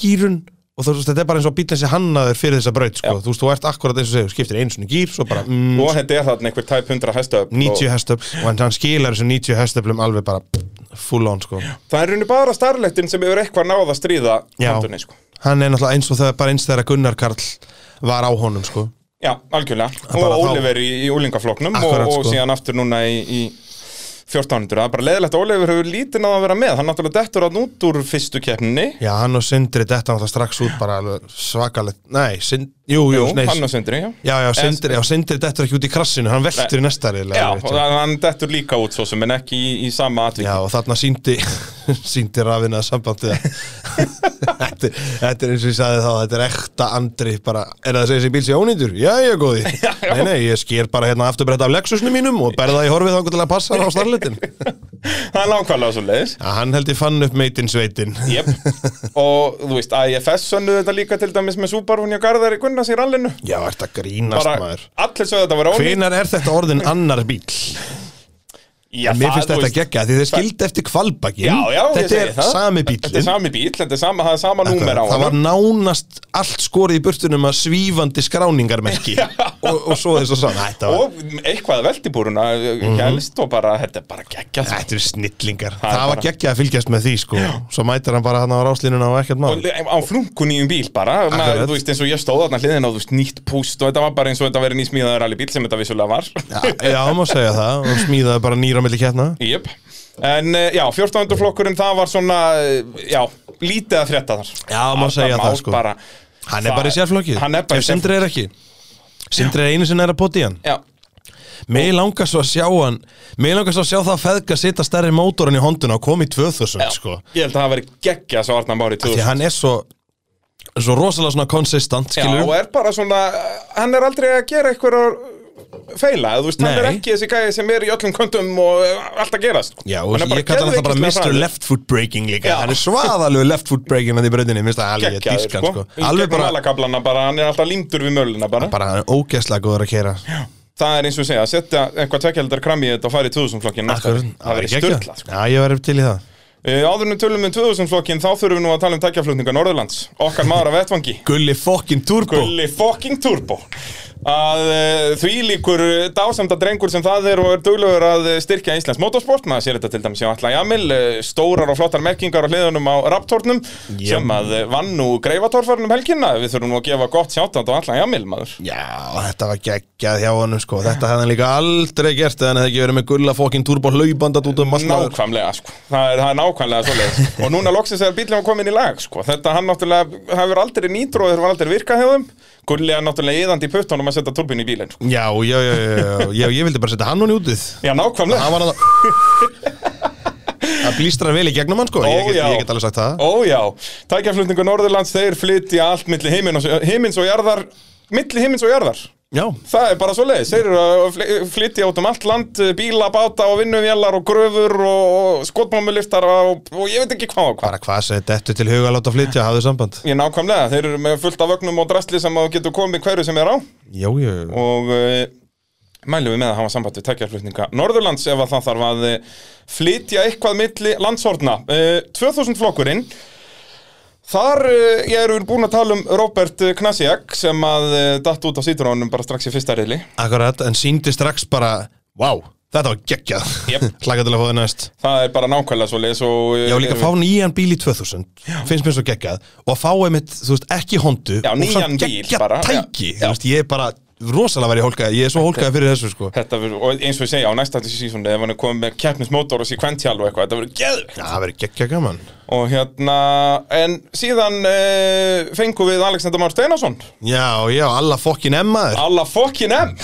Speaker 2: gýrun og þú veist, þetta er bara eins og bílinn sé hannaður fyrir þessa braut sko, þú veist, þú ert akkurat eins og segir, skiptir einu svona gýr, svo bara mm,
Speaker 1: Og þetta er þarna einhver tæp 100 hestöfn
Speaker 2: 90 hestöfl og hann, hann skilar þessum 90 hestöflum alveg bara full on sko
Speaker 1: Það er rauninu bara starlettin sem hefur eitthvað náð að stríða
Speaker 2: Já.
Speaker 1: Hondunni, sko
Speaker 2: hann er náttúrulega eins og þegar bara eins þegar Gunnar Karl var á honum sko
Speaker 1: Já, algjörlega
Speaker 2: bara
Speaker 1: Og
Speaker 2: þá-
Speaker 1: Oliver í, í úlingafloknum og,
Speaker 2: Akkurat,
Speaker 1: og
Speaker 2: sko.
Speaker 1: síðan aftur núna í, í 1400 Það er bara leðilegt að Oliver hefur lítið náð að vera með Hann náttúrulega dettur að nút úr fyrstu keppninni
Speaker 2: Já, hann og Sindri detta náttúrulega strax út bara alveg svakalegt, nei, Sindri, jú, jú,
Speaker 1: Jú,
Speaker 2: nei,
Speaker 1: hann og Sindri, já
Speaker 2: Já, já, Sindri, já, Sindri dettur ekki út í krassinu, hann veltur í næsta reyla
Speaker 1: Já, og hann hann dettur líka út svo sem en ekki í, í sama atviki
Speaker 2: já, og þarna síndi síndi rafina sambandið að- þetta, er- þetta er eins og ég sagði þá þetta er ekta andri, bara er það að segja þessi bíl sé ónýndur? Já, já, góði
Speaker 1: já.
Speaker 2: Nei, nei, ég sker bara hérna afturbreyta af Lexusnum mínum og berða í horfið þá til að passa á starletin
Speaker 1: Það er nákvæmlega svo leiðis
Speaker 2: Já, hann held ég fann upp meitin sveitin
Speaker 1: Jep, og þú veist, IFS sönnuðu þetta líka til dæmis með Subaru hjá Garðari Gunnars í rallinu
Speaker 2: Já, ert að grínast
Speaker 1: Bara,
Speaker 2: maður
Speaker 1: allir sögðu þetta var ónýtt
Speaker 2: Hvenar er þetta orðin annar bíl?
Speaker 1: Já,
Speaker 2: Mér
Speaker 1: það,
Speaker 2: finnst
Speaker 1: þú
Speaker 2: þetta
Speaker 1: veist,
Speaker 2: geggja því þeir skildi eftir kvalbaki
Speaker 1: Já, já, ég
Speaker 2: Þetta
Speaker 1: segi
Speaker 2: er
Speaker 1: það.
Speaker 2: sami bíl
Speaker 1: Þetta er sami bíl, þetta er sama, það er sama númer á
Speaker 2: það var
Speaker 1: hann
Speaker 2: nánast allt skorið í burtunum að svífandi skráningarmerki og, og svo þess að sá Nei, þetta var-
Speaker 1: Og eitthvað veltibúruna helst og bara, þetta er bara geggjað sko.
Speaker 2: Þetta eru snillingar
Speaker 1: er
Speaker 2: Það, var
Speaker 1: bara-
Speaker 2: geggjað að fylgjast með því sko Svo mætir hann bara hann á ráslínuna og ekkert mál
Speaker 1: Og á flunkun í um bíl bara með,
Speaker 2: Akkurat.
Speaker 1: þú veist eins og ég stóð þarna hliðin á þú veist nýtt púst og þetta var bara eins og þetta verið nýsmíðaður alveg bíl sem þetta vissulega var
Speaker 2: Já, já, má segja það og smíðaði bara nýra milli kettna
Speaker 1: Jep En eh, já, 14. flokkurinn það var svona eh, já, lítið að frétta þar
Speaker 2: Já, má segja það, sko.
Speaker 1: bara,
Speaker 2: Hann er
Speaker 1: það-
Speaker 2: bara í sérflokki
Speaker 1: Hann er bara í
Speaker 2: Ef Sindri er ekki Sindri er einu sinni er að poti hann
Speaker 1: Já,
Speaker 2: Mér langar svo að sjá hann Mér langar svo að sjá það að feðga sita stærri mótorin í honduna og koma í 2000
Speaker 1: já.
Speaker 2: sko
Speaker 1: Ég held að það veri geggja svo Arnar Mári
Speaker 2: Því
Speaker 1: 2000
Speaker 2: hann er svo Svo rosalega svona konsistant
Speaker 1: Já,
Speaker 2: skilur
Speaker 1: og er bara svona eh, Hann er aldrei að gera eitthvað feila, þú veist, hann er
Speaker 2: Nei.
Speaker 1: ekki þessi gæði sem er í öllum köndum og eh, allt að gerast sko.
Speaker 2: Já, og
Speaker 1: Hann er
Speaker 2: ég kalla hann það bara
Speaker 1: geðveikislega
Speaker 2: Mr.
Speaker 1: hraður.
Speaker 2: Left Foot Breaking líka
Speaker 1: Já.
Speaker 2: Hann er svaðalegu Left Foot Breaking hann í brautinni, minnst það alveg
Speaker 1: Geggjaður,
Speaker 2: dískan sko.
Speaker 1: Í
Speaker 2: Alveg
Speaker 1: gegnum
Speaker 2: bara,
Speaker 1: alakablana bara, hann er alltaf límdur við möluna bara.
Speaker 2: bara hann er ógeðslega góður að kera
Speaker 1: það er eins og segja, að setja eitthvað tvekkjaldar kram í þetta og fara í 2000 flokkin það sko. verið styrla
Speaker 2: Já, ég var upp til í það
Speaker 1: Áðurinnum tölum um 2000 flokkin þá þurfum við nú að tala um tækjaflutninga Norðurlands okkar maður af vettvangi
Speaker 2: Gulli fokkin turbo
Speaker 1: Gulli fucking turbo að uh, því líkur dásamda drengur sem það er og er duglegur að eh, styrkja Íslands motorsport maður sér þetta til dæmis hjá Alla Jamil uh, stórar og flottar merkingar á hliðunum á Raptornum
Speaker 2: Já.
Speaker 1: sem að eh, vann nú greifatorfarnum helgina við þurfum nú að gefa gott sjátt á Alla Jamil maður
Speaker 2: Já, þetta var geggjað hjá honum sko Þetta hefði hann líka aldrei gert eða hann hefði ekki verið með gulla fokkin turbo hlaubandat út um allt maður.
Speaker 1: Nákvæmlega, sko. Það er, það er nákvæmlega svoleiðis. sko. og núna loksins er bílum að koma inn í lag, sko. Þetta hann náttúrulega, það hefur aldrei nýtrú og það hefur aldrei virkað hjá þeim. Gulli er náttúrulega yðandi í puttunum að setja turbín í bílinn, sko.
Speaker 2: Já, já, já, já, já, já, ég vildi bara setja hann hún í útið
Speaker 1: Já, nákvæmlega.
Speaker 2: Hann var að Það blístrar vel í gegnum hann sko Ég
Speaker 1: Ó,
Speaker 2: get,
Speaker 1: já.
Speaker 2: ég get alveg sagt það
Speaker 1: Ó já, tækjaflutningu Norðurlands, þeir flytja allt milli himins og, himins og jarðar, milli himins og jarðar.
Speaker 2: Já,
Speaker 1: Það er bara svo leiðis, þeir eru að fly- flytja út um allt land, bíla, báta og vinnuvjallar og gröfur og, og skotmámuliftar og, og ég veit ekki hvað og hvað.
Speaker 2: bara hvað segir dettu til huga að láta flytja, hafðu samband
Speaker 1: Ég nákvæmlega, þeir eru með fullt af vögnum og drastli sem að þú getur komið hverju sem er á.
Speaker 2: Jó, jó,
Speaker 1: og uh, mælum við með að hafa samband við tækjarflutninga Norðurlands ef að það þarf að eh, flytja eitthvað milli landsortna uh, 2000 flokkurinn Þar uh, ég eru búin að tala um Robert Knasiak eh, sem að uh, datt út á sítrónum bara strax í fyrsta reyli
Speaker 2: akkurat, en síndi strax bara Vá, Þetta var geggjað
Speaker 1: Jep.
Speaker 2: Hlakka til að fá þið næst
Speaker 1: Það er bara nákvæmlega svo leiðis og eh,
Speaker 2: Já, líka að fá nýjan bíl í 2000 Finnst mér svo geggjað Og að fá einmitt, þú veist, ekki hondu
Speaker 1: Já,
Speaker 2: og
Speaker 1: nýjan
Speaker 2: samt
Speaker 1: bíl
Speaker 2: geggjað
Speaker 1: bara, já.
Speaker 2: tæki
Speaker 1: Já.
Speaker 2: Þú veist, ég er bara rosalega verið hólkaði Ég er svo hólkaði fyrir þessu, sko
Speaker 1: Þetta verður, og eins og ég segja á næsta sísónu ef hann er komið með keppnismótor og sekvential og eitthvað, þetta verður geðvikt
Speaker 2: Já, það verið geggjað gaman
Speaker 1: og hérna, en síðan uh, fengum við Alexander Már Steinarsson
Speaker 2: Já, já, alla fokkin emmaður
Speaker 1: alla fokkin M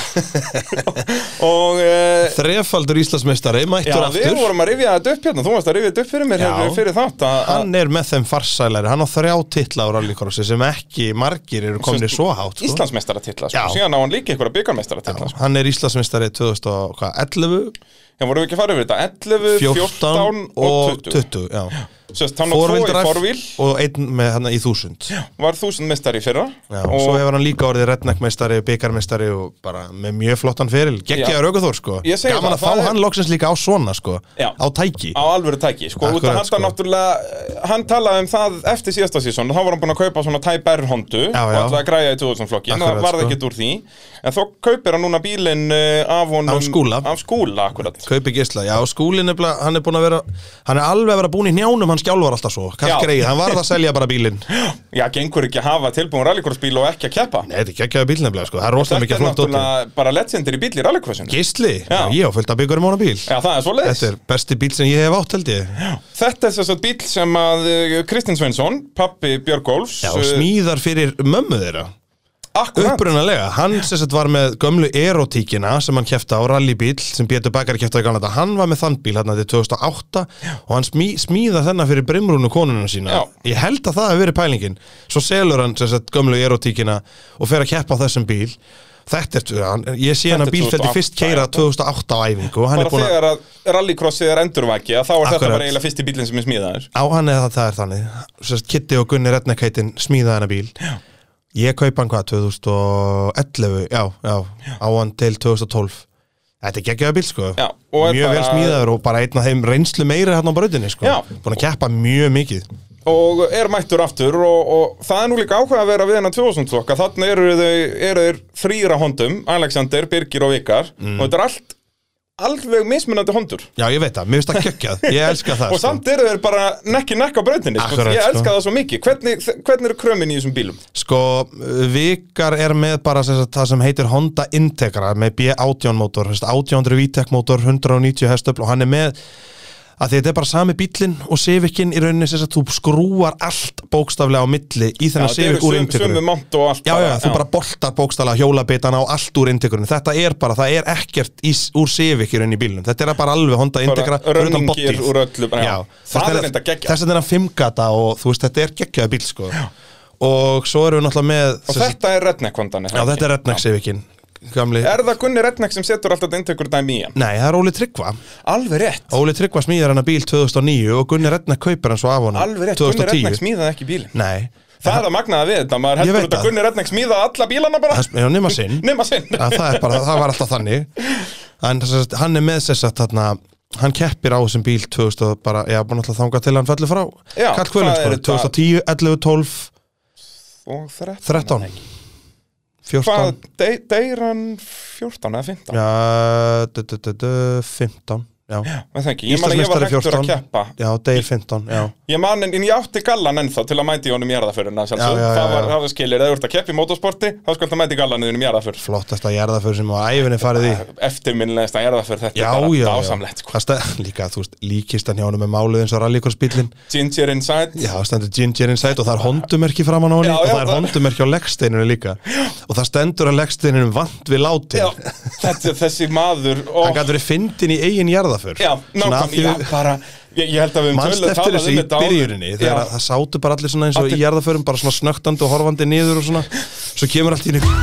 Speaker 1: og uh,
Speaker 2: Þrefaldur Íslandsmeistari,
Speaker 1: já,
Speaker 2: mættur
Speaker 1: við
Speaker 2: aftur
Speaker 1: vorum að rifja þetta upp hérna þú varst að rifja þetta upp fyrir mér
Speaker 2: Já.
Speaker 1: hérna fyrir þátt að- að-
Speaker 2: Hann er með þeim farsælari Hann á þrjá titla á rallycrossi sem ekki margir eru komni svo hátt sko.
Speaker 1: Íslandsmeistaratitla, sko.
Speaker 2: Já.
Speaker 1: síðan á hann líka einhverja byggarmeistaratitla, sko.
Speaker 2: Hann er Íslandsmeistari 2011,
Speaker 1: Já, vorum við ekki að fara yfir þetta 11, 14,
Speaker 2: 14 og
Speaker 1: 20
Speaker 2: 20 Já
Speaker 1: Sest, hann á tvo
Speaker 2: Forvil
Speaker 1: í
Speaker 2: Drive
Speaker 1: forvíl
Speaker 2: og einn með hann í þúsund Já,
Speaker 1: var þúsund meistari í fyrra
Speaker 2: og svo hefur hann líka orðið redneckmeistari, byggarmeistari og bara með mjög flottan feril
Speaker 1: Já.
Speaker 2: geggjaður auðgóður sko
Speaker 1: Ég segi
Speaker 2: gaman
Speaker 1: það,
Speaker 2: að
Speaker 1: það
Speaker 2: fá
Speaker 1: er-
Speaker 2: hann loksins líka á svona sko
Speaker 1: Já.
Speaker 2: á tæki
Speaker 1: á alvöru tæki sko, út að
Speaker 2: Akkurat,
Speaker 1: hann sko.
Speaker 2: sko.
Speaker 1: náttúrulega hann talaði um það eftir síðasta sísón þá var hann búinn að kaupa svona Type R hondu og
Speaker 2: já.
Speaker 1: alltaf að græja í 2000 flokki en það
Speaker 2: Akkurat,
Speaker 1: varði
Speaker 2: sko.
Speaker 1: ekkert úr því en þó kaupir hann núna bílinn eh, af honum
Speaker 2: Af Skúla.
Speaker 1: af skúla akkurat
Speaker 2: kaupi gisla, já skúlin er bara, hann er búin að vera hann er alveg að vera búin í njánum, hann skjálfar alltaf svo
Speaker 1: Já.
Speaker 2: kallgreið, hann varð að selja bara bílinn nei,
Speaker 1: já, gengur ekki að hafa tilbúin rallycrossbíl og ekki að keppa
Speaker 2: þetta er geggjaður bíl nefnilega sko, það er rosalega
Speaker 1: þetta
Speaker 2: mikið
Speaker 1: er
Speaker 2: flott dótið
Speaker 1: náttúrulega bara legendir í bíl í rallycrossinu
Speaker 2: gisli, já.
Speaker 1: Já.
Speaker 2: ég á fullt að byggur um hona bíl
Speaker 1: já, það er svo leiðis
Speaker 2: þetta er besti bíl sem ég hef átt held ég
Speaker 1: Þetta er þess að bíl sem að eh, Kristinn Sveinsson, pappi Björgólfs
Speaker 2: já, smíðar fyrir mömmu þeirra
Speaker 1: eh, Akkurat,
Speaker 2: Upprunalega, hann sem sagt var með gömlu erotíkina sem hann kefta á rallybíl sem Pétur Bekkar kefta í gamla þetta, hann var með þann bíl hann til 2008 og hann smí, smíða þennan fyrir brimrúnu konuna
Speaker 1: Já.
Speaker 2: sína ég held að það hefur verið pælingin svo selur hann sem sagt gömlu erotíkina og fer að keppa á þessum bíl þetta er, hann, ég sé
Speaker 1: Þetta
Speaker 2: hann að
Speaker 1: er
Speaker 2: bílfældi
Speaker 1: 2008,
Speaker 2: fyrst keira 2008 á æfingu og hann
Speaker 1: bara
Speaker 2: er búin að
Speaker 1: þegar að rallycrossið er endurvaki að þá er þetta
Speaker 2: Akkurat.
Speaker 1: bara eiginlega fyrsti bílinn sem er smíðaður
Speaker 2: á hann eða það er þannig Sem sagt, Kitty og Gunni Redneckaitin smíða hennar bíl já. ég kaupa hann hvað 2011, já, já, á hann til 2012 þetta er geggjaða bíl sko
Speaker 1: Já, og er
Speaker 2: mjög vel
Speaker 1: bara-
Speaker 2: smíðaður og bara einn af þeim reynslu meiri hann á brautinni sko,
Speaker 1: Já.
Speaker 2: búin að keppa mjög mikið
Speaker 1: og er mættur aftur og, og það er nú líka áhuga að vera við hennar 2000 flokka þannig eru þau, eru þeir þrýra hondum Alexander, Birgir og Vikar
Speaker 2: Mm.
Speaker 1: og þetta er allt alveg mismunandi hondur
Speaker 2: já, ég veit það, mér finnst það geggjað, ég elska það sko.
Speaker 1: og samt eru þeir bara nekki nekk á brautinni sko.
Speaker 2: Akkurat,
Speaker 1: ég
Speaker 2: sko.
Speaker 1: elska það svo mikið hvernig, hvernig eru krömin í þessum bílum?
Speaker 2: Sko, Vikar er með bara sem sagt, það sem heitir Honda Integra með B18 mótor, sem sagt, 800 VTEC mótor 190 hestöfl og hann er með að því þetta er bara sami bílinn og Sivicin í rauninni sem sagt, þú skrúar allt bókstaflega á milli í þennan Sivic úr Integru
Speaker 1: sömu
Speaker 2: Já,
Speaker 1: mont og allt
Speaker 2: já, þú bara boltar bókstaflega hjólabitana og allt úr Integrun þetta er bara, það er ekkert í, úr Sivic í rauninni í bílnum, þetta er bara alveg Honda Integra
Speaker 1: bara
Speaker 2: fyrir utan
Speaker 1: runningir
Speaker 2: bodyð.
Speaker 1: úr öllu já. það er enda geggjað
Speaker 2: Þess að þetta er fimmgata og þú veist, þetta er geggjaða bíl sko. og svo erum við náttúrulega með
Speaker 1: og þetta er redneck hondan
Speaker 2: Já, þetta er Redneck Sivikin Gamli
Speaker 1: er það Gunni Redneck sem setur alltaf inntekur dæmi í hann?
Speaker 2: Nei, það er Óli Tryggva
Speaker 1: alveg rétt,
Speaker 2: Óli Tryggva smíðar hennar bíl 2009 og Gunni Redneck kaupir hann svo af honum
Speaker 1: alveg rétt Gunni Redneck
Speaker 2: 2010
Speaker 1: smíðaði ekki bílinn
Speaker 2: Nei,
Speaker 1: Það er að magnaða við þetta, maður
Speaker 2: Ég
Speaker 1: heldur
Speaker 2: veit
Speaker 1: út að
Speaker 2: það.
Speaker 1: Gunni Redneck smíða alla bílana bara
Speaker 2: það er nema sinn
Speaker 1: nema sinn
Speaker 2: að það er bara, það var alltaf þannig en sem sagt, hann er með þess að þarna hann keppir á þessum bíl 2000 og bara, já, bara náttúrulega þangað til hann fellur frá
Speaker 1: Já,
Speaker 2: Karl Kvölin,
Speaker 1: það er
Speaker 2: sko,
Speaker 1: þetta-
Speaker 2: 2010, 11, 12
Speaker 1: Og 13
Speaker 2: 13
Speaker 1: Hvað,
Speaker 2: 14
Speaker 1: de, deyr hann 14 eða 15?
Speaker 2: já, du, du, du, du, 15 já,
Speaker 1: Með það ekki, ég man að ég var
Speaker 2: Íslandsmeistari
Speaker 1: hægtur
Speaker 2: 14.
Speaker 1: að keppa
Speaker 2: já, degir 15 já,
Speaker 1: Ég man, en, en ég átti gallan ennþá til að mæti honum í jarðaföruna
Speaker 2: Já, já, já,
Speaker 1: Það var,
Speaker 2: já.
Speaker 1: það var skilir, eða þú ert að keppa í motorsporti þá skaltu að mæti gallan þínum í jarðaför
Speaker 2: flottasta jarðaför sem á æfinni farið í
Speaker 1: Eftirminnilegast að jarðaför, þetta
Speaker 2: já,
Speaker 1: er
Speaker 2: já,
Speaker 1: bara
Speaker 2: já.
Speaker 1: dásamlegt sko.
Speaker 2: Það stað- líka, þú veist, líkist hann hjá honum með málið eins og rallycrossbílinn
Speaker 1: Ginger Inside
Speaker 2: já, það stendur Ginger Inside og það er hondumerki framan á henni
Speaker 1: Já,
Speaker 2: og
Speaker 1: já,
Speaker 2: það er
Speaker 1: það-
Speaker 2: hondumerki á leggsteininu líka og það stendur að leggsteininu vant við látin
Speaker 1: já, þetta, Þessi maður ó,
Speaker 2: hann gæti verið fyndin í eigin jarðaför
Speaker 1: Já,
Speaker 2: Svona af því
Speaker 1: nákvæmlega,
Speaker 2: við-
Speaker 1: já, bara Ég, ég held að við höfum
Speaker 2: manst
Speaker 1: tölum
Speaker 2: eftir
Speaker 1: talað
Speaker 2: þessu
Speaker 1: um
Speaker 2: í
Speaker 1: þetta áður.
Speaker 2: byrjuninni
Speaker 1: Já.
Speaker 2: þegar að það sátu bara allir svona eins og
Speaker 1: Allir-
Speaker 2: í jarðaförum bara svona snögtandi og horfandi niður og svona svo kemur allt í henni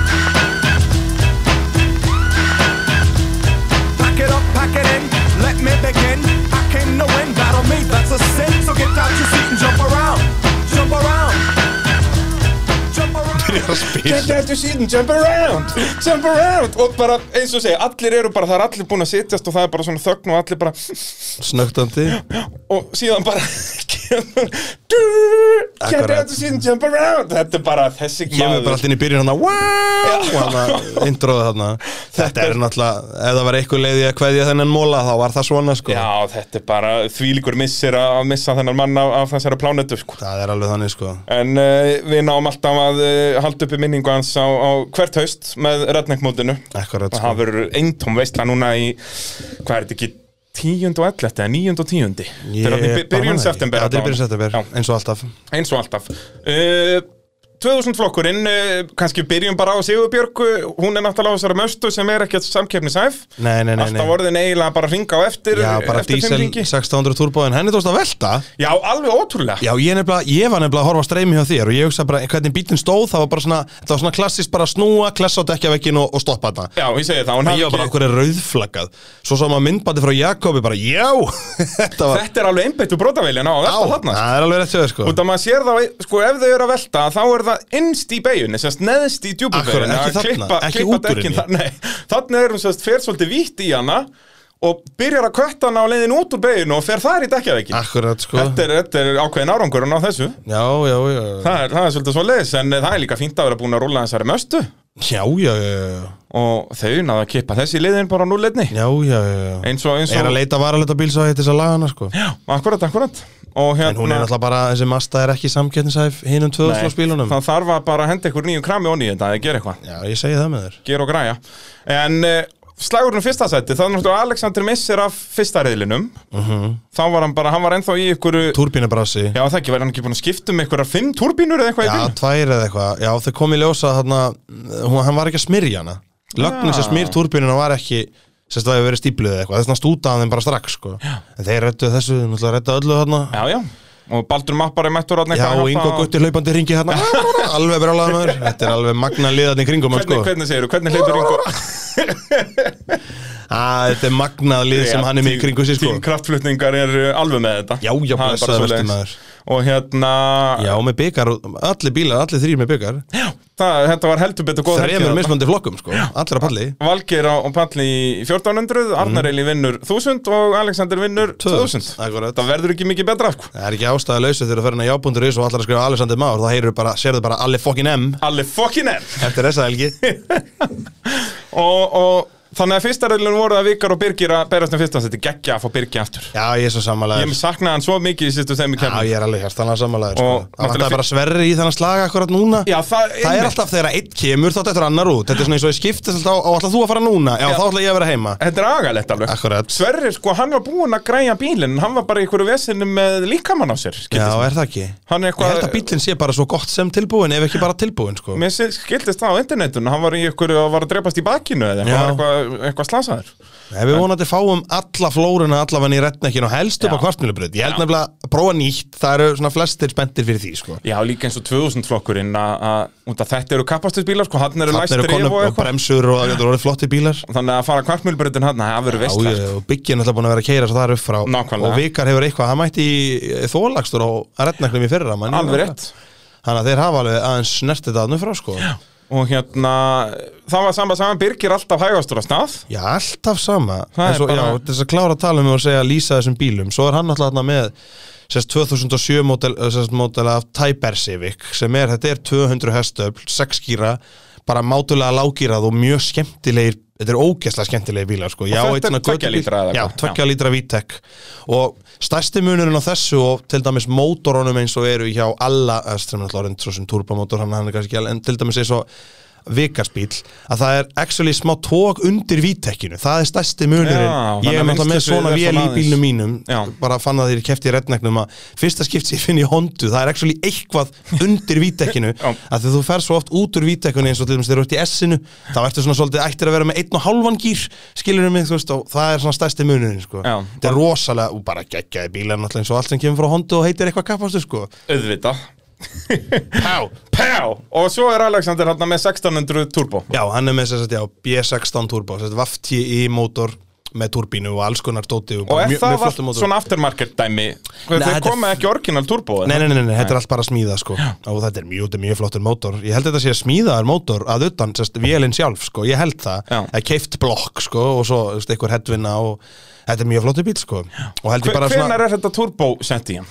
Speaker 3: Pack it up, pack it in, let me begin. I came to win, battle me, that's a sin. So get out your seat and jump around, jump around, jump around.
Speaker 2: að spila
Speaker 1: Get out your seat and jump around Jump around Og bara eins og segja Allir eru bara Það er allir búin að sitjast Og það er bara svona þögn Og allir bara
Speaker 2: snögtandi
Speaker 1: Og síðan bara Get
Speaker 2: Akkurat.
Speaker 1: out of season, jump around Þetta er bara þessi
Speaker 2: kemur bara alltaf inn í byrjun hann að og hann introði þarna þetta er náttúrulega, ef það var eitthvað leiði að kveðja þennan móla þá var það svona sko
Speaker 1: Já, þetta er bara þvílíkur missir að að missa þennan mann af, af þessara plánetu sko.
Speaker 2: það er alveg þannig sko
Speaker 1: En uh, við náum alltaf að uh, halda uppi minningu hans á, á hvert haust með redneckmótinu
Speaker 2: akkurat
Speaker 1: Og það
Speaker 2: sko
Speaker 1: verður eintóm veistla núna í, hvað er þetta ekki, 10. og 11. eða 9. og 10.
Speaker 2: Ég
Speaker 1: Þetta er orðið by-
Speaker 2: bara man það
Speaker 1: byrjun
Speaker 2: ekki.
Speaker 1: september
Speaker 2: Já, þetta er
Speaker 1: allavega.
Speaker 2: byrjun september,
Speaker 1: Já.
Speaker 2: eins og alltaf
Speaker 1: eins og alltaf uh, 2000 flokkurinn, uh, kannski byrjum bara á Sigurbjörg, uh, hún er náttúrulega á þessari möstu sem er ekkert samkeppnishæf
Speaker 2: Nei, nei, nei,
Speaker 1: alltaf
Speaker 2: nei.
Speaker 1: orðin eiginlega bara ringa á eftir
Speaker 2: Já, bara
Speaker 1: eftir
Speaker 2: diesel
Speaker 1: fimm hringi.
Speaker 2: 600 turboðin, henni tókst að velta
Speaker 1: Já, alveg ótrúlega
Speaker 2: Já, ég, nefnilega, ég var nefnilega að horfa á streymi hjá þér og ég hugsa bara hvernig bílinn stóð, það var bara svona, það var svona klassist bara að snúa, klessa á dekkjavekkin og, og stoppa þetta
Speaker 1: Já, ég segi það, hún
Speaker 2: Ég
Speaker 1: hafði
Speaker 2: var bara,
Speaker 1: ekki
Speaker 2: okkur er rauðflaggað Svo sá maður myndbandi frá Jakobi bara, já Þetta var,
Speaker 1: Þetta er alveg einbeittu brótaveilin á að velta
Speaker 2: á,
Speaker 1: þarna sko.
Speaker 2: það er alveg rétt hjá þér sko
Speaker 1: Út að maður sér þá, sko, ef þau eru að velta þá er það innst í beigunni, semst neðst í
Speaker 2: Akkurat,
Speaker 1: djúpubeginni
Speaker 2: ekki þarna, ekki út úr henni.
Speaker 1: Nei, þannig er hún semst fer svolítið vítt í hana og byrjar að kvötta hana á leiðin út úr beiginu og fer þar í dekkjaveikin
Speaker 2: Akkurat sko
Speaker 1: þetta, er- þetta er ákveðin árangurinn á þessu
Speaker 2: Já, já, já
Speaker 1: það er, það er svolítið svo leiðis en eh, það er líka fínt að vera búin að rúla þessari möstu
Speaker 2: Já, já, já, já
Speaker 1: og þau náðu að kippa þessi liðin bara á núleitni
Speaker 2: Já, já, já, já
Speaker 1: eins og eins
Speaker 2: Er
Speaker 1: og
Speaker 2: að leita varalega bíl svo heitir þess að laga hana sko
Speaker 1: Já, akkurat, akkurat og
Speaker 2: En hún er
Speaker 1: hérna
Speaker 2: náttúrulega bara, þessi Mazda er ekki samkettnisæf hinum
Speaker 1: Nei,
Speaker 2: tvöðslósbílunum
Speaker 1: það þarf að bara henda ykkur nýju krami onni í þetta eða gera eitthvað,
Speaker 2: Já, ég segi það með þér
Speaker 1: gera og græja en uh, slagurinn fyrsta sæti það er náttúrulega Alexander missir af fyrsta reyðlinum
Speaker 2: Mhm.
Speaker 1: þá var hann bara, hann var ennþá í ykkur já
Speaker 2: Túrbínabrasi
Speaker 1: það ekki, var hann ekki búin að skipta um ykkur fimm turbínur eða eitthvað í
Speaker 2: Já,
Speaker 1: bílnum?
Speaker 2: tvær eða eitthvað Já, þau kom í ljósa þarna hún, Hann var ekki að smyrja hana Lögnin sem
Speaker 1: Já.
Speaker 2: smyr túrbínuna var ekki Sérst það hefur verið stípluð eða eitthvað Þess vegna stútaði þeim bara strax sko En þeir rettu þessu, náttúrulega rettu öllu þarna
Speaker 1: já, já, og Baldur Mappari mættur þarna
Speaker 2: Já,
Speaker 1: eitthvað að
Speaker 2: og
Speaker 1: hjálpa-
Speaker 2: Ingo Gutti hlaupandi hringi hérna Alveg brjálaði maður Þetta er alveg magna liðan í kringum hann,
Speaker 1: Hvernig,
Speaker 2: sko.
Speaker 1: hvernig segir þú, hvernig hleypur yngur
Speaker 2: Á, Ah, Þetta er magna lið sem hann er með í kringu sér sko
Speaker 1: Tím kraftflutningar er uh, alveg með þetta
Speaker 2: Já,
Speaker 1: Það
Speaker 2: já,
Speaker 1: er bara
Speaker 2: blessaður vertu,
Speaker 1: svoleiðis.
Speaker 2: maður.
Speaker 1: Og hérna,
Speaker 2: Já, með byggar, allir bílar, allir þrýr með byggar
Speaker 1: það, þetta var heldur betur góð Sko, helgi
Speaker 2: Þremur
Speaker 1: þarna.
Speaker 2: mismandi flokkum sko, allir að palli
Speaker 1: Valgeir á, á palli í 1400
Speaker 2: Mhm.
Speaker 1: Arnar Eli vinnur 1000 og Alexander vinnur 2000
Speaker 2: Akkurat
Speaker 1: Það verður ekki mikið betra sko.
Speaker 2: Það er ekki ástæða lausu þegar þú fyrir að jábúndur.is og allar að skrifa Alexander Már, þá heyrðu bara, sérðu bara allir fokkin M
Speaker 1: Allir fokkin er
Speaker 2: eftir þessa helgi
Speaker 1: og, og þannig að fyrsta reilun voru að Vikar og Birgir að berast um fyrsta Þetta er geggja að fá Birgi aftur
Speaker 2: Já, ég er svo
Speaker 1: Ég
Speaker 2: sammálaður
Speaker 1: saknaði hann svo mikið í sýstu þeim í
Speaker 2: Já,
Speaker 1: kemni
Speaker 2: ég er alveg hérstanlega sammálaður sko.
Speaker 1: Og
Speaker 2: Það vantaði
Speaker 1: náttúrulega
Speaker 2: bara sverri í þennan slag akkurat núna
Speaker 1: Já, það,
Speaker 2: Það er alltaf þegar einn kemur þá þetta er annar út Þetta er svona eins og ég skiptist alltaf á, á alltaf þú að fara núna Já,
Speaker 1: Já.
Speaker 2: þá ætla ég að vera heima
Speaker 1: Þetta er agalegt alveg
Speaker 2: Akkurat.
Speaker 1: Sverrir, sko, hann var búinn að græja bílinn en Hann var bara í einhverju vesinu með líkamann á sér
Speaker 2: Já,
Speaker 1: skildist.
Speaker 2: er það ekki?
Speaker 1: Hann er
Speaker 2: Ég
Speaker 1: eitthvað-
Speaker 2: held að bílinn sé bara svo gott sem tilbúin ef ekki bara tilbúin sko.
Speaker 1: Mér sé- skildist það á internetinu Hann var í einhverju að var að drepast í bakinu eða
Speaker 2: Já.
Speaker 1: eitthvað, eitthvað, eitthvað slasaður
Speaker 2: Nei, Við vonandi fáum alla flóruna allavega í retnekkin og helst upp
Speaker 1: Já.
Speaker 2: á kvartmjölubröð Ég held nefnilega að prófa nýtt, það eru svona flestir spenntir fyrir því sko.
Speaker 1: Já, líka eins og 2000 flokkurinn að- að út af þetta eru kapastusbílar sko, hann eru
Speaker 2: Þannig
Speaker 1: læstir
Speaker 2: eru
Speaker 1: yfir
Speaker 2: konum
Speaker 1: og
Speaker 2: og
Speaker 1: eitthvað
Speaker 2: bremsur og þetta eru orðið flotti bílar
Speaker 1: Þannig að fara kvartmjölbreytin hann, það verður sko.
Speaker 2: Já,
Speaker 1: veistlægt
Speaker 2: ég- og byggin er alltaf búin að vera að keira svo það er upp frá
Speaker 1: Nákvæmlega.
Speaker 2: og vikar hefur eitthvað, hann mætti í þólagstur á retneknum í fyrra mann,
Speaker 1: Alveg rétt
Speaker 2: Þannig að þeir hafa alveg aðeins snertið það nú frá sko
Speaker 1: Og hérna, það var saman saman Birgir alltaf hægastur að stað
Speaker 2: Já, alltaf sama
Speaker 1: Það
Speaker 2: En
Speaker 1: er
Speaker 2: svo,
Speaker 1: bara-
Speaker 2: já, Þess að klára að tala um og segja að lýsa þessum bílum Svo er hann alltaf þarna með sérst, 2007 mótel, eh, sérst, mótel af Typer Civic sem er, þetta er 200 hestöfl, 6 gíra bara mátulega lágírað og mjög skemmtilegir þetta er ógeðslega skemmtilegir bílar sko. Já,
Speaker 1: þetta er
Speaker 2: einn svona
Speaker 1: tveggja
Speaker 2: götubíl-
Speaker 1: lítra eða
Speaker 2: Já,
Speaker 1: eitthvað.
Speaker 2: tvekja lítra Vitek og stærsti munurinn á þessu og til dæmis mótorunum eins og eru hjá alla, eh, sem er alltaf orðin svo sem turbamótor hann, hann er kannski ekki alveg, en til dæmis eins og vikarsbíl, að það er actually smá tók undir vítekinu, það er stærsti
Speaker 1: Já, þannig
Speaker 2: munurinn,
Speaker 1: að
Speaker 2: ég er náttúrulega með
Speaker 1: vinstri
Speaker 2: svona
Speaker 1: sviðið er
Speaker 2: vél í
Speaker 1: svona
Speaker 2: bílnum mínum
Speaker 1: Já.
Speaker 2: bara fann að þeir kefti í rednegnum að fyrsta skipt sem ég finn í hondu, það er actually eitthvað undir vítekinu,
Speaker 1: Já.
Speaker 2: að þegar þú fer svo oft út úr vítekinu eins og til dæmis þegar þú ert í S-inu þá ertu svona svolítið ættir að vera með einn og hálfan gýr skilurðu mig, þú veist, og það er svona stærsti munurinn, sko,
Speaker 1: Já.
Speaker 2: þetta er rosalega og bara geggjaði bílar náttúrulega eins og allt sem kemur frá hondu og heitir eitthvað kappastu, sko
Speaker 1: Auðvita Pá, pá Og svo er Alexander hann með 1600 turbo
Speaker 2: Já, hann er með þess að já, B16 turbo þess að vafti í mótor með turbínu og alls konar dóti og,
Speaker 1: Og
Speaker 2: bara
Speaker 1: er
Speaker 2: mjög-
Speaker 1: það
Speaker 2: mjög
Speaker 1: var
Speaker 2: flottur mótor.
Speaker 1: svona aftermarket dæmi
Speaker 2: Nei,
Speaker 1: Þeir
Speaker 2: þetta er-
Speaker 1: komið ekki orginal turbo
Speaker 2: Nei, nei, nei, nei, nei, þetta er allt bara að smíða sko og þetta er mjög, þetta er mjög flottur mótor ég held þetta sé að smíðaður mótor að utan sérst, vélinn sjálf sko, ég held það
Speaker 1: Já.
Speaker 2: að keift blokk sko og svo sérst, einhver headvinna og þetta er mjög flottur bíl sko og held ég bara
Speaker 1: Hvenar er þetta turbo sett í hann?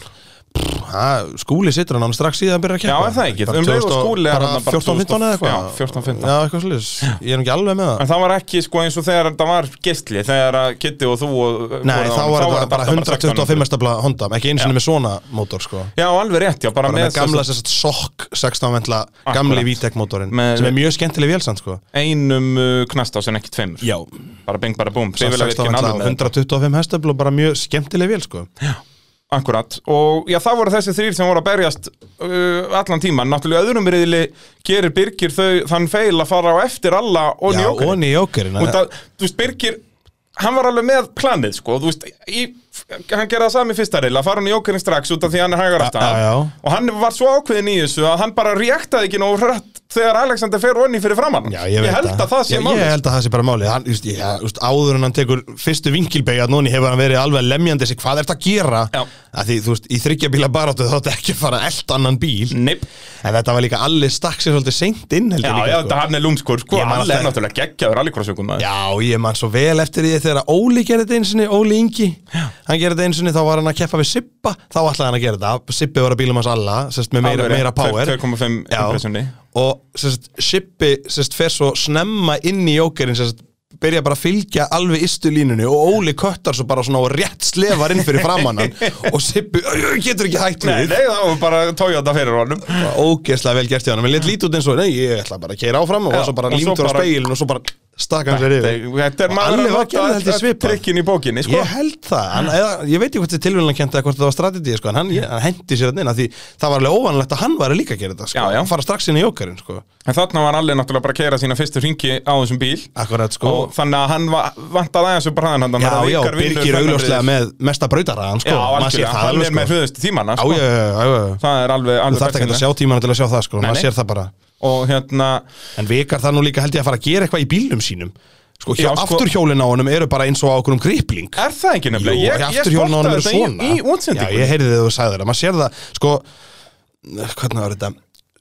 Speaker 2: Já, skúli situr hann strax síðan byrjar að
Speaker 1: Já,
Speaker 2: keppa
Speaker 1: er það ekki?
Speaker 2: Bara
Speaker 1: Um leið og
Speaker 2: 2000
Speaker 1: Skúli er
Speaker 2: bara
Speaker 1: hann bara
Speaker 2: 14-15 eða eitthvað
Speaker 1: Já, 14-15.
Speaker 2: Já, eitthvað slis Ég er nú ekki alveg með það
Speaker 1: En það var ekki sko eins og þegar þetta var gistli Þegar að Kitty og þú og,
Speaker 2: Nei, þá var þetta bara 125
Speaker 1: 1600.
Speaker 2: stabla Honda Ekki einu sinni með svona mótor, sko
Speaker 1: Já, alveg rétt, já, bara,
Speaker 2: Bara
Speaker 1: með,
Speaker 2: með gamla sem sagt sokk 16 vendla gamli
Speaker 1: Akkurat.
Speaker 2: VTEC mótorinn
Speaker 1: Með-
Speaker 2: sem er mjög skemmtileg vélsand, sko
Speaker 1: einum uh, knast á sem ekki tveimur
Speaker 2: Já
Speaker 1: Bara bing, bara búm, biflega virkin
Speaker 2: 16 vendla
Speaker 1: alveg
Speaker 2: og
Speaker 1: með þetta.
Speaker 2: 125 hestöfl og bara mjög skemmtileg vél, sko
Speaker 1: Akkurat, og já, það voru þessi þrýr sem voru að berjast uh, allan tíman Náttúrulega öðrum reyðli gerir Birgir þau, þann feil að fara á eftir alla og
Speaker 2: Já,
Speaker 1: njókur
Speaker 2: og nýjókurinn
Speaker 1: Út að, þú veist, Birgir hann var alveg með planið, sko þú veist, í, hann gerði það sami í fyrsta reyla fara hann í jókerinn strax út af því að hann er hægar aftan
Speaker 2: Já, já.
Speaker 1: og hann var svo ákveðin í þessu að hann bara reaktaði ekki nógu hrætt þegar Alexander fer onni fyrir framann
Speaker 2: Já, ég, veit
Speaker 1: held að það sé
Speaker 2: Já,
Speaker 1: málið
Speaker 2: Ég held að það sé bara máli hann, just, já, just, Áður en hann tekur fyrstu vinkilbeigja Núni hefur hann verið alveg lemjandi sig Hvað er þetta að gera?
Speaker 1: Já.
Speaker 2: Að því, þú veist, í þryggja bíla baráttu Þá þetta ekki að fara allt annan bíl
Speaker 1: Nei,
Speaker 2: En þetta var líka allir stakk sér svolítið seint inn
Speaker 1: Mm. já, já,
Speaker 2: heldur líka,
Speaker 1: þetta hann er lúmskur sko,
Speaker 2: Ég man
Speaker 1: hann er
Speaker 2: alltaf-
Speaker 1: náttúrulega geggjaður alíkrossugum
Speaker 2: Já, ég man svo vel eftir því þegar að Óli gerði þetta einu sinni, Óli Ingi Hann gerði þetta einu sinni, þá var hann að keppa við Sippa Þá ætlaði hann að gera þetta, Sippi var að bílum hans alla sest, með meira,
Speaker 1: eh?
Speaker 2: meira power
Speaker 1: 2,5
Speaker 2: Já.
Speaker 1: impressioni
Speaker 2: og sérst, Shippi sérst, fer svo snemma inn í jókerinn sérst, byrja bara að fylgja alveg ystu línunni og Óli köttar svo bara svona og rétt slefar inn fyrir framann hann og Shippi "Æ, getur ekki hægt
Speaker 1: Nei,
Speaker 2: við
Speaker 1: nei, það var bara tójata fyrir honum
Speaker 2: og ógeðslega vel gert í hann en létt lítið út eins og nei, ég ætla bara að keira áfram og
Speaker 1: Já,
Speaker 2: var svo bara
Speaker 1: og svo
Speaker 2: límtur á
Speaker 1: bara-
Speaker 2: speilin og svo bara stakk hann sér yfir
Speaker 1: Þetta er
Speaker 2: Og
Speaker 1: maður að
Speaker 2: Alli
Speaker 1: nota
Speaker 2: var gerði held ég
Speaker 1: öll- öll
Speaker 2: svipað.
Speaker 1: trikkin í bókinni, sko
Speaker 2: Ég held það, hann, eða, ég veit ekki hvort þið tilvíðan kent eða hvort það var strategið sko, en hann, hann hendi sér hann inn af því það var alveg óvanlegt að hann væri líka að gera þetta sko,
Speaker 1: Já, já.
Speaker 2: hann fara strax inn í jókerinn sko.
Speaker 1: En þarna var Alli náttúrulega bara að keira sína fyrstu ringi á þessum bíl
Speaker 2: Akkurat, sko.
Speaker 1: Og þannig að hann va- vantaði aðeins upp hraðan hann
Speaker 2: Já, já, Birgir augljóslega með mesta brautaraðan, sko,
Speaker 1: Já,
Speaker 2: maður sér
Speaker 1: algjörlega,
Speaker 2: það
Speaker 1: hann
Speaker 2: alveg,
Speaker 1: er með
Speaker 2: sko.
Speaker 1: hlöðustu tímana
Speaker 2: Já,
Speaker 1: sko.
Speaker 2: já, já, já, já.
Speaker 1: Það er alveg,
Speaker 2: Þú
Speaker 1: alveg
Speaker 2: þarft ekki að
Speaker 1: best
Speaker 2: sjá
Speaker 1: hérna.
Speaker 2: tímana til að sjá það, sko,
Speaker 1: nei.
Speaker 2: maður sér það bara.
Speaker 1: Og hérna,
Speaker 2: En vikar það nú líka held ég að fara að gera eitthvað í bílnum sínum. Sko, hjá
Speaker 1: Já, sko.
Speaker 2: afturhjólin á honum eru bara eins og á okkur um gripling.
Speaker 1: er það ekki nefnilega? Ég- ég
Speaker 2: afturhjólin á honum
Speaker 1: spottaði
Speaker 2: eru
Speaker 1: þetta í-
Speaker 2: svona.
Speaker 1: Í útsendingu
Speaker 2: Já, ég heyrði þegar þú sagði það, maður sér það, sko, hvernig var þetta?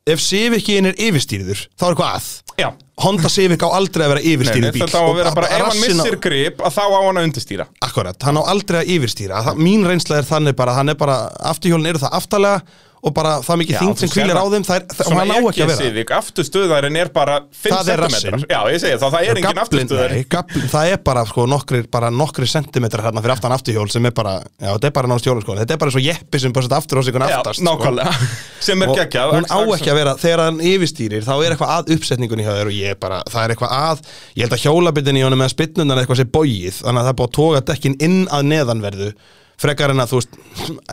Speaker 2: Ef Sivikin er yfirstýrður, þá er hvað að?
Speaker 1: Já.
Speaker 2: Honda Civic á aldrei að vera yfirstýrður bíl.
Speaker 1: Þetta á að vera
Speaker 2: Og
Speaker 1: bara, ef hann
Speaker 2: rassinn á-
Speaker 1: missir grip að þá á hann að undistýra
Speaker 2: Akkurat, hann á aldrei að yfirstýra það, Mín reynsla er þannig bara, hann er bara Afturhjólin eru það aftalega Og bara það mikið þingt sem kvílir á þeim Það er, það, og hann á ekki að vera
Speaker 1: Sivik, afturstuðarinn er bara 5
Speaker 2: Það er
Speaker 1: cm
Speaker 2: rassinn.
Speaker 1: Já, ég segi það, það er engin
Speaker 2: Gablin,
Speaker 1: afturstuðari
Speaker 2: nei, gablin, það er bara, sko, nokkrir, bara nokkri sentimetrar hérna fyrir aftan afturhjól sem er bara, já, þetta er bara náttúrulega hjóla, sko, þetta er bara svo jeppi sem bara sett aftur á sig
Speaker 1: Já,
Speaker 2: aftast, sko.
Speaker 1: nákvæmlega Sem er
Speaker 2: og
Speaker 1: geggjað
Speaker 2: hún á
Speaker 1: axla- axla-
Speaker 2: ekki að vera, þegar hann yfirstýrir þá er eitthvað að uppsetningunni hjá þér og ég bara það er eitthvað að, ég held að hjólabitin í honum með spytnunar eitthvað sé bóið, þannig að það er búið að toga dekkin inn að neðanverðu frekar en að þú veist,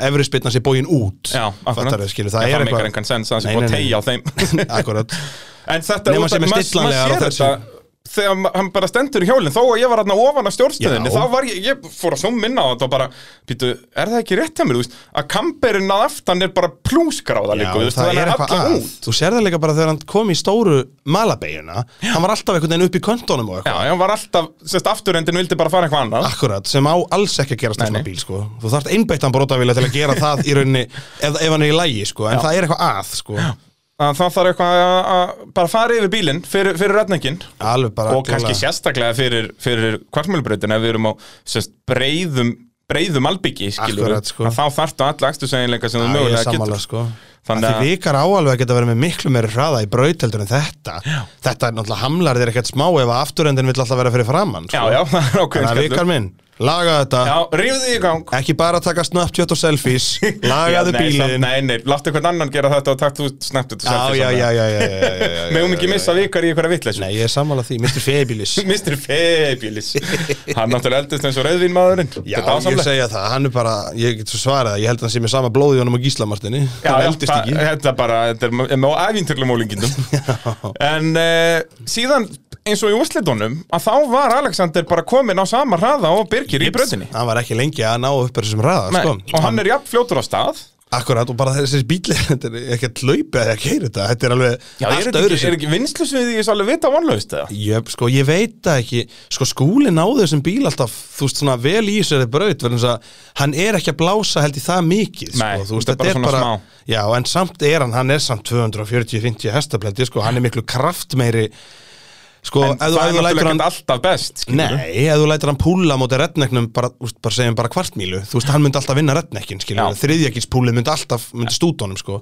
Speaker 2: efri spytna sé bóin út
Speaker 1: Já, akkurat
Speaker 2: Fattarðu, skilur, það
Speaker 1: Já,
Speaker 2: er
Speaker 1: meikar
Speaker 2: eitthvað
Speaker 1: engan sens að það
Speaker 2: Nei,
Speaker 1: sé búið að
Speaker 2: nei, nei.
Speaker 1: tegja á þeim
Speaker 2: akkurat,
Speaker 1: En þetta
Speaker 2: Nema
Speaker 1: út
Speaker 2: sem
Speaker 1: af-
Speaker 2: er
Speaker 1: maður-
Speaker 2: stillanlegar
Speaker 1: maður
Speaker 2: á
Speaker 1: sér
Speaker 2: þessu.
Speaker 1: þetta Þegar ma- hann bara stendur í hjólinn Þó að ég var hérna ofan að stjórnstöðinni
Speaker 2: Já.
Speaker 1: Þá var ég, ég fór að svo minna á þetta og bara Pítu, er það ekki rétt hjá mér, þú veist Að kamperinn að aftan er bara plúsgráða
Speaker 2: já,
Speaker 1: líka þú veist,
Speaker 2: það
Speaker 1: þannig
Speaker 2: er eitthvað
Speaker 1: allan
Speaker 2: að
Speaker 1: út.
Speaker 2: þú sér það líka bara þegar hann kom í stóru malabeginna, hann var alltaf einhvern veginn upp í köntunum og
Speaker 1: Já,
Speaker 2: eitthvað,
Speaker 1: hann var alltaf, sérst, afturendin vildi bara fara eitthvað annað
Speaker 2: akkurat, sem á alls ekki að gerast
Speaker 1: Nei,
Speaker 2: á svona
Speaker 1: nei.
Speaker 2: bíl, sko. Þú þarft einbeittan brotavíla til að gera það í rauninni ef, ef hann er í lægi, sko, en það er eitthvað að, sko.
Speaker 1: að Það þarf eitthvað að, að bara fara yfir bílinn fyrir, fyrir retningin
Speaker 2: Alveg bara
Speaker 1: Og kannski sérstaklega fyrir, fyrir kvartmjölubrautin Ef við erum á sérst, breiðum breiðum albyggi, skilur
Speaker 2: Akkurat, sko.
Speaker 1: að þá þarftu alla akstursæginleika sem þú
Speaker 2: Já, ég er
Speaker 1: mögulega
Speaker 2: sammála,
Speaker 1: getur
Speaker 2: sko
Speaker 1: Þannig
Speaker 2: Þannig
Speaker 1: að-
Speaker 2: að því vikar á alveg að geta verið með miklu meiri hraða í braut heldur en þetta Þetta er náttúrulega hamlar þér ekkert smá ef að afturendin vill alltaf vera fyrir framann sko.
Speaker 1: Já, já, það er ákveðin
Speaker 2: Þannig að vikar minn, laga þetta
Speaker 1: Já, rífðu því í gang
Speaker 2: Ekki bara taka Snapchat og selfies
Speaker 1: Já, nei,
Speaker 2: Lagaðu
Speaker 1: samt-
Speaker 2: bílinn Já,
Speaker 1: Nei, nei, láttu hvern annan gera þetta og takk þú snabbt þetta
Speaker 2: já, já, já, já, já, já, já
Speaker 1: Megum ekki
Speaker 2: já,
Speaker 1: missa vikar í einhverja vitleysu
Speaker 2: Nei, ég er sammála því, Mr. Fabulous
Speaker 1: Mr. Fabulous Hann náttúrulega eldist eins og rauðvínmaðurinn
Speaker 2: Já, ég segja það, hann er bara, ég get svo svarað Ég held að hann sé með sama blóði honum og gíslamartinni
Speaker 1: Já,
Speaker 2: Hann
Speaker 1: já,
Speaker 2: eldist
Speaker 1: það-
Speaker 2: ekki
Speaker 1: þetta er bara, þetta er með- með æfintyrlum ólingindum En eh, síðan eins og í úrslitunum að þá var Alexander bara kominn á sama hraða og Birgir í bröðinni
Speaker 2: Hann var ekki lengi að ná upp þessum hraða,
Speaker 1: Nei,
Speaker 2: sko
Speaker 1: og hann er jafn fljótur á stað
Speaker 2: Akkurat og bara þessi bíli þetta er ekki að laupa eða að keira þetta þetta er alveg
Speaker 1: Já, er
Speaker 2: allt
Speaker 1: þetta
Speaker 2: öðru
Speaker 1: ekki, er ekki vinslusviði ég svo alveg vita vonlaust eða?
Speaker 2: Jöp, sko, ég veit það ekki sko skúli náðu þessum bíl alltaf þú veist svona vel í þessari braut verðum að hann er ekki að blása held í það mikið
Speaker 1: Nei,
Speaker 2: sko, þú
Speaker 1: þetta er bara svona
Speaker 2: já, en samt er hann, hann er samt 240-50 hestaflendi, sko, hann er miklu kraftmeiri Sko,
Speaker 1: en
Speaker 2: ef þú,
Speaker 1: það er
Speaker 2: ef þú lætur
Speaker 1: náttúrulega
Speaker 2: hann
Speaker 1: ekki alltaf best skilurðu.
Speaker 2: Nei, ef þú lætur hann púla á móti rednecknum bara, úst, bara segjum bara kvartmílu þú veist, hann myndi alltaf vinna redneckin, skiljum
Speaker 1: Já.
Speaker 2: þriðjakilspúlið myndi alltaf, myndi stúdónum sko.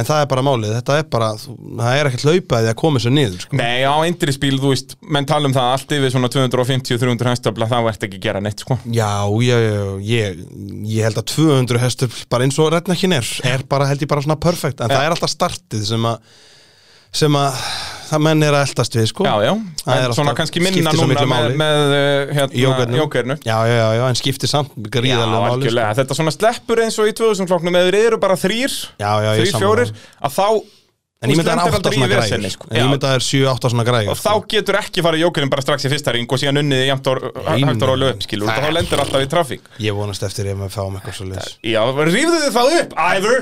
Speaker 2: en það er bara málið, þetta er bara þú- það er ekkert hlaupaði að koma þessu niður sko.
Speaker 1: Nei, á eindri spíl, þú veist, menn tala um það allt yfir svona 250-300 henstöfla, þá ert ekki að gera neitt, sko.
Speaker 2: Já, já, já, já, ég, ég held að 200 hestur, bara eins og redneckin er er bara, held ég bara svona perfect en það er alltaf startið sem að sem að það menn er að eldast við sko.
Speaker 1: Já, já,
Speaker 2: Það er
Speaker 1: en svona
Speaker 2: alltaf-
Speaker 1: kannski minna
Speaker 2: skiptir svo
Speaker 1: núna
Speaker 2: miklu
Speaker 1: með,
Speaker 2: máli.
Speaker 1: með uh, hérna,
Speaker 2: Jókernum.
Speaker 1: jókernu.
Speaker 2: já, já, já, já, en skiptir samt
Speaker 1: Já,
Speaker 2: gríðarlega máli sko.
Speaker 1: algjörlega, þetta svona sleppur eins og í 2000 flokknum, ef þeir eru bara þrýr,
Speaker 2: Já, já, ég er
Speaker 1: þrýr,
Speaker 2: sammála.
Speaker 1: fjórir, að þá
Speaker 2: En ég myndi að það er
Speaker 1: lendir
Speaker 2: átta
Speaker 1: aldrei í
Speaker 2: svona
Speaker 1: vesenni,
Speaker 2: græjur
Speaker 1: sko.
Speaker 2: En ég
Speaker 1: Já.
Speaker 2: myndi að það er 7-8 svona græjur sko.
Speaker 1: og þá getur ekki farið jókerinn bara strax í fyrsta ring og síðan unnið jæmt og
Speaker 2: Nei, nei.
Speaker 1: hægt og rólu upp, skilur,
Speaker 2: Það
Speaker 1: þá
Speaker 2: er-
Speaker 1: lendir alltaf í trafík.
Speaker 2: Ég vonast eftir ef við fáum eitthvað svo leiðis
Speaker 1: Já, rífðu þið það upp, æður!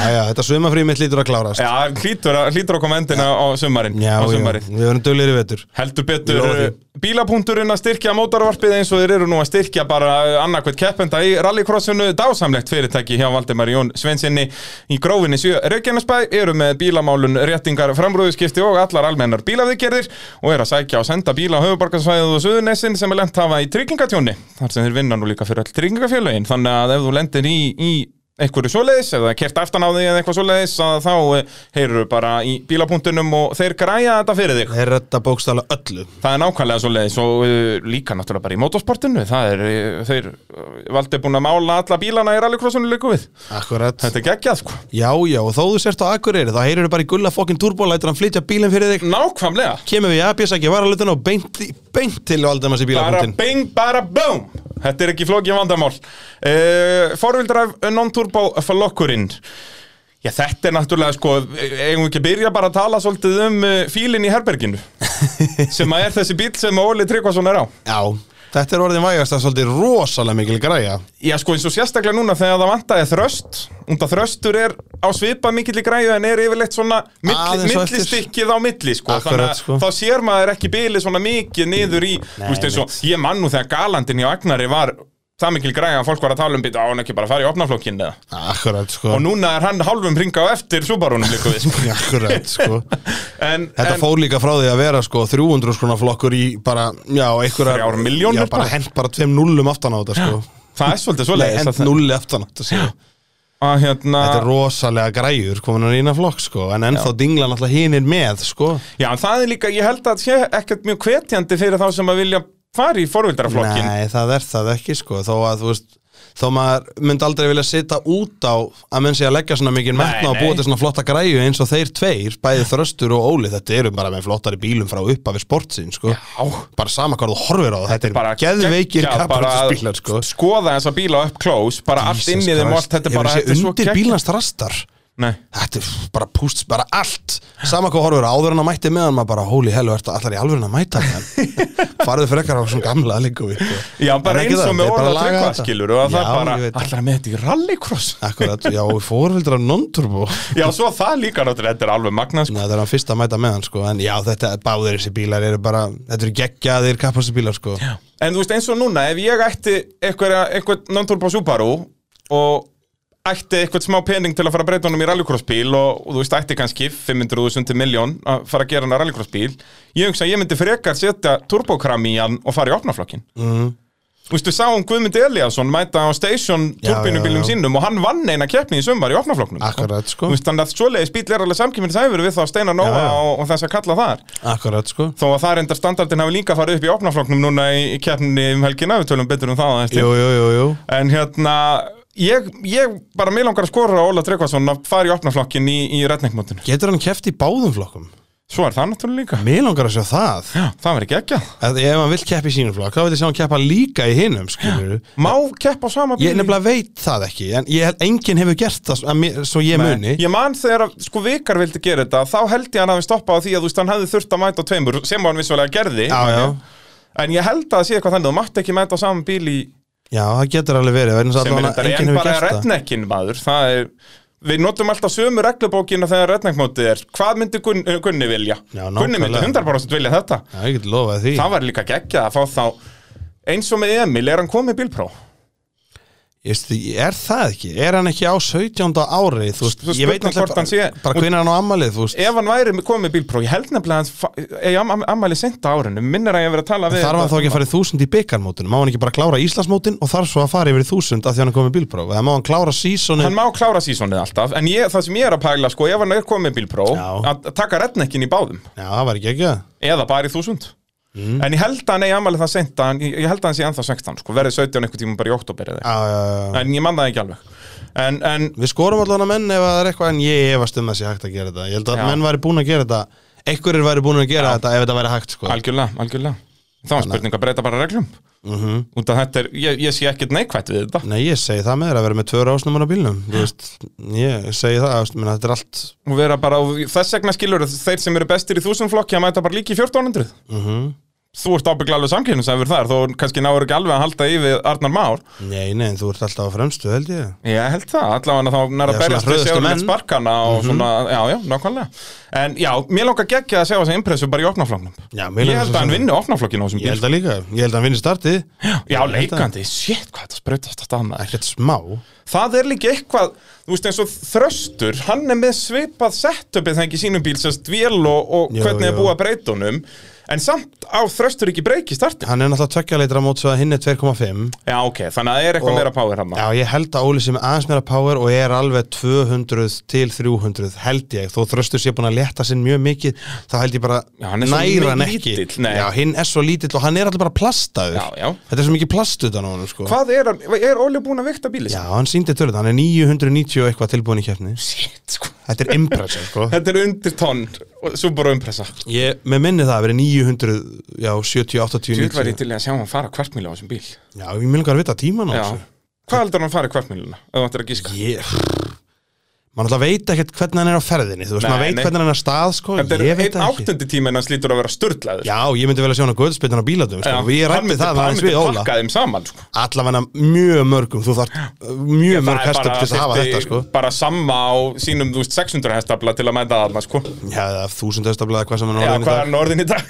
Speaker 2: Já, já, þetta sumafrið mitt lítur að klárast Já,
Speaker 1: Já, hlýtur að, hlýtur að koma endina á sumarinn,
Speaker 2: já,
Speaker 1: á
Speaker 2: við
Speaker 1: sumarið.
Speaker 2: verðum dölir í vetur
Speaker 1: Heldur
Speaker 2: Ég
Speaker 1: betur eh,
Speaker 2: lofa því.
Speaker 1: bílapunkturinn að styrkja mótarvarpið eins og þeir eru nú að styrkja bara annarkvæmt keppenda í rallycrossinu dásamlegt fyrirtæki hjá Valdemar Jón Svensinni í grófinni 7 Reykjanesbæ eru með bílamálun réttingar framrúðuskipti og allar almennar bílaviðgerðir og eru að sækja og senda bíla á höfubarkasvæðið og Suðunessin sem er lent hafa í tryggingatjóni þar sem þeir vinna nú líka fyrir öll tryggingafélögin þannig að ef þú lendir í, í einhverju svoleiðis, eða kert aftan á því eða eitthvað svoleiðis, að þá heyrur bara í bílapunktunum og þeir græja þetta fyrir þig.
Speaker 2: Er þetta bókstala öllu
Speaker 1: Það er nákvæmlega svoleiðis og uh, líka náttúrulega bara í motorsportinu, það er, uh, þeir uh, valdi búin að mála alla bílana í rallycrossinu líku við.
Speaker 2: Akkurat
Speaker 1: Þetta er geggjað, sko.
Speaker 2: Já, já, og þó þú sért á Akureyri Þá heyrur bara í gulla fokkin turbo Lætur hann flytja bílinn fyrir þig
Speaker 1: Nákvæmlega.
Speaker 2: Kemur við í ABS ekki varalutin og beint, í- beint til Valdemars í
Speaker 1: Bara
Speaker 2: bílapunktin
Speaker 1: bing, bara boom. Þetta er ekki flókið vandamál. Uh, Forvildræf non-turbo flokkurinn. Já, þetta er náttúrulega, sko, eigum við ekki að byrja bara að tala svolítið um uh, fílinn í herberginu, sem að er þessi bíl sem Óli Tryggvason er á.
Speaker 2: Já, þetta er orðin vægast að svolítið rosalega mikil græja
Speaker 1: Já, sko, eins og sérstaklega núna þegar það vantaði þröst Unda þröstur er á svipa mikill í græðu En er yfirleitt svona milli,
Speaker 2: Aðeins á eftir.
Speaker 1: millistykkið á milli sko.
Speaker 2: Akkurat,
Speaker 1: Þannig að
Speaker 2: sko.
Speaker 1: Þá sér maður ekki bilið svona mikið niður í Þú veist eins og ég man nú þegar galandin hjá Agnari var Það mikil græða að fólk var að tala um býta á hann ekki bara að fara í opnaflokkin eða
Speaker 2: Akkurat, sko
Speaker 1: Og núna er hann hálfum ringa á eftir Subarunum líka við sko.
Speaker 2: Akkurat, sko
Speaker 1: En,
Speaker 2: Þetta
Speaker 1: en
Speaker 2: fór líka frá því að vera sko 300 skrona flokkur í bara, já, einhverjar
Speaker 1: Þrjár milljónir
Speaker 2: Já, bara
Speaker 1: bara.
Speaker 2: hent bara tveim nullum aftan á þetta sko
Speaker 1: það er svolítið
Speaker 2: Nei,
Speaker 1: svoleiðis
Speaker 2: hent
Speaker 1: að-
Speaker 2: nulli aftan á þetta sko
Speaker 1: að hérna,
Speaker 2: Þetta er rosalega græjur komin að reyna flokk sko En ennþá dingla náttúrulega hinir með sko
Speaker 1: Já, en það er líka, ég held að sé ekkert mjög hvetjandi fyrir þá sem að vilja fara í forvildaraflokkin
Speaker 2: Nei, það er það ekki sko Þó að þú veist Þó maður myndi aldrei vilja sita út á að menn sé að leggja svona mikið metna og
Speaker 1: nei.
Speaker 2: búa til svona flotta græju eins og þeir tveir, bæði þröstur og óli, þetta eru bara með flottari bílum frá uppafi sportsinn, sko.
Speaker 1: Já.
Speaker 2: Bara sama hvað þú horfir á það, þetta er bara geðveikir
Speaker 1: geggjað,
Speaker 2: kapparöldspílar,
Speaker 1: bara
Speaker 2: sko.
Speaker 1: að Skoða þessa bíla up close Bara allt inn í þeim og allt Þetta er bara
Speaker 2: Ég
Speaker 1: þetta er
Speaker 2: sé
Speaker 1: svo
Speaker 2: undir
Speaker 1: geggjað.
Speaker 2: bílans rastar
Speaker 1: Nei.
Speaker 2: Þetta er bara púst, bara allt Sama hvað horfur á, áður en að mæti meðan maður bara Holy hell, ertu allar í alvöru en að mæta hann Farðu frekar á svona gamla sko. líku
Speaker 1: Já, bara eins og með orða tryggvaskilur Og að
Speaker 2: Já,
Speaker 1: það bara
Speaker 2: ég veit
Speaker 1: Allar með þetta í rallycross
Speaker 2: Akkurat, já, fórvildur af non-turbo Nei,
Speaker 1: Já, svo það líka náttúrulega Þetta er alveg magnað sko.
Speaker 2: það er hann fyrst að mæta með hann, sko En já, þetta, báðir þessi bílar eru bara Þetta eru geggjaðir kappastu bílar, sko Já,
Speaker 1: En þú veist eins og núna Ef ég ætti eitthvað, eitthvað non-turbo Subaru Og ætti eitthvað smá pening til að fara að breyta honum í rallycrossbíl og, og þú veist, ætti kannski 500.000 til miljón að fara að gera hann að rallycrossbíl ég hugsa að ég myndi frekar setja turbokram í hann og fara í opnaflokkin
Speaker 2: Mhm.
Speaker 1: Þú veist, við sáum Guðmund Eliasson mæta á station
Speaker 2: Já,
Speaker 1: turbinubílum
Speaker 2: já, já.
Speaker 1: sínum og hann vann eina keppni í sumar í opnafloknum.
Speaker 2: Akkurat, sko.
Speaker 1: Þú veist, þannig að svoleiðis bíl er alveg samkjömmin sæfur við þá Steinar Nóa
Speaker 2: Já, já.
Speaker 1: og, og þess að kalla þar.
Speaker 2: akkurat, sko
Speaker 1: Þó að það er enda standardin hafi líka farið upp í opnafloknum núna í, í keppni um helgina, við tölum betur um það að eftir.
Speaker 2: Jú, jú, jú, jú
Speaker 1: En hérna, ég, ég bara mér langar að skora á Óla Tryggvason að fara í opnaflokkin í, í redneckmótinu.
Speaker 2: Getur hann keft í báðum flokkum?
Speaker 1: Svo er það náttúrulega líka.
Speaker 2: Mér langar að sjá það
Speaker 1: Já, það verður ekki ekki.
Speaker 2: að ef hann vill keppa í sínum flokk þá vil ég sjá hann keppa líka í hinum skilur
Speaker 1: Má kepp á sama bíl.
Speaker 2: ég nefnilega veit það ekki en ég, held- enginn hefur gert það að mér, svo ég muni
Speaker 1: Ég man þegar að, sko vikar vildi gera þetta þá held ég hann hafi stoppað á því að þú veist hann hefði þurft að mæta á tveimur sem hann vissulega gerði
Speaker 2: já, já,
Speaker 1: en ég held að það sé eitthvað þannig þú mátt ekki mæta á saman bíl í
Speaker 2: já, það getur alveg verið vegna þess að
Speaker 1: sem er
Speaker 2: allavega
Speaker 1: þetta
Speaker 2: enginn
Speaker 1: en
Speaker 2: hefur
Speaker 1: bara
Speaker 2: gert það
Speaker 1: redneckin maður það er Við notum alltaf sömu reglubókina þegar redneckmótið er. Hvað myndi Gun, Gunni vilja?
Speaker 2: Já,
Speaker 1: Gunni myndi
Speaker 2: nákvæmlega.
Speaker 1: 100% vilja þetta.
Speaker 2: já, ég get lofað því
Speaker 1: Það var líka geggjað að fá þá eins og með Emil, er hann komið bílpró?
Speaker 2: Ég veist, er það ekki? Er hann ekki á 17. árið? Þú veist,
Speaker 1: Svo
Speaker 2: ég veit
Speaker 1: spurning hvort hann
Speaker 2: náttúrulega
Speaker 1: sé-
Speaker 2: bara hvernig hann á ammalið, þú veist
Speaker 1: Ef hann væri komið með bílpróf, ég held nefnilega að hann eigi am am ammæli sent á árinu, minnir að ég hef verið að tala við
Speaker 2: Þarf hann þá ekki að fara í 1000 í byggarmótinu? Má hann ekki bara klára Íslandsmótin og þarf svo að fara yfir í 1000 af því hann er komið bílpróf? Eða má hann klára
Speaker 1: Hann
Speaker 2: sísoni?
Speaker 1: má klára sísonið alltaf, en ég, það sem ég er að pæla, sko, ef hann er komið með bílpróf,
Speaker 2: Já.
Speaker 1: að taka rednekkin í báðum,
Speaker 2: Já, það var ekki ekki það.
Speaker 1: eða bara í þúsund. En ég held að hann eigi ammæli það sent, en ég, ég held að hann sé ennþá 16, sko, verði 17 einhvern tíma bara í oktober eða eitthvað.
Speaker 2: Já, já, já, já.
Speaker 1: En ég man það ekki alveg. En, en,
Speaker 2: Við skorum allan að menn ef það er eitthvað en ég efast um að sé hægt að gera þetta. Ég held að
Speaker 1: Já.
Speaker 2: menn væri búin að gera þetta. Einhverjir væri búin að gera þetta ef þetta væri hægt, sko.
Speaker 1: algjörlega, algjörlega. Þá er spurning að breyta bara reglum.
Speaker 2: Mhm.
Speaker 1: Út að þetta er, ég, ég sé ekkert neikvætt við þetta.
Speaker 2: Nei, ég segi það með þér að vera með tvö rásnumar á bílnum. Þú veist, ég segi það, þú veist, minna, þetta er allt...
Speaker 1: og vera bara, og þess vegna skilur þeir sem eru bestir í 1000 flokki að mæta bara líki í 1400
Speaker 2: Mhm.
Speaker 1: þú ert ábyggla alveg samkynnsæfur þar þó kannski náður ekki alveg að halda í við Arnar Már
Speaker 2: Nei, nei, en þú ert alltaf á fremstu, held ég.
Speaker 1: ég held það, allavega þá
Speaker 2: Já,
Speaker 1: næra
Speaker 2: svona
Speaker 1: berjast við
Speaker 2: hröðustu
Speaker 1: sjálfleitt
Speaker 2: menn. Mhm.
Speaker 1: sparkana og svona, já, já, nákvæmlega en já, mér langar geggja að sjá þess að impressu bara í opnaflokknum
Speaker 2: Já, mér
Speaker 1: ég
Speaker 2: langar
Speaker 1: held
Speaker 2: svo
Speaker 1: að hann
Speaker 2: sem-
Speaker 1: vinni opnaflokkinu á þessum
Speaker 2: Ég
Speaker 1: bíl
Speaker 2: held að líka, ég held að hann vinni startið
Speaker 1: já,
Speaker 2: Ég held að-
Speaker 1: leikandi, shit, hvað þetta sprautast að staðna
Speaker 2: Ekkert smá
Speaker 1: það er líka eitthvað, þú veist eins og þröstur, hann er með svipað setupið þannig í sínum bíl, sérst vél og, og
Speaker 2: Jú,
Speaker 1: hvernig er
Speaker 2: jú.
Speaker 1: búið að breyta honum en samt á þröstur ekki breyki startið.
Speaker 2: Hann er náttúrulega tveggja leitra mót svo að hinn er 2,5
Speaker 1: Já, ok, þannig að það er eitthvað
Speaker 2: Og-
Speaker 1: meira power hann.
Speaker 2: Já, ég held að Óli sem er aðeins meira power og er alveg 200 til 300 held ég, þó þröstur sé búin að leta sinn mjög mikið, þá held ég bara
Speaker 1: Já, hann er svo
Speaker 2: næra hann ekki
Speaker 1: lítill, nei.
Speaker 2: Já, hinn er svo lítill og hann er alltaf bara plastaður
Speaker 1: Já, já.
Speaker 2: Þetta er svo mikið plast utan á hann sko.
Speaker 1: Hvað er hann, er Óli búin að vikta bílið?
Speaker 2: Já, hann síndi tölur, hann er 990 og eitthvað tilbúin í keppni
Speaker 1: Shit, sko.
Speaker 2: Þetta er impressa, sko
Speaker 1: Þetta er undir tonn, og- Subaru Impressa.
Speaker 2: Ég, með minni það að vera 900, já, 70,
Speaker 1: Þú
Speaker 2: 80,
Speaker 1: væri
Speaker 2: 90
Speaker 1: til í að sjá hann fara kvartmílu á þessum bíl.
Speaker 2: Já, ég mjög langar að vita tíman á
Speaker 1: Já.
Speaker 2: þessu
Speaker 1: Hvað heldur hann fara kvartmíluna, ef þú ættir að gíska?
Speaker 2: ég Man alltaf veit ekkert hvernig hann er á ferðinni Þú veist,
Speaker 1: Nei,
Speaker 2: maður veit
Speaker 1: nei.
Speaker 2: hvernig hann er að stað sko.
Speaker 1: Þetta er
Speaker 2: Ég veit
Speaker 1: einn
Speaker 2: það ekki
Speaker 1: áttundi tíma en hann slítur að vera sturlaður.
Speaker 2: Já, ég myndi vel að sjá hann á guðspillan á bíladum sko. Við rættum það
Speaker 1: hann
Speaker 2: aðeins
Speaker 1: myndi
Speaker 2: við Óla
Speaker 1: pakka þeim saman, sko.
Speaker 2: Allavega mjög mörgum, þú þarft uh, mjög
Speaker 1: Það
Speaker 2: mörg
Speaker 1: er
Speaker 2: hestöfl
Speaker 1: bara-
Speaker 2: til þess að hafa
Speaker 1: þyrfti
Speaker 2: þetta sko.
Speaker 1: bara samma á sínum þú veist, 600 hestafla til að mæta þarna sko.
Speaker 2: Já, eða þúsund hestöfl eða hvað sem hann
Speaker 1: já,
Speaker 2: orðin
Speaker 1: hvað er
Speaker 2: í dag
Speaker 1: hann orðin í dag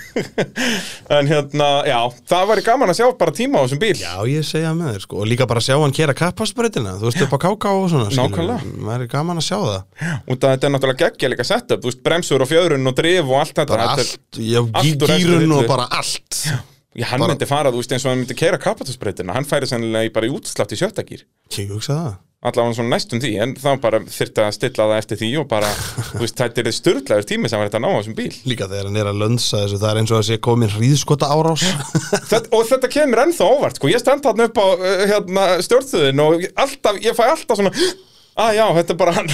Speaker 1: en hérna, já, það væri gaman að sjá bara tíma á þessum bíl
Speaker 2: Já, ég segja með þér sko Og líka bara sjá hann kera kappasbreytina Þú veist, upp á káká og svona skilur.
Speaker 1: Nákvæmlega.
Speaker 2: Maður er gaman að sjá það
Speaker 1: út að þetta er náttúrulega geggja líka setup þú veist, bremsur og fjöðrun og drif og allt þetta
Speaker 2: Bara
Speaker 1: Þetta er-
Speaker 2: allt, já,
Speaker 1: allt úr
Speaker 2: gýrun
Speaker 1: eftirlitlu.
Speaker 2: og bara allt
Speaker 1: já, hann
Speaker 2: bara-
Speaker 1: myndi fara, þú veist, eins og hann myndi keira kapatusbreytina hann færi sennilega í bara í útslátt í sjöttagýr
Speaker 2: Ég hugsa það
Speaker 1: allavega svona næstum því, en þá bara þyrfti að stilla það eftir því og bara, þú veist, þetta er styrlaður tími sem var þetta að ná á þessum bíl
Speaker 2: Líka þegar hann er að lönsa þessu, það er eins og að sé komin hríðskota árás
Speaker 1: Þetta, og þetta kemur ennþá óvart, sko, ég stend þarna upp á uh, hérna, stjórnstöðin og ég- alltaf, ég fæ alltaf svona, að já, þetta er bara hann.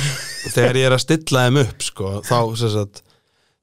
Speaker 2: Þegar ég er að stilla þeim upp, sko, þá, sem sagt,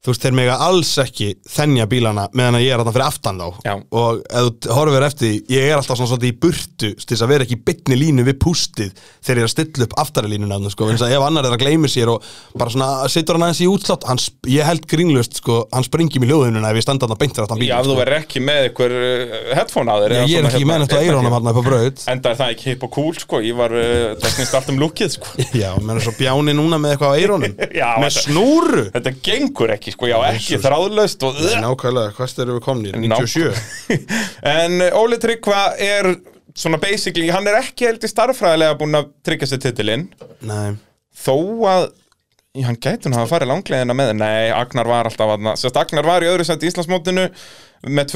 Speaker 2: þú veist, þeir mega alls ekki þennja bílana meðan að ég er þarna fyrir aftan þá
Speaker 1: Já.
Speaker 2: Og ef þú horfir eftir, því, ég er alltaf svona svolítið í burtu til þess að vera ekki í bytni línu við pústið þegar ég er að stilla upp aftari línuna þarna, sko Eins að ef annar er að gleymi sér og bara svona situr hann aðeins í útslátt, hann, sp- ég held grínlust, sko, hann springi mér hljóðununa ef ég standa þarna beint fyrir aftan
Speaker 1: Já,
Speaker 2: bílinn,
Speaker 1: ef þú
Speaker 2: sko.
Speaker 1: verður ekki með einhver uh, headphone á þér. eða
Speaker 2: Ég er
Speaker 1: svona,
Speaker 2: ekki með
Speaker 1: hérna,
Speaker 2: nættu að
Speaker 1: eyrnagjöf.
Speaker 2: eirónum hann upp á braut
Speaker 1: Enda er það ekki hip og cool, sko, ég var, uh, það snýst allt um lukkið, sko.
Speaker 2: Já, menn er svo bjáni núna með eitthvað á eirónum
Speaker 1: Já,
Speaker 2: Með
Speaker 1: þetta-
Speaker 2: snúru
Speaker 1: Þetta gengur ekki, sko, já, ekki
Speaker 2: Jesus.
Speaker 1: þráðlaust og...
Speaker 2: Nákvæmlega, hvað styrir við komnir? 97
Speaker 1: en uh, Óli Tryggva er svona basically, hann er ekki held í starffræðilega búin að tryggja sér titilinn.
Speaker 2: Nei,
Speaker 1: þó að já, hann gæti nú að fara langleðina með nei, Agnar var alltaf aðna sérst Agnar var í öðru sent í Íslandsmótinu með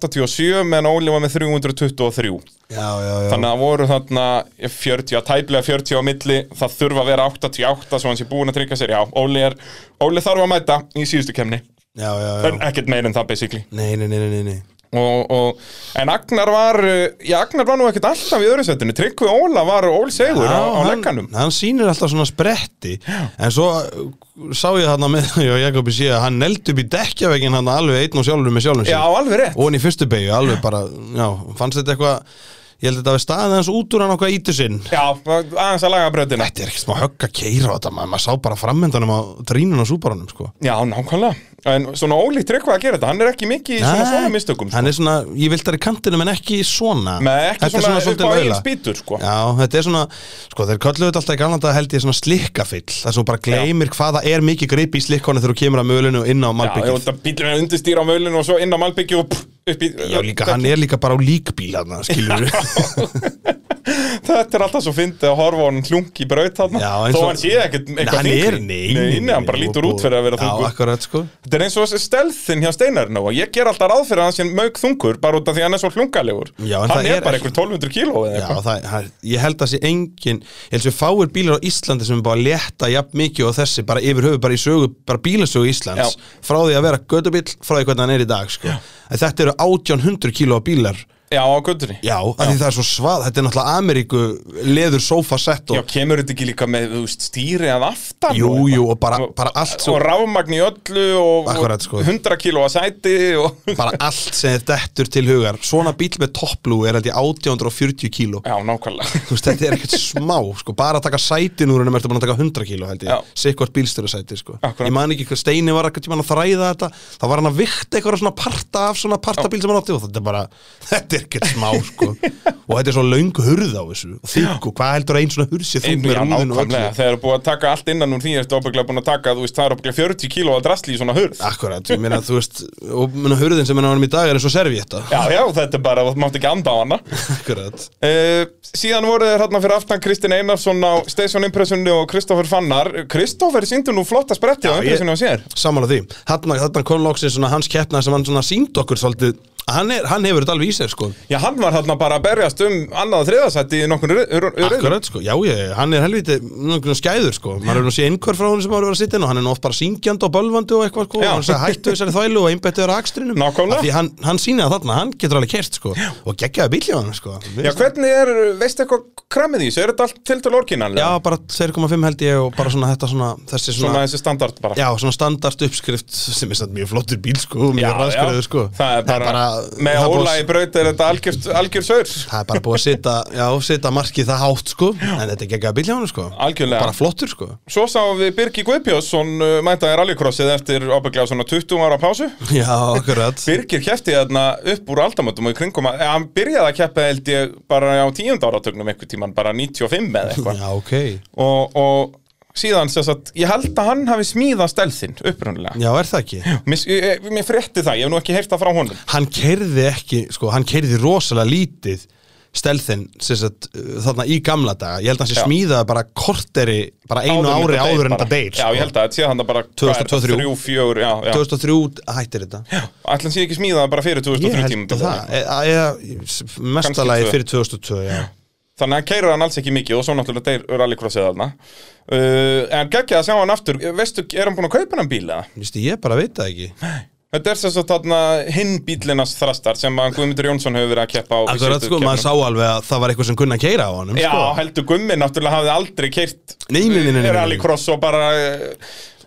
Speaker 1: 287 meðan Óli var með 323
Speaker 2: já, já, já
Speaker 1: þannig að voru þarna 40, að tæplega 40 á milli það þurfa að vera 88 svo hann sé búin að tryggja sér, já, Óli er Óli þarf að mæta í síðustu kemni
Speaker 2: Já, já, já
Speaker 1: en ekkert meir en það basically
Speaker 2: Nei, nei, nei, nei, nei, nei
Speaker 1: og, og, en Agnar var uh, já, Agnar var nú ekkert alltaf í öðru sentinu Tryggvi Óla var Óli Segur á, á
Speaker 2: hann,
Speaker 1: legganum
Speaker 2: hann sýnir alltaf svona spretti En svo uh, sá ég þarna með því og Jakobi sé að hann neldi upp í dekkjavegin hann alveg einn og sjálfur með sjálfum sér
Speaker 1: já, alveg rétt
Speaker 2: Og hann í fyrstu beigju, alveg bara, já, fannst þetta eitthvað Ég held að þetta hafi staðið hans út úr hann okkar ítu sinn
Speaker 1: já, aðeins að laga bröðina
Speaker 2: Þetta er ekkert smá högg að keira á þetta, maður, maður sá bara framöndanum á drínun á súbaranum, sko
Speaker 1: Já, nákvæmlega En svona ólíkt tryggvað að gera þetta, hann er ekki mikið í svona
Speaker 2: Nei,
Speaker 1: svona mistökum sko.
Speaker 2: Hann er svona, ég vilt það í kantinum en ekki svona
Speaker 1: Nei, ekki
Speaker 2: Þetta er
Speaker 1: svona, upp
Speaker 2: svolítið
Speaker 1: á
Speaker 2: maula.
Speaker 1: eigin spýtur, sko.
Speaker 2: Já, þetta er svona, sko þeir kölluðu þetta alltaf í galanda held ég svona slikkafill Það sem þú bara gleymir hvaða er mikið grip í slikkonu þegar þú kemur að mölinu og inn
Speaker 1: Já,
Speaker 2: á
Speaker 1: ég
Speaker 2: malbyggið
Speaker 1: veit að bílum er undirstýra á mölinu og svo inn á malbyggju og pff, upp í
Speaker 2: Já, líka, hann er líka bara á líkbíl hann, skilur
Speaker 1: Þetta er alltaf svo fyndið að horfa á hann hlung í braut þarna
Speaker 2: Já, eins
Speaker 1: Þó
Speaker 2: og-
Speaker 1: hann sé ekkert eitthvað
Speaker 2: Hann
Speaker 1: þyngri.
Speaker 2: er, nei
Speaker 1: nei, nei, hann bara
Speaker 2: nei,
Speaker 1: lítur
Speaker 2: og-
Speaker 1: út fyrir að vera
Speaker 2: Já,
Speaker 1: þungur
Speaker 2: akkurat, sko
Speaker 1: Þetta er eins og stelðin hjá Steinarinn og ég ger alltaf ráð fyrir að hann sé mög þungur bara út af því að hann er svo hlungalegur
Speaker 2: Já,
Speaker 1: Hann
Speaker 2: en það
Speaker 1: er,
Speaker 2: er
Speaker 1: bara
Speaker 2: ekki-
Speaker 1: einhver 1200 kíló eða
Speaker 2: Já,
Speaker 1: eitthvað
Speaker 2: það, það, ég held að sé engin ég held að fáir bílar á Íslandi sem er bara að létta jafn mikið og þessi, bara yfir höfu bara í sögu, bara bílasögu Íslands
Speaker 1: Já.
Speaker 2: frá því að vera gödubíl, frá því hvernig hann er í dag sko. En þetta eru 1800 kíló af bílar
Speaker 1: Já, á göttunni
Speaker 2: já, af því það er svo svað, þetta er náttúrulega Ameríku leður sofasett
Speaker 1: Já,
Speaker 2: og
Speaker 1: kemur þetta ekki líka með þú veist, stýri að aftan?
Speaker 2: jú,
Speaker 1: og eitthvað?
Speaker 2: jú, og bara, bara allt
Speaker 1: og
Speaker 2: svo,
Speaker 1: rafmagn í öllu og,
Speaker 2: Akkurat, sko.
Speaker 1: og 100 kíló að sæti og...
Speaker 2: bara allt sem er dettur til hugar, svona bíl með topplú er held ég 1840 kíló
Speaker 1: Já, nákvæmlega
Speaker 2: Þú veist, þetta er ekkert smá, sko, bara að taka sætin úr hennum ertu búin að taka 100 kíló, held
Speaker 1: Já.
Speaker 2: ég sikkvart bílstjóra sæti, sko
Speaker 1: Akkúrat.
Speaker 2: ég man ekki hvað steini var eitthvað tímann að þræða þetta þá var hann að vikta eitthvað svona parta af svona partabíl sem hann átti og þetta er bara þetta er ekkert smá, sko og þetta er svona löng hurð á þessu og þykk og hvað heldur að ein svona hurð sé þung
Speaker 1: Einu,
Speaker 2: með
Speaker 1: já,
Speaker 2: rúðinu og
Speaker 1: nákvæmlega, þegar
Speaker 2: öllu
Speaker 1: þú er búið að taka allt innan úr því ertu ábygglega búin að taka, þú veist, það er ábygglega 40 kíló að drasli í svona hurð
Speaker 2: Akkurat, ég meina, þú veist, og meina, hurðin sem hann á hann í dag er eins og servietta
Speaker 1: Já, já, þetta er bara, þú mátt ekki anda á hana
Speaker 2: Akkurat
Speaker 1: uh, Síðan voru þeir hérna fyrir aftan Kristinn Einarsson á Station Impressunni og Kristoffer Fannar Kristoffer síndi nú flotta spretti á
Speaker 2: Já, ég-
Speaker 1: Impressunni á sér
Speaker 2: Sammála því, þarna, þarna kom loksins svona hans keppna sem hann svona sínd okkur svolítið, hann, er, hann hefur þetta alveg í sér sko
Speaker 1: Já, hann var hérna bara að berjast um annað þriðasætti í nokkur röðum
Speaker 2: Akkurat, sko, já, ég, hann er helviti náttúrulega skæður, sko, maður er nú að sé einhver frá honum sem maður er að sitja inn og hann er nú oft bara syngjandi og bölvandi og eitthvað, sko,
Speaker 1: Já.
Speaker 2: og hann sagði hættu þessari þvælu og einbættu þér að akstrinum,
Speaker 1: Nákvæmlega.
Speaker 2: Af því hann, hann sýnir það þarna, hann getur alveg kert, sko, og geggjaði bíl hjá hann, sko,
Speaker 1: Já, hvernig er, veistu eitthvað krammið í þessu? Er þetta allt til til
Speaker 2: já,
Speaker 1: orginanlega?
Speaker 2: bara 2,5 held ég og bara svona þetta svona, þessi
Speaker 1: Svona
Speaker 2: svona,
Speaker 1: þessi standard bara
Speaker 2: já, svona standart uppskrift sem er samt mjög flottur bíl, sko, mjög raskriður, sko,
Speaker 1: Það er bara,
Speaker 2: það
Speaker 1: með
Speaker 2: er bara-
Speaker 1: óla í braut er þetta algjör, algjör saur
Speaker 2: Það er bara búið að setja, já, setja markið það hátt, sko, en þetta gekk að bílja hann, sko.
Speaker 1: Algjörlega.
Speaker 2: Bara flottur, sko.
Speaker 1: Svo sáum við Birgi Guðbjörnsson uh, mæta í rallycrossið eftir ábygglega svona 20 ára pásu
Speaker 2: Já, akkurat.
Speaker 1: Birgir kefti þarna upp úr aldamötum og í kringum að, eða hann byrjaði að keppa held ég bara á tíund áratögnum einhver tíman, bara 95 eða eitthvað
Speaker 2: Já, ok.
Speaker 1: og, og síðan sem sagt, ég held að hann hafi smíðað stelðinn upprunnilega
Speaker 2: Já, er það ekki?
Speaker 1: mér, ég- mér frétti það, ég hef nú ekki heyrt það frá honum
Speaker 2: Hann kerði ekki, sko, hann kerði rosalega lítið stelþinn, sem sagt, uh, þarna í gamla daga. Ég held að hann sé
Speaker 1: Já.
Speaker 2: smíðaði bara korteri, bara einu
Speaker 1: Áður en
Speaker 2: ári
Speaker 1: þetta deyr
Speaker 2: áður en
Speaker 1: bara.
Speaker 2: þetta deyr,
Speaker 1: Já,
Speaker 2: sko.
Speaker 1: ég held að þetta sé hann bara
Speaker 2: 2023.
Speaker 1: 2004, já, já
Speaker 2: 2003 hættir þetta.
Speaker 1: Ætlan sé ekki smíðað bara fyrir 2003
Speaker 2: Ég
Speaker 1: tímum
Speaker 2: held að það, e- að- eða mestalagi
Speaker 1: tvö.
Speaker 2: fyrir 2002, já.
Speaker 1: Þannig að hann keirir hann alls ekki mikið og svo náttúrulega deyr rallycrossið þarna uh, En geggjað að sjá hann aftur, veistu, er hann búin að kaupa hann bíl eða?
Speaker 2: Þú veist, ég bara veit það ekki.
Speaker 1: Þetta er sem sagt þarna hinn bílinas þrastar sem að Guðmundur Jónsson hefur verið að keppa á í
Speaker 2: Akkurat,
Speaker 1: síðustu
Speaker 2: sko, maður
Speaker 1: keppnum.
Speaker 2: sá alveg að það var eitthvað sem kunna að keira á honum,
Speaker 1: Já,
Speaker 2: sko.
Speaker 1: heldur Gummi náttúrulega hafði aldrei keirt
Speaker 2: Nei, nei, nei, nei, nei, nei.
Speaker 1: rallycross og bara eh,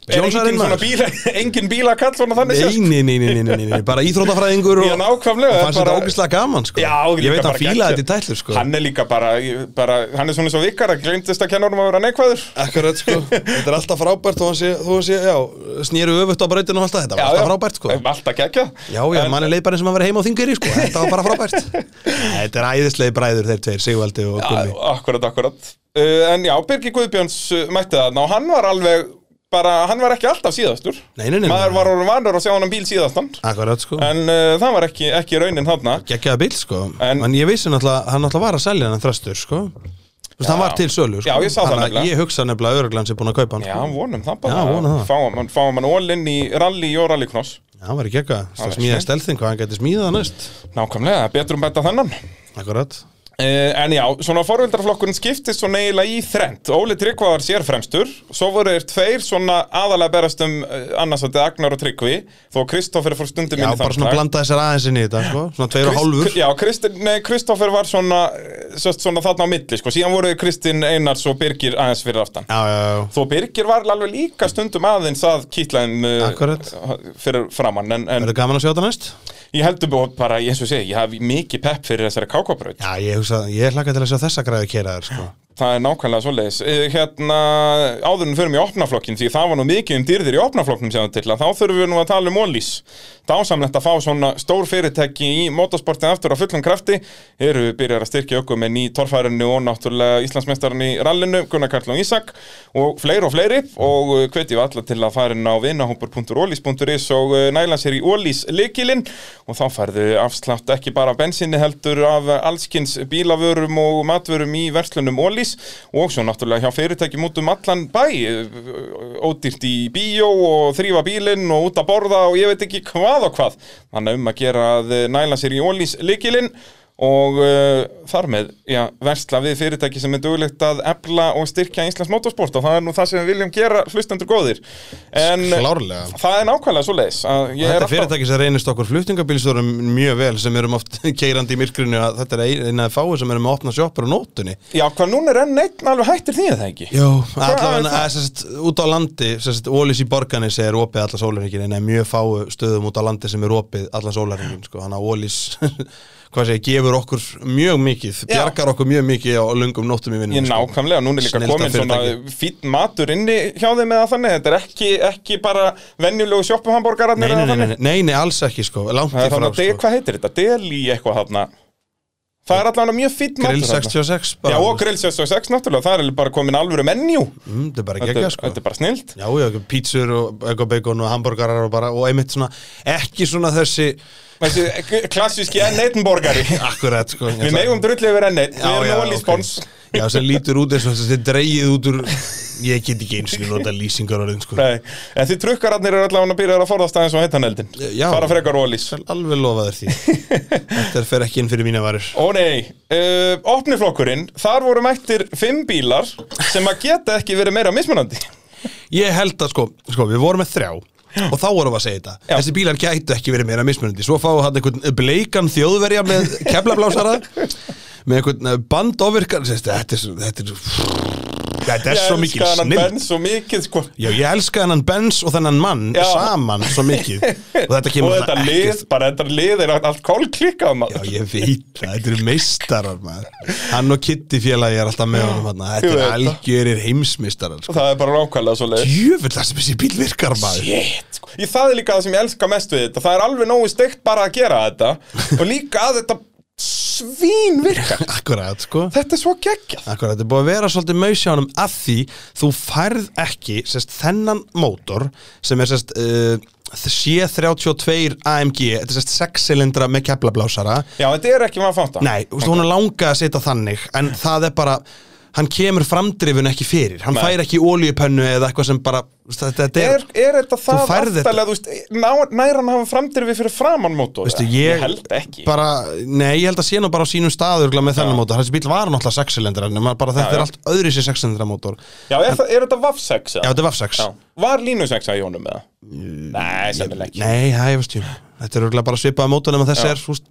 Speaker 1: Er
Speaker 2: Jóns
Speaker 1: engin
Speaker 2: Arinn
Speaker 1: svona
Speaker 2: maður.
Speaker 1: bíla, engin bílakall svona þannig séð,
Speaker 2: Nei,
Speaker 1: sko.
Speaker 2: nei, nei, nei, nei, nei, nei, nei, bara íþrótafræðingur og
Speaker 1: Já, nákvæmlega,
Speaker 2: og fannst þetta
Speaker 1: bara-
Speaker 2: ógislega gaman, sko.
Speaker 1: Já,
Speaker 2: ég
Speaker 1: líka
Speaker 2: veit
Speaker 1: bara
Speaker 2: að fíla
Speaker 1: geggjað.
Speaker 2: þetta í tællur, sko.
Speaker 1: Hann er líka bara, ég- bara hann er svona svo vikar að glemtist að kenna honum að vera neikvæður
Speaker 2: Akkurat sko, þetta er alltaf frábært og hann sé, þú sé, já, snýru öfutt á brautinu og alltaf þetta, var alltaf frábært sko
Speaker 1: Alltaf geggjað
Speaker 2: Já, já,
Speaker 1: En-
Speaker 2: manni leið bara eins og maður verið heima á þingiri sko, þetta var bara frábært Nei, Þetta er æðislegi bræður þeir tveir, Sigvaldi og Gummi
Speaker 1: Já, Akkurat, akkurat uh, En já, Birgir Guðbjörns uh, mætti þarna og hann var alveg bara, hann var ekki alltaf síðastur
Speaker 2: Nei, nei, nei, nei.
Speaker 1: Maður var orðin vanur að sjá hann um bíl síðastan
Speaker 2: Akkurat sko,
Speaker 1: En uh, það var ekki, ekki raunin þarna
Speaker 2: geggjaða bíl sko,
Speaker 1: En-
Speaker 2: en, ég vissi náttúrulega, hann náttúrulega var að selja hann þröstur sko Þú veist, hann var til sölu sko
Speaker 1: Já, ég sá það
Speaker 2: Þannig að
Speaker 1: nefnilega.
Speaker 2: Ég hugsa nefnilega öruglan sem búin að kaupa hann
Speaker 1: Já,
Speaker 2: sko.
Speaker 1: vonum það bara
Speaker 2: Já, vonum það.
Speaker 1: Fáum hann, fáum hann ólinn í rally og rallycross
Speaker 2: Já, hann var í gegga,
Speaker 1: veist
Speaker 2: smíða
Speaker 1: ég.
Speaker 2: stelþing, hvað hann geti smíðað næst
Speaker 1: Nákvæmlega, betur um betta þennan
Speaker 2: Akkurat
Speaker 1: Uh, en já, svona forvildarflokkurinn skiptist svona eiginlega í þrend Óli Tryggvaðar sér fremstur Svo voru þeir tveir svona aðalega berast um uh, annarsættið Agnar og Tryggvi Þó Kristoffer fór stundum
Speaker 2: Já,
Speaker 1: inn í
Speaker 2: bara
Speaker 1: þann
Speaker 2: svona
Speaker 1: slag.
Speaker 2: blanda þessar aðeins inn í þetta sko, svona tveir og
Speaker 1: Krist-
Speaker 2: hálfur
Speaker 1: Já, Kristin, nei, Kristoffer var svona, eh, sest, svona þarna á milli, sko, síðan voru Kristinn Einars og Birgir aðeins fyrir aftan
Speaker 2: Já, já, já
Speaker 1: Þó Birgir var alveg líka stundum aðeins að kýtlaðin
Speaker 2: Akkurat.
Speaker 1: fyrir framann en, en
Speaker 2: Verður gaman að sjá þetta næst?
Speaker 1: ég heldur bú- bara, eins og ég segi, ég haf mikið pepp fyrir þessari kákabraut
Speaker 2: Já, ég hugsa, ég hlakka til að sjá þessa græðu keraðar, sko
Speaker 1: Það er nákvæmlega svoleiðis. Eh, Hérna, áðurinn förum í opnaflokkin, því það var nú mikið um dýrðir í opnaflokknum sem það til að þá þurfum við nú að tala um ólís. Dásamlegt að fá svona stór fyrirtæki í motorsportin aftur á fullum krafti. Eru byrjar að styrkja okkur með ný torfærinu og náttúrulega Íslandsmeistarinn í rallinu, Gunnar Karl og Ísak og fleiri og fleiri og eh, hvetjum alla til að fara inn á vinahópur.ólís.is og eh, næla sér í ólís likilinn og þá færðu afslátt ekki bara af bensinni heldur af allskins bílavörum og matvörum í verslunum Ólís og svo náttúrulega hjá fyrirtækjum út um allan bæ eh, ódýrt í bíó og þrýfa bílinn og út að borða og ég veit ekki hvað og hvað þannig að um að gera að næla sér í Ólís likilinn og uh, þar með já, versla við fyrirtæki sem er duglegt að efla og styrkja Íslands motorsport og það er nú það sem við viljum gera hlustendur góðir en eh,
Speaker 2: Klárlega.
Speaker 1: það er nákvæmlega svo leiðis
Speaker 2: Þetta er fyrirtæki sem reynist okkur flutningabílstjórum mjög vel sem erum oft keirandi í myrkrinu að þetta er eina af fáið sem erum að opna sjoppar á nótunni
Speaker 1: Já, hvað núna er enn einn alveg hættir því er það ekki?
Speaker 2: Jó,
Speaker 1: er
Speaker 2: allavega,
Speaker 1: það?
Speaker 2: að, sérst, út á landi sérst, Ólís í borganis er opið allan sólarhingin en er mjög fáu stöðum út á landi sem er opið allan sólarhingin sko. þannig að Ólís hvað segja, gefur okkur mjög mikið
Speaker 1: Já.
Speaker 2: bjargar okkur mjög mikið á lungum nóttum í sko. vinnum
Speaker 1: Ég nákvæmlega, núna er líka
Speaker 2: Snillsta
Speaker 1: komin svona fýtt matur inni hjá þeim eða þannig, þetta er ekki, ekki bara venjulegu sjoppuhamborgararnir
Speaker 2: nei, nei,
Speaker 1: eða
Speaker 2: nei,
Speaker 1: þannig.
Speaker 2: nei, nei, nei, alls ekki sko, langt
Speaker 1: Það
Speaker 2: í
Speaker 1: er þannig
Speaker 2: frá
Speaker 1: að, de-
Speaker 2: sko.
Speaker 1: hvað heitir þetta? Deli eitthvað þarna. Það er allavega mjög fýtt matur
Speaker 2: grill 66
Speaker 1: Já,
Speaker 2: bara,
Speaker 1: og grill 66 náttúrulega, það er alveg bara komin alvöru menjú.
Speaker 2: mm, það er bara
Speaker 1: Þetta,
Speaker 2: gegja
Speaker 1: er-
Speaker 2: sko
Speaker 1: þetta er bara snilt.
Speaker 2: Já, já, pítsur og eitthvað bacon og hambúrgarar og bara, og einmitt svona, ekki svona þessi,
Speaker 1: Þessi klassíski enn einn borgari.
Speaker 2: akkurat, sko.
Speaker 1: Við megum drullið yfir enn einn, við erum
Speaker 2: ok.
Speaker 1: ólið spons.
Speaker 2: Já, sem lítur út eins og þessi dreigið út úr, ég get ekki eins og nota lýsingar orðin, sko.
Speaker 1: Nei, en því trukkararnir eru allavega að byrja að forðast aðeins og heitan eldin.
Speaker 2: Já.
Speaker 1: Fara frekar ólís.
Speaker 2: Alveg lofaður því. Þetta fer ekki inn fyrir mína varur.
Speaker 1: Ó nei, uh, opniflokkurinn, þar voru mættir fimm bílar sem að geta ekki verið meira mismunandi.
Speaker 2: Ég held að, sko, sko, við vorum með þrjá og þá vorum við að segja þetta.
Speaker 1: Já.
Speaker 2: Þessi bílar gætu ekki verið meira mismunandi. Svo fáum við hann einhvern eh, bleikan þjóðverja með keflablásara, með einhvern bandofirkar, þetta er, svo- þetta er, þetta er svo mikil
Speaker 1: snill.
Speaker 2: snill.
Speaker 1: Benn svo mikið, sko.
Speaker 2: Já, ég elska hennan Benz og þennan mann
Speaker 1: Já.
Speaker 2: saman svo mikið og þetta
Speaker 1: Og
Speaker 2: kemur
Speaker 1: þetta
Speaker 2: náttúrulega
Speaker 1: lið, bara þetta lið er allt kólklikkað
Speaker 2: Já,
Speaker 1: maður.
Speaker 2: ég veit það, þetta eru meistarar maður Hann og Kitty félagi er alltaf með honum hann Þetta
Speaker 1: Ég
Speaker 2: eru
Speaker 1: veit það.
Speaker 2: algjörir heimsmeistarar sko.
Speaker 1: Það er bara nákvæmlega svo leið.
Speaker 2: Jöfull það sem þessi bíl virkar maður
Speaker 1: Shit, sko. Ég, það er líka það sem ég elska mest við þetta. Það er alveg nógu steikt bara að gera þetta. Og líka að þetta svín virka.
Speaker 2: Akkurat, sko
Speaker 1: Þetta er svo geggjað.
Speaker 2: Akkurat, þetta er búið að vera svolítið mausjánum að því þú færð ekki sest, þennan mótor sem er sest, uh, C32 AMG þetta er sest 6 silindra með keflablásara
Speaker 1: Já, þetta er ekki maður að fanta.
Speaker 2: Nei, þú veist, hún er langað að setja þannig en það er bara, hann kemur framdrifun ekki fyrir, hann
Speaker 1: Nei.
Speaker 2: fær ekki ólíupönnu eða eitthvað sem bara, þú veist, þetta, þetta
Speaker 1: Er,
Speaker 2: er,
Speaker 1: er þetta það
Speaker 2: færð þetta.
Speaker 1: aftalega, þú veist, ná- nær hann hafa framdrifið fyrir framann mótor?
Speaker 2: Veistu,
Speaker 1: eða?
Speaker 2: ég-
Speaker 1: ég held ekki.
Speaker 2: bara, nei, ég held að sé nú bara á sínum staðurgla með þennan mótor, þessi bíl var náttúrulega sexilendra, en bara þetta
Speaker 1: Já, já.
Speaker 2: er allt öðri sér sexilendra mótor, já,
Speaker 1: Já, er, það, er þetta vaff 6 eða?
Speaker 2: þetta er Vafsax
Speaker 1: Var Linus 6 í honum eða? Nei, sennilega ekki
Speaker 2: Nei, það ég veist ég, þetta er örgulega bara svipaða mótor nema þessi
Speaker 1: Já.
Speaker 2: er, þú veist,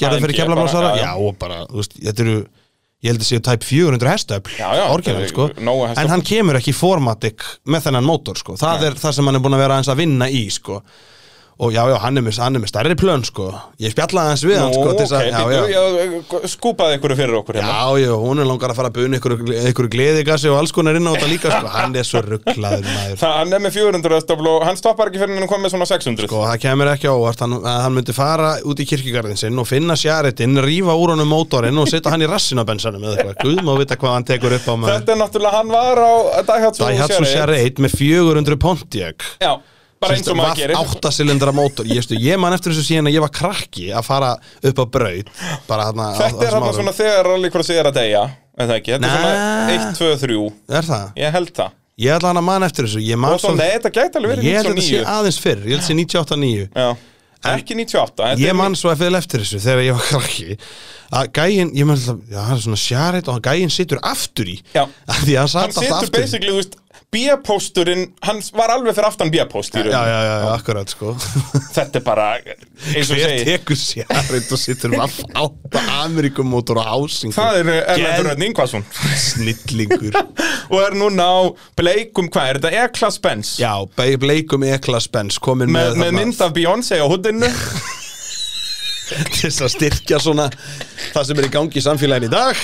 Speaker 2: gerða
Speaker 1: AMG
Speaker 2: fyrir keflablásara
Speaker 1: bara, já,
Speaker 2: já,
Speaker 1: já.
Speaker 2: og bara, þú veist, þetta eru ég held að séu tæp 400 hestöfl
Speaker 1: Já, já,
Speaker 2: orginal,
Speaker 1: þetta er
Speaker 2: sko.
Speaker 1: nógu hestaafl.
Speaker 2: en hann kemur ekki í formatik með þennan mótor sko. það er það sem hann er búin að vera aðeins að vinna í sko. og já, já, hann er með, hann er með stærri plön sko. ég spjalla aðeins við
Speaker 1: Nú,
Speaker 2: hann sko,
Speaker 1: ok,
Speaker 2: til þess að-
Speaker 1: býttu,
Speaker 2: já, já.
Speaker 1: ég skúpaði ykkur fyrir okkur hérna
Speaker 2: Já, já, hún er langar að fara að buna ykkur, ykkur gleðigasi og alls konar inn á þetta líka sko. hann er svo rugglaður maður
Speaker 1: Það hann er með 400 stofl og hann stoppar ekki fyrir hann kom með svona 600
Speaker 2: og Sko, það kemur ekki á óvart hann, að hann myndi fara út í kirkigarðin sinn og finna sjaritinn, rífa úr honum mótorinn og setja hann í rassin á bensanum eða eitthvað, guð má vita hvað hann tekur upp á maður
Speaker 1: Þetta er náttúrulega, hann var á Daihatsu
Speaker 2: Daihatsu Charade með 400 Pontiac
Speaker 1: Já, bara eins og maður gerir
Speaker 2: áttasylindra mótor ég, stu, ég man eftir þessu síðan að ég var krakki að fara upp á braut bara þarna á- á
Speaker 1: Þetta er
Speaker 2: þessum
Speaker 1: hann
Speaker 2: árum.
Speaker 1: svona þegar rallycross er að deyja Er það ekki? Þetta er svona
Speaker 2: Nei.
Speaker 1: 1, 2, 3
Speaker 2: er það?
Speaker 1: Ég held það
Speaker 2: ég ætla hann að man eftir þessu ég, man
Speaker 1: Og svo, nei, þetta gæti alveg
Speaker 2: ég
Speaker 1: verið
Speaker 2: held að þetta sé
Speaker 1: 99
Speaker 2: aðeins fyrr ég held að sé 98-9
Speaker 1: Já. Ekki 98 þetta er
Speaker 2: ég man svo eftir eftir þessu þegar ég var krakki að gæinn, ég man alltaf, já, það er svona sjarit og gæinn situr aftur í
Speaker 1: Já.
Speaker 2: Af því að
Speaker 1: hann
Speaker 2: hann satt alltaf
Speaker 1: situr
Speaker 2: aftur í.
Speaker 1: basically, þú veist, B-pósturinn hann var alveg fyrir aftan B-póst í
Speaker 2: já, já,
Speaker 1: raun
Speaker 2: já, já, akkurat sko
Speaker 1: þetta er bara, eins og
Speaker 2: hver
Speaker 1: segi
Speaker 2: tekur sjarit og situr um aft- átta Amerikumótor og hásing
Speaker 1: það er
Speaker 2: Geð-
Speaker 1: Erlendur Rönn Ingvarsson
Speaker 2: snillingur
Speaker 1: og er núna á bleikum, hvað er þetta, E-Class Benz
Speaker 2: já, be- bleikum ekla spens komin
Speaker 1: með,
Speaker 2: með,
Speaker 1: með mynd af Beyoncé á húdinu
Speaker 2: til þess að styrkja svona það sem er í gangi í samfélaginu í dag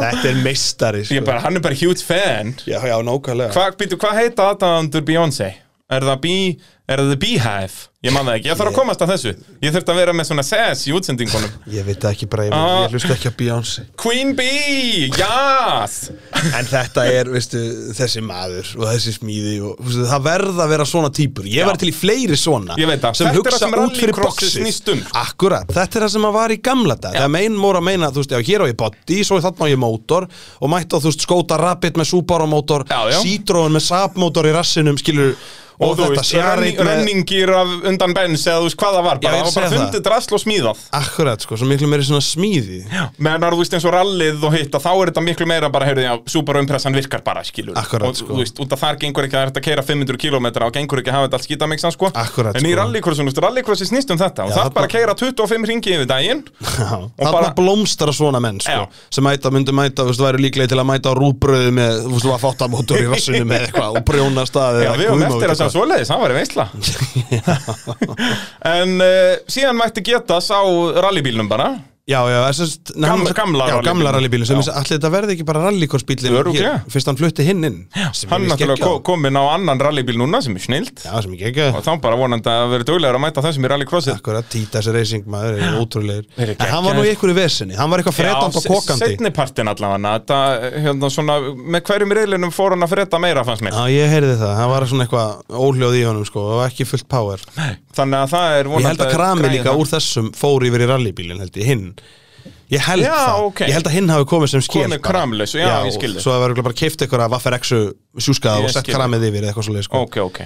Speaker 2: Þetta er meistari
Speaker 1: Ah.
Speaker 2: sko.
Speaker 1: Ég er bara, hann er bara huge fan
Speaker 2: Já, já, nákvæmlega
Speaker 1: Hva, býtu, Hvað heita aðdáðandur Beyoncé? Er það, bee, er það The Beehive? Ég man það ekki, ég þarf að komast að þessu Ég þurft að vera með svona sess í útsendingunum
Speaker 2: Ég veit það ekki bara, ég,
Speaker 1: Ah.
Speaker 2: ég hlusta ekki að Beyoncé
Speaker 1: Queen Bee, jás
Speaker 2: En þetta er, veistu, þessi maður og þessi smíði og veistu, það verða að vera svona típur Ég var til í fleiri svona
Speaker 1: Ég veit það. Þetta
Speaker 2: sem
Speaker 1: er það
Speaker 2: hugsa
Speaker 1: sem
Speaker 2: út fyrir
Speaker 1: rallycrossið
Speaker 2: boxið
Speaker 1: snýst um, sko.
Speaker 2: Akkurat, þetta er það sem að var í gamla dag Það er mein mór að meina, þú veist, já, hér á ég body svo þarna á ég mótor og mætti á, þú veist, skóta rapid með Subaru mótor
Speaker 1: Já, já.
Speaker 2: Citroen með Saab mótor í rassinum, skilur
Speaker 1: Og, þú veist,
Speaker 2: Charade
Speaker 1: running, runningir af undan bens eða þú veist hvað það var
Speaker 2: Já,
Speaker 1: bara, það
Speaker 2: ég
Speaker 1: var bara
Speaker 2: segi það.
Speaker 1: fundið drasl og smíðað
Speaker 2: Akkurat, sko, svo miklu meiri svona smíði
Speaker 1: meðan þú veist eins og rallið og hitt að þá er þetta miklu meira bara, heyrðu, já, superumpressan virkar bara, skilur
Speaker 2: Akkurat,
Speaker 1: og,
Speaker 2: sko.
Speaker 1: þú veist, út af þar gengur ekki að þetta keira 500 km og gengur ekki að hafa þetta allt skítamiksan, sko
Speaker 2: Akkurat,
Speaker 1: en í
Speaker 2: sko.
Speaker 1: rallycrossun, þú veist, rallycrossi snýst um þetta og
Speaker 2: Já,
Speaker 1: það er bara að
Speaker 2: þarna-
Speaker 1: keira 25 ringi yfir daginn
Speaker 2: Já,
Speaker 1: og
Speaker 2: þarna
Speaker 1: bara,
Speaker 2: blómstara svona menn sko,
Speaker 1: Já.
Speaker 2: sem mæta, myndu mæta, þú veist, væri líklega til að mæta á rúbröðu með, þú veist, var fátamótur í rassinu með eitthvað og brjóna staði
Speaker 1: já, við höfum eftir að sjá svoleiðis, það var veistla en uh, síðan mætti geta sá rallybílnum bara
Speaker 2: Já, já, þessast
Speaker 1: Gamla- gamla
Speaker 2: Já, gamla
Speaker 1: rallybílnum.
Speaker 2: rallybílum sem
Speaker 1: Já.
Speaker 2: þess- allir þetta verði ekki bara rallykorsbílinn
Speaker 1: Örugglega.
Speaker 2: Fyrst hann flutti hinn inn sem
Speaker 1: hann
Speaker 2: ég veist
Speaker 1: náttúrulega
Speaker 2: geggjað.
Speaker 1: ko- kominn á annan rallybíl núna sem er snild
Speaker 2: Já, sem ég gekkja
Speaker 1: og þá bara vonandi að vera duglegur að mæta þessum í rallycrossið
Speaker 2: Akkurat, Títas Racing maður er ótrúlegur
Speaker 1: Þeir eru
Speaker 2: En hann var nú í einhverju vesinni, hann var eitthvað fretan og kokandi
Speaker 1: setnipartin allavega þetta, hérna, svona, með hverjum reylinum fór hann að freda meira fannst mér
Speaker 2: Já, ég heyrði það, hann var svona eitthvað óljóð í honum sko og ekki fullt power
Speaker 1: þannig að það er
Speaker 2: Ég held að krami
Speaker 1: græja
Speaker 2: líka
Speaker 1: það.
Speaker 2: úr þessum fór yfir í rallybílinn held ég, hinn Ég held
Speaker 1: Já,
Speaker 2: það,
Speaker 1: ok.
Speaker 2: ég held að hinn hafi komið sem skil
Speaker 1: Komið kramlaus, já, ég skil þig.
Speaker 2: Svo það var örugglega bara keift eitthvað að Vaffer X-u sjúskaða
Speaker 1: Ég
Speaker 2: og sett
Speaker 1: skil þig.
Speaker 2: kramið yfir eða eitthvað svo sko.
Speaker 1: ok, ok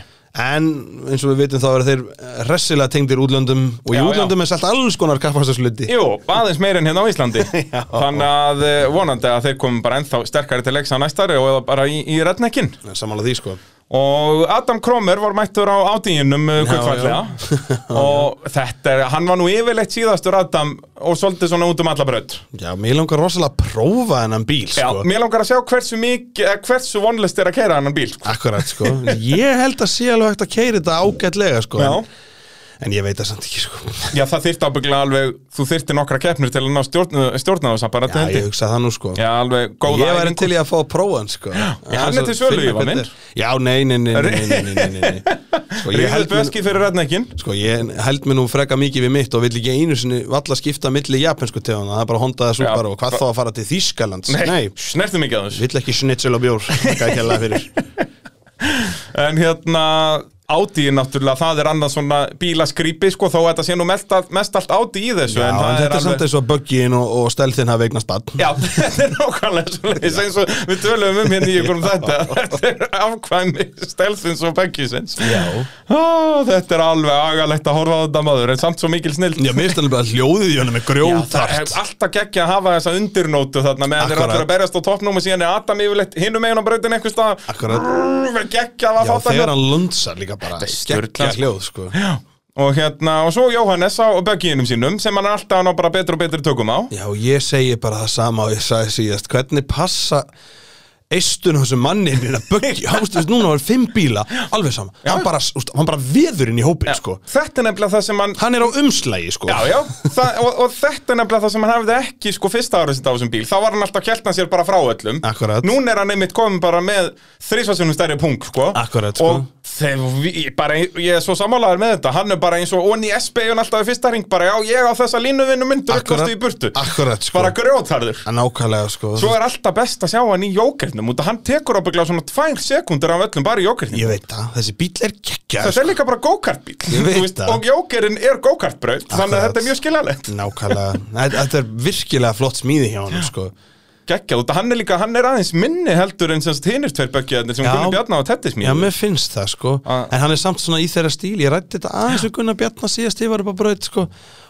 Speaker 2: En eins og við vitum þá eru þeir eh, hressilega tengdir útlöndum og í
Speaker 1: Já, já.
Speaker 2: útlöndum er selt alls konar kappastarsluti
Speaker 1: Jú, aðeins meira en hérna á Íslandi Þannig að eh, vonandi að þeir komum bara ennþá sterkari til leiks á næstari og eða bara í, í rednekkin
Speaker 2: Samanlega því sko
Speaker 1: Og Adam Kromer var mættur á átíinum kvöldfallega Og þetta er, hann var nú yfirleitt síðastur Adam og svolítið svona út um alla braut
Speaker 2: Já, mér langar rosalega að prófa hennan bíl
Speaker 1: Já,
Speaker 2: sko.
Speaker 1: mér langar að sjá hversu mikið, eh, hversu vonlist er að keira hennan bíl sko.
Speaker 2: Akkurat sko Ég held að sé alveg hægt að keiri þetta ágætlega sko
Speaker 1: Já.
Speaker 2: en, en ég veit það samt ekki sko
Speaker 1: Já, það þyrfti ábygglega alveg, þú þyrfti nokkra keppnir til að ná eh, stjórna, stjórna þess að bara
Speaker 2: Já, ég
Speaker 1: til
Speaker 2: hugsa það nú sko
Speaker 1: Já, alveg góða
Speaker 2: Ég væri
Speaker 1: æfingu.
Speaker 2: til í að fá að prófa hann sko
Speaker 1: Já, hann er til sölu, Ívar minn.
Speaker 2: Já, nei, nei, nei, nei, nei, nei, nei, nei, nei. Sko, ég
Speaker 1: Ríður
Speaker 2: held mér-
Speaker 1: Böski fyrir rednekkin
Speaker 2: Sko, ég held mér nú freka mikið við mitt og vill ekki einu sinni valla skipta milli japensku teguna, það er bara hondaði súpar og hvað þá að fara til Þýskalands Nei,
Speaker 1: snertum ekki að þessu
Speaker 2: vill ekki snitsel og bjór Þakka ekki alveg fyrir
Speaker 1: En hérna, Audi náttúrulega, það er annað svona bílaskrýpi sko, þó að þetta sé nú mest, allt- mest allt Audi í þessu
Speaker 2: Já, en
Speaker 1: það
Speaker 2: þetta er samt eins og böggin og, og stelðin hafi eignast badn
Speaker 1: Já, þetta er nákvæmlega svoleiðis eins og við tölum um hérna í ykkur um þetta Þetta er afkvæmi stelðins og bekkisins
Speaker 2: Já.
Speaker 1: Ó, Þetta er alveg agalegt að horfa á þetta maður en samt svo mikil snill
Speaker 2: Já, mér stannir bara hljóðið í honum
Speaker 1: Já,
Speaker 2: er
Speaker 1: það er
Speaker 2: grjótart
Speaker 1: alltaf geggja að hafa þessa undirnótu þarna meðan þeir eru
Speaker 2: Akkurat.
Speaker 1: allir að berjast á toppnum og síðan er Adam yfirleitt hinum megin á brautin einhvers stað
Speaker 2: Akkurat
Speaker 1: geggja að fá
Speaker 2: Já, þegar
Speaker 1: þetta hérna.
Speaker 2: hann lundsar líka bara
Speaker 1: er
Speaker 2: Skekkja
Speaker 1: sturlað, sko.
Speaker 2: hljóð, sko
Speaker 1: og hérna, og svo Jóhannes á bögginum sínum sem hann er alltaf að ná bara betur og betur tökum á
Speaker 2: Já, ég segi bara það sama og ég sagði síðast Hvernig passa eistun á þessum manni inn í að böggi Hástu, veist, núna var fimm bíla, alveg sama hann bara, úst, hann bara veður inn í hópin, sko
Speaker 1: Þetta er nefnilega það sem hann
Speaker 2: Hann er á umslægi, sko
Speaker 1: Já, já, það, og, og þetta er nefnilega það sem hann hafði ekki sko fyrsta árið sitt á þessum bíl Þá var hann alltaf að kjeltna sér bara frá öllum
Speaker 2: Akkurat.
Speaker 1: Núna er hann einmitt komin bara með þrísvarsunum stærri punk, sko
Speaker 2: Akkurat, sko.
Speaker 1: Og þeir, ég, bara, ég er svo sammálaður með þetta Hann er bara eins og onni SB-un alltaf í fyrsta ring Bara, já, ég á þessa línuvinnu myndu
Speaker 2: Akkurat.
Speaker 1: öllastu í burtu
Speaker 2: Akkurat, sko.
Speaker 1: Bara grjótharður
Speaker 2: En Nákvæmlega, sko
Speaker 1: Svo er alltaf best að sjá hann í jókertnum Út að hann tekur ábygglega svona tvær sekundur af öllum bara í jókertnum
Speaker 2: Ég veit það, þessi bíl er gekkja
Speaker 1: Þetta er líka bara go-kartbíl
Speaker 2: Ég veit
Speaker 1: þú veist,
Speaker 2: það.
Speaker 1: Og jókerinn er go-kartbraut Þannig að
Speaker 2: Akkurat.
Speaker 1: þetta er mjög skiljanlegt
Speaker 2: sko. Nákvæmlega, Þetta- þetta er virkilega flott smíði hjá hann, sko
Speaker 1: geggjað út að hann er líka, hann er aðeins minni heldur en semst hinnir tveir böggjaðnir sem
Speaker 2: Já.
Speaker 1: Gunni Bjarná og Teddi
Speaker 2: Já,
Speaker 1: smíði
Speaker 2: mér finnst það sko
Speaker 1: A-
Speaker 2: En hann er samt svona í þeirra stíl Ég rætti þetta aðeins við Gunnar Bjarnar síðast Ég var upp á braut sko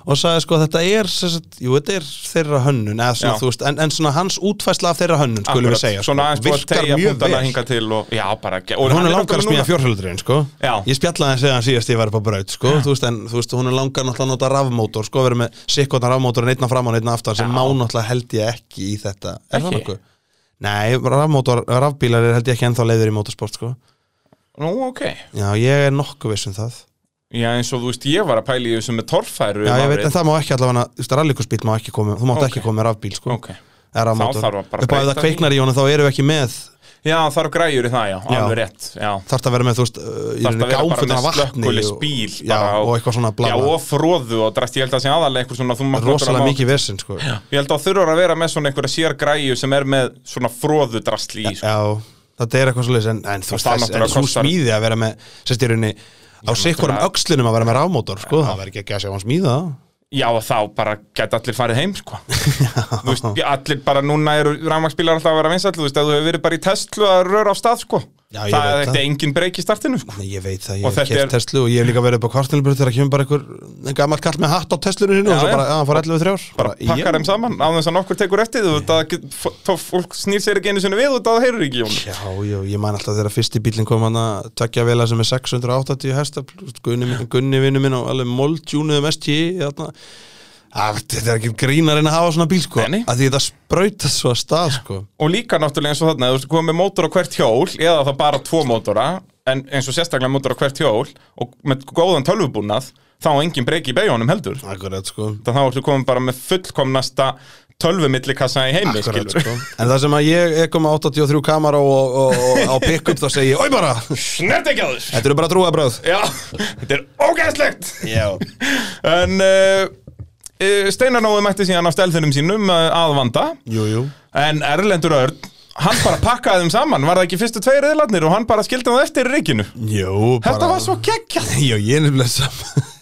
Speaker 2: Og sagði sko þetta er sem sagt, Jú, þetta er þeirra hönnun eða, svona,
Speaker 1: Já.
Speaker 2: þú veist, en, en svona hans útfæsla af þeirra hönnun Skulum
Speaker 1: Akkurat,
Speaker 2: við segja sko.
Speaker 1: svona aðeins búið að tegja punktana
Speaker 2: vel.
Speaker 1: hinga til og, já, bara gegg- og
Speaker 2: Hún er langar að
Speaker 1: náttúrulega
Speaker 2: smíða
Speaker 1: núna-
Speaker 2: fjórhjóldurinn sko
Speaker 1: Já.
Speaker 2: Ég spjallaði hans eða hann síðast ég var upp á braut sko þú veist, En þú veist, hún er langar náttúrulega að nota rafmótor sko Verið með sikkotna rafmótor en einna fram og einna aftan Sem má náttúrulega held ég ekki í þetta Er það
Speaker 1: Ekki?
Speaker 2: nokkuð? Nei, rafmótor, rafbílar er held ég ekki ennþá leiður í motorsport sko
Speaker 1: Nú, ok,
Speaker 2: Já, ég er nokkuð viss um það
Speaker 1: Já, eins og þú veist, ég var að pæla í þessu með torfæru
Speaker 2: Já, ég veit, en það má ekki allavega, þú veist, rallikursbíl má ekki koma, þú mátt
Speaker 1: Ok.
Speaker 2: ekki koma með rafbíl, sko.
Speaker 1: Ok.
Speaker 2: Eða rafmótor.
Speaker 1: þarf að bara
Speaker 2: Upp á ef
Speaker 1: breyta
Speaker 2: það
Speaker 1: því.
Speaker 2: kveiknar í honum, þá erum við ekki með,
Speaker 1: Já, þarf græjur í það, já,
Speaker 2: Já.
Speaker 1: alveg rétt Já
Speaker 2: þarf að vera með, þú veist, uh,
Speaker 1: Þarf
Speaker 2: þarf
Speaker 1: að vera bara
Speaker 2: gámfullan af
Speaker 1: með
Speaker 2: vatni.
Speaker 1: slökkulis
Speaker 2: og-
Speaker 1: bíl
Speaker 2: Já, og eitthvað svona blá.
Speaker 1: Já, og fróðu og drast, ég held að það sé aðalega eitthvað svona þú mátt náttúrulega
Speaker 2: Rosalega
Speaker 1: má-
Speaker 2: mikið vesinn, sko. Já.
Speaker 1: Ég held að það þurfur að vera með svona einhverja sér græju sem er með svona fróðu drastli í sko.
Speaker 2: þetta er eitthvað svolítið, en, en þú
Speaker 1: Og
Speaker 2: veist,
Speaker 1: það
Speaker 2: þess- en
Speaker 1: náttúrulega
Speaker 2: sú
Speaker 1: kostar-
Speaker 2: smíði að vera með, sérst, í rauninni, á sikkurum
Speaker 1: náttúrulega-
Speaker 2: öxlunum að vera með rafmótor, sko, það verður ekki að gæsa á hans smíða það.
Speaker 1: Já, og þá bara gæti allir farið heim, sko. þú veist, allir bara núna eru rafmagsbílar alltaf að vera vinsall, þú veist, að þú hefur verið bara í Tesla að röra á stað, sko.
Speaker 2: Já,
Speaker 1: það
Speaker 2: ég veit
Speaker 1: er
Speaker 2: það.
Speaker 1: þetta engin breyk í startinu, sko.
Speaker 2: Nei, ég veit það,
Speaker 1: Og
Speaker 2: ég hef
Speaker 1: þetta
Speaker 2: kert
Speaker 1: er-
Speaker 2: Tesla og ég hef líka verið upp á kvartnilbröð þegar kemur bara einhver gammal kall með hatt á Teslunum hinn
Speaker 1: Já,
Speaker 2: og svo
Speaker 1: já.
Speaker 2: bara, að hann fór 11 þrjár
Speaker 1: Bara pakkar þeim saman, á þess að nokkur tekur eftir, þú veist, það get- f- þá fólk snýr sér ekki einu sinni við og það heyrur ekki, í honum.
Speaker 2: Já, já, ég man alltaf þegar fyrsti bílinn kom hann að tvekja vela sem er 680 hestafl, þú veist, Gunni, Gunni vinnu minn og alveg um moldjúnuðum ST þarna Að, þetta er ekki grínar en að hafa svona bíl sko
Speaker 1: Nei, nei.
Speaker 2: að því þetta sprauta svo að stað sko
Speaker 1: Og líka náttúrulega eins og þarna, þú veist, komið með mótor á hvert hjól, eða þá bara tvo mótora, en eins og sérstaklega mótor á hvert hjól, og með góðan tölvubúnað, þá á engin breyk í beigjónum heldur.
Speaker 2: Akkurat sko,
Speaker 1: Þannig að þá ertu komin bara með fullkomnasta tölvumillikassa í heimi,
Speaker 2: Akkurat,
Speaker 1: skilur.
Speaker 2: sko. En það sem að ég er komið 83 kamara og, og, og á pick-up þá segi ég, oi bara
Speaker 1: Snert ekki að þess
Speaker 2: Þetta eru bara trúabröð
Speaker 1: Já, þetta er ógæðslegt
Speaker 2: Já
Speaker 1: En uh, uh, Steinar Nói mætti síðan á stelðunum sínum uh, að vanda
Speaker 2: Jú, jú
Speaker 1: En Erlendur Örn, hann bara pakkaði þeim saman Var það ekki fyrstu tveir reyðlarnir og hann bara skildi það eftir í ríkinu
Speaker 2: Jú, bara
Speaker 1: Þetta var svo geggjað
Speaker 2: Já, ég er nefnilega saman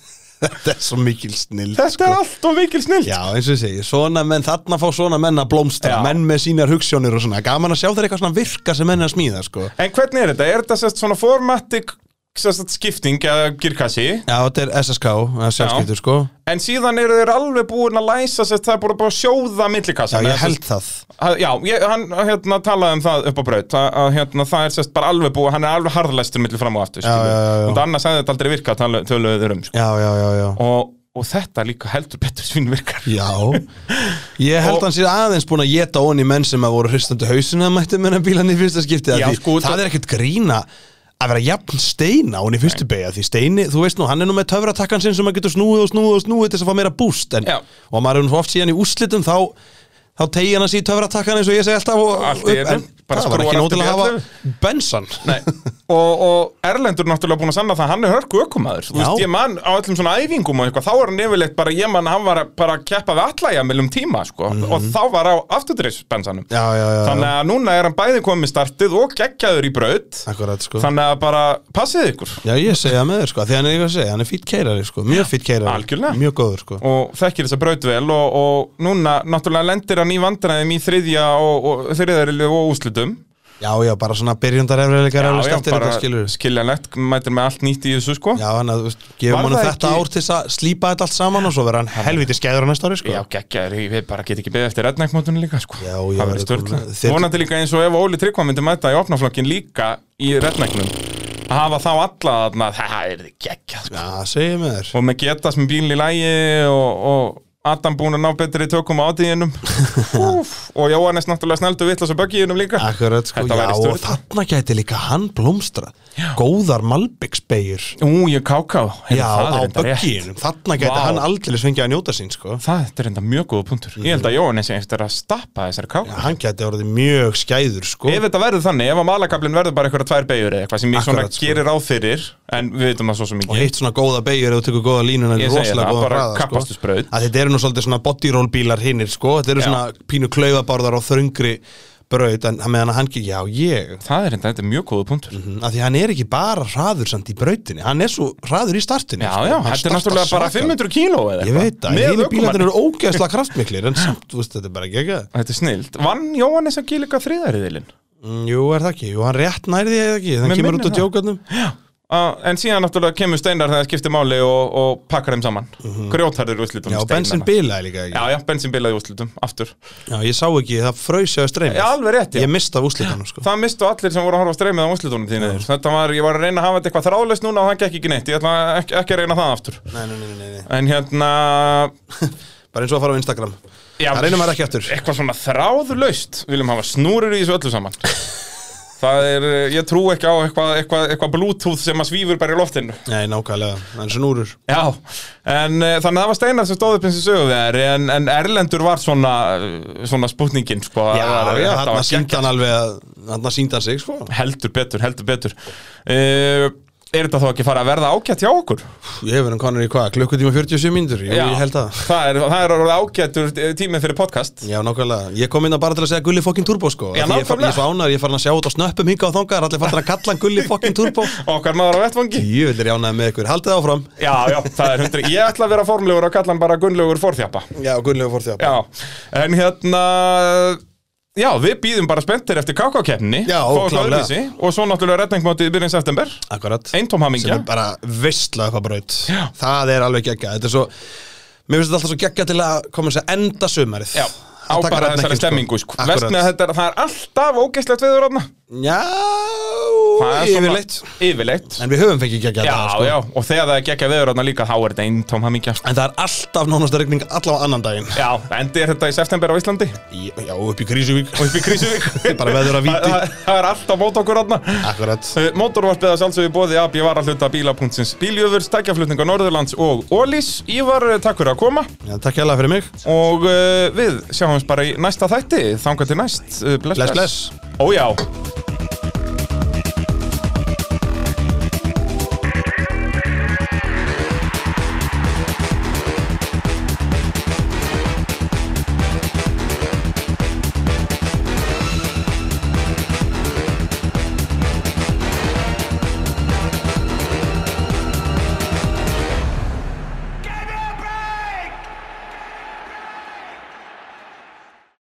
Speaker 2: Þetta er svo mikil snill
Speaker 1: Þetta er allt og mikil snill
Speaker 2: Já, eins og ég segi, svona menn, þarna fá svona menn að blómstra,
Speaker 1: Já.
Speaker 2: menn með sínar hugsjónir og svona, gaman að sjá þeir eitthvað svona virka sem menn er að smíða, sko.
Speaker 1: En hvernig er þetta? Er þetta sérst svona formatik sérst skipting eða girkassi
Speaker 2: Já, þetta er SSK, það er sjálfskyldur, sko.
Speaker 1: En síðan eru þeir alveg búin að læsa sérst það er búin að búin að sjóða
Speaker 2: Já,
Speaker 1: millikassan
Speaker 2: ég held það.
Speaker 1: Ha- Já, ég, hann hérna, talaði um það upp á braut að, að hérna, það er sérst bara alveg búið hann er alveg harðlæstur millir fram og aftur skilur.
Speaker 2: já, já, já.
Speaker 1: og annars hefði þetta aldrei virkað tölu- töluðu þeir um sko.
Speaker 2: Já, já, já, já.
Speaker 1: og, og þetta líka heldur betur svín virkar
Speaker 2: Já, ég held
Speaker 1: Og-
Speaker 2: hann sér aðeins búin að geta onni menn sem að voru hristandi hausina að mættu menna bílan í fyrsta skipti.
Speaker 1: Já,
Speaker 2: Já, því,
Speaker 1: sko, það-
Speaker 2: það er ekkert grína að vera jafn steina hún í fyrstu beigja því steini, þú veist nú, hann er nú með töfratakkan sinn sem maður getur snúið og snúið og snúið til þess að fá meira búst en,
Speaker 1: Já.
Speaker 2: og maður er nú svo oft síðan í úslitum þá þá tegi hann að síða töfratakkan eins og ég segi alltaf og,
Speaker 1: Allt í einu,
Speaker 2: en
Speaker 1: bara
Speaker 2: það var
Speaker 1: skrúfar
Speaker 2: ekki nóg
Speaker 1: aftur
Speaker 2: til að
Speaker 1: í
Speaker 2: hafa bensan
Speaker 1: Nei. og, og Erlendur er náttúrulega búin að sanna það að hann er hörku ökumæður Þú
Speaker 2: Já.
Speaker 1: veist, ég mann á öllum svona æfingum og eitthvað þá er hann yfirleitt bara, ég mann, hann var að- bara að keppa við allajamil um tíma, sko og þá var á afturdreifsbensanum
Speaker 2: Mhm. Já, já, já, já.
Speaker 1: Þannig að núna er hann bæði komið startið og geggjaður í braut
Speaker 2: Akkurat, sko.
Speaker 1: Þannig að bara passið ykkur
Speaker 2: Já, ég segja með þér sko, því hann er eitthvað að segja, hann er fýtt keirari sko, mjög fýtt keirari,
Speaker 1: Algjörlega.
Speaker 2: mjög góður sko.
Speaker 1: og þekkir þessa braut vel og, og núna náttúrulega lendir hann í vandræðum í þriðja og, og þriðjarili og úslutum
Speaker 2: Já, já, bara svona byrjundar efriðleikar efriðst eftir
Speaker 1: bara
Speaker 2: eitthvað skilur
Speaker 1: skiljanlegt, mætir með allt nýtt í þessu sko
Speaker 2: Já, hann að, þú veist, gefum
Speaker 1: Var
Speaker 2: honum
Speaker 1: það
Speaker 2: þetta
Speaker 1: ekki-
Speaker 2: ár til þess að slípa þetta allt saman og svo vera hann helviti skeiður á næsta ári, sko
Speaker 1: Já, geggjaður, ég- við bara get ekki beðið eftir rednækmótunum líka sko
Speaker 2: Já, já,
Speaker 1: Það verður
Speaker 2: þetta
Speaker 1: störla
Speaker 2: kom- þeir-
Speaker 1: Vonandi líka eins og ef Óli Tryggva myndi mæta í opnaflokkin líka í rednæknum að hafa þá alla þarna, það er geggjað sko
Speaker 2: Já, segjum með þér
Speaker 1: og með getas með bíl í lægi og, og Adam búin að ná betri tökum á átíðinum og Jóhannes náttúrulega snældu vittlas á böggiðinum líka
Speaker 2: Akkurat, sko,
Speaker 1: Þetta
Speaker 2: já,
Speaker 1: væri
Speaker 2: og
Speaker 1: störla
Speaker 2: þarna gæti líka hann blómstra Góðar Malbyggsbeigur
Speaker 1: Ú, ég káká
Speaker 2: Já, á bögginum, þarna gæti
Speaker 1: Vá.
Speaker 2: hann aldrei fengið að njóta sín, sko
Speaker 1: Það þetta er enda mjög góða punktur Ég held að Jóhannes sé eftir að stappa þessari
Speaker 2: Já,
Speaker 1: káká
Speaker 2: hann gæti orðið mjög skæður, sko
Speaker 1: Ef þetta verður þannig, ef að malakablin verður bara eitthvað tvær beigur eða eitthvað sem ég svona
Speaker 2: Akkurat, sko.
Speaker 1: gerir á fyrir en við veitum það svo sem
Speaker 2: og
Speaker 1: ekki
Speaker 2: hitt svona góða beigur ef þú tekur góða línuna
Speaker 1: Ég
Speaker 2: er
Speaker 1: segi það,
Speaker 2: rosalega góða
Speaker 1: bara
Speaker 2: hraða sko.
Speaker 1: kappakstursbraut.
Speaker 2: að þetta eru nú svolítið svona bodyroll bílar hinnir sko. þetta eru
Speaker 1: Já.
Speaker 2: svona pínu klaufabárðar á þröngri braut en hann meðan að hann ekki, já ég
Speaker 1: Það er enda, þetta er mjög góða punktur
Speaker 2: að því hann er ekki bara hraður samt í brautinni hann er svo hraður í startinu
Speaker 1: Já,
Speaker 2: sko.
Speaker 1: já,
Speaker 2: Hann
Speaker 1: þetta er
Speaker 2: startar
Speaker 1: náttúrulega bara
Speaker 2: svakalega.
Speaker 1: 500 kíló eða
Speaker 2: ég veit það,
Speaker 1: Með
Speaker 2: hinn
Speaker 1: ökumann.
Speaker 2: bílarnir eru ógeðslega kraftmiklir en samt, þú veist, þetta er bara ekki ekki
Speaker 1: Þetta er snild Vann Jóhannes að gílika þriðariðilin?
Speaker 2: mm, jú, er það ekki, jú, hann rétt nærði eða ekki
Speaker 1: Mér
Speaker 2: þannig kemur
Speaker 1: minnir
Speaker 2: út á
Speaker 1: það.
Speaker 2: djókarnum
Speaker 1: Uh, en síðan náttúrulega kemur steinar þegar það skiptir máli og, og pakkar þeim saman mm -hmm. grjótarður í úrslitum
Speaker 2: Mhm. já,
Speaker 1: steinana.
Speaker 2: bensin bilaði líka ekki
Speaker 1: já, já, bensin bilaði í úrslitum, aftur
Speaker 2: já, ég sá ekki, það fröysi á streymið
Speaker 1: já, alveg rétt, já
Speaker 2: ég mista af úslitanum sko.
Speaker 1: það mistu allir sem voru að horfa á streymið á úrslitunum þínu þetta var, ég var að reyna að hafa þetta eitthvað þráðlust núna og það gekk ekki neitt, ég ætla ekki, ekki að reyna það aftur
Speaker 2: nei, nei, nei, nei, nei.
Speaker 1: en hérna
Speaker 2: bara eins og að fara á Instagram
Speaker 1: já,
Speaker 2: það reynir maður ekki aftur
Speaker 1: eitthvað svona þráðlust viljum hafa snúrur í þessu öllu saman Það er, eh, ég trú ekki á eitthvað eitthva, eitthva bluetooth sem að svífur bara í loftinu
Speaker 2: Nei, nákvæmlega, en snúrur
Speaker 1: Já, en uh, þannig að það var Steinar sem stóð upp eins og sögðu þér en, en Erlendur var svona, eh, svona spútningin sko,
Speaker 2: Já,
Speaker 1: það var,
Speaker 2: já,
Speaker 1: þetta
Speaker 2: þarna
Speaker 1: var
Speaker 2: síndi hann alveg að Þarna síndi hann sig, sko
Speaker 1: gegn- Heldur betur, heldur betur uh, Er þetta þá ekki fara að verða ágætt hjá okkur?
Speaker 2: Ég hef verið um konur í hvað, klukkutíma 47 mínútur Jú, ég held að
Speaker 1: það er, það er orðið ágættur tímið fyrir podcast
Speaker 2: Já, nákvæmlega, ég kom inn að bara til að segja Gulli fokkin turbo, sko
Speaker 1: Já,
Speaker 2: Því ég,
Speaker 1: nákvæmlega.
Speaker 2: ég fánar, ég er farin að sjá út á snöppum hingað og þangar Allir farin að kalla hann Gulli fokkin turbo
Speaker 1: Okkar maður á vettvangi
Speaker 2: Ég vil er jánaði með ykkur, haldið áfram
Speaker 1: Já, já, það er hundri Ég ætla að vera formlegur og kalla hann bara Gunnlaugur forþjapa
Speaker 2: Já, Gulli fór því að
Speaker 1: Já, en hérna Já, við býðum bara spenntir eftir kákákeppninni
Speaker 2: Já,
Speaker 1: Fá okkur
Speaker 2: klárlega.
Speaker 1: öðruvísi. Og svo náttúrulega retningmátið í byrjun september
Speaker 2: Akkurat
Speaker 1: Eintóm
Speaker 2: sem
Speaker 1: hamingja
Speaker 2: er bara veistla upp að braut
Speaker 1: Já.
Speaker 2: það er alveg geggja þetta er svo, mér finnst þetta alltaf svo geggja til að koma þess að enda sumarið
Speaker 1: Já, á
Speaker 2: Að taka
Speaker 1: bara
Speaker 2: redneckinn,
Speaker 1: þessari stemmingu sko. Verst með að
Speaker 2: Akkurat.
Speaker 1: þetta, er- það er alltaf ógeislegt viður þarna Það
Speaker 2: já,
Speaker 1: er svona-
Speaker 2: yfirleitt
Speaker 1: Yfirleitt
Speaker 2: en við höfum fengið geggja
Speaker 1: Já,
Speaker 2: þetta sko.
Speaker 1: já, og þegar það er gekkja viður þarna líka þá er þetta eintóm hamingja sko.
Speaker 2: en það er alltaf nánast að regning allavega annan daginn
Speaker 1: Já, endi er þetta í september á Íslandi
Speaker 2: Í- já, upp í Krísuvík
Speaker 1: og upp í Krísuvík
Speaker 2: Bara veður að víti.
Speaker 1: Það- það- Það er alltaf mót okkur átna
Speaker 2: akkurat
Speaker 1: Mótorvarpið að sjálfsögðu bóði AB varahluta bíla.sins Bíljöfurs, tækjaflutninga Norðurlands og Ólís Ívar, eh, takk fyrir að koma eh,
Speaker 2: já, takk hérlega fyrir mig
Speaker 1: og uh, við sjáumst bara í næsta þætti þanga til næst, uh, bless
Speaker 2: bless bless
Speaker 1: Ójá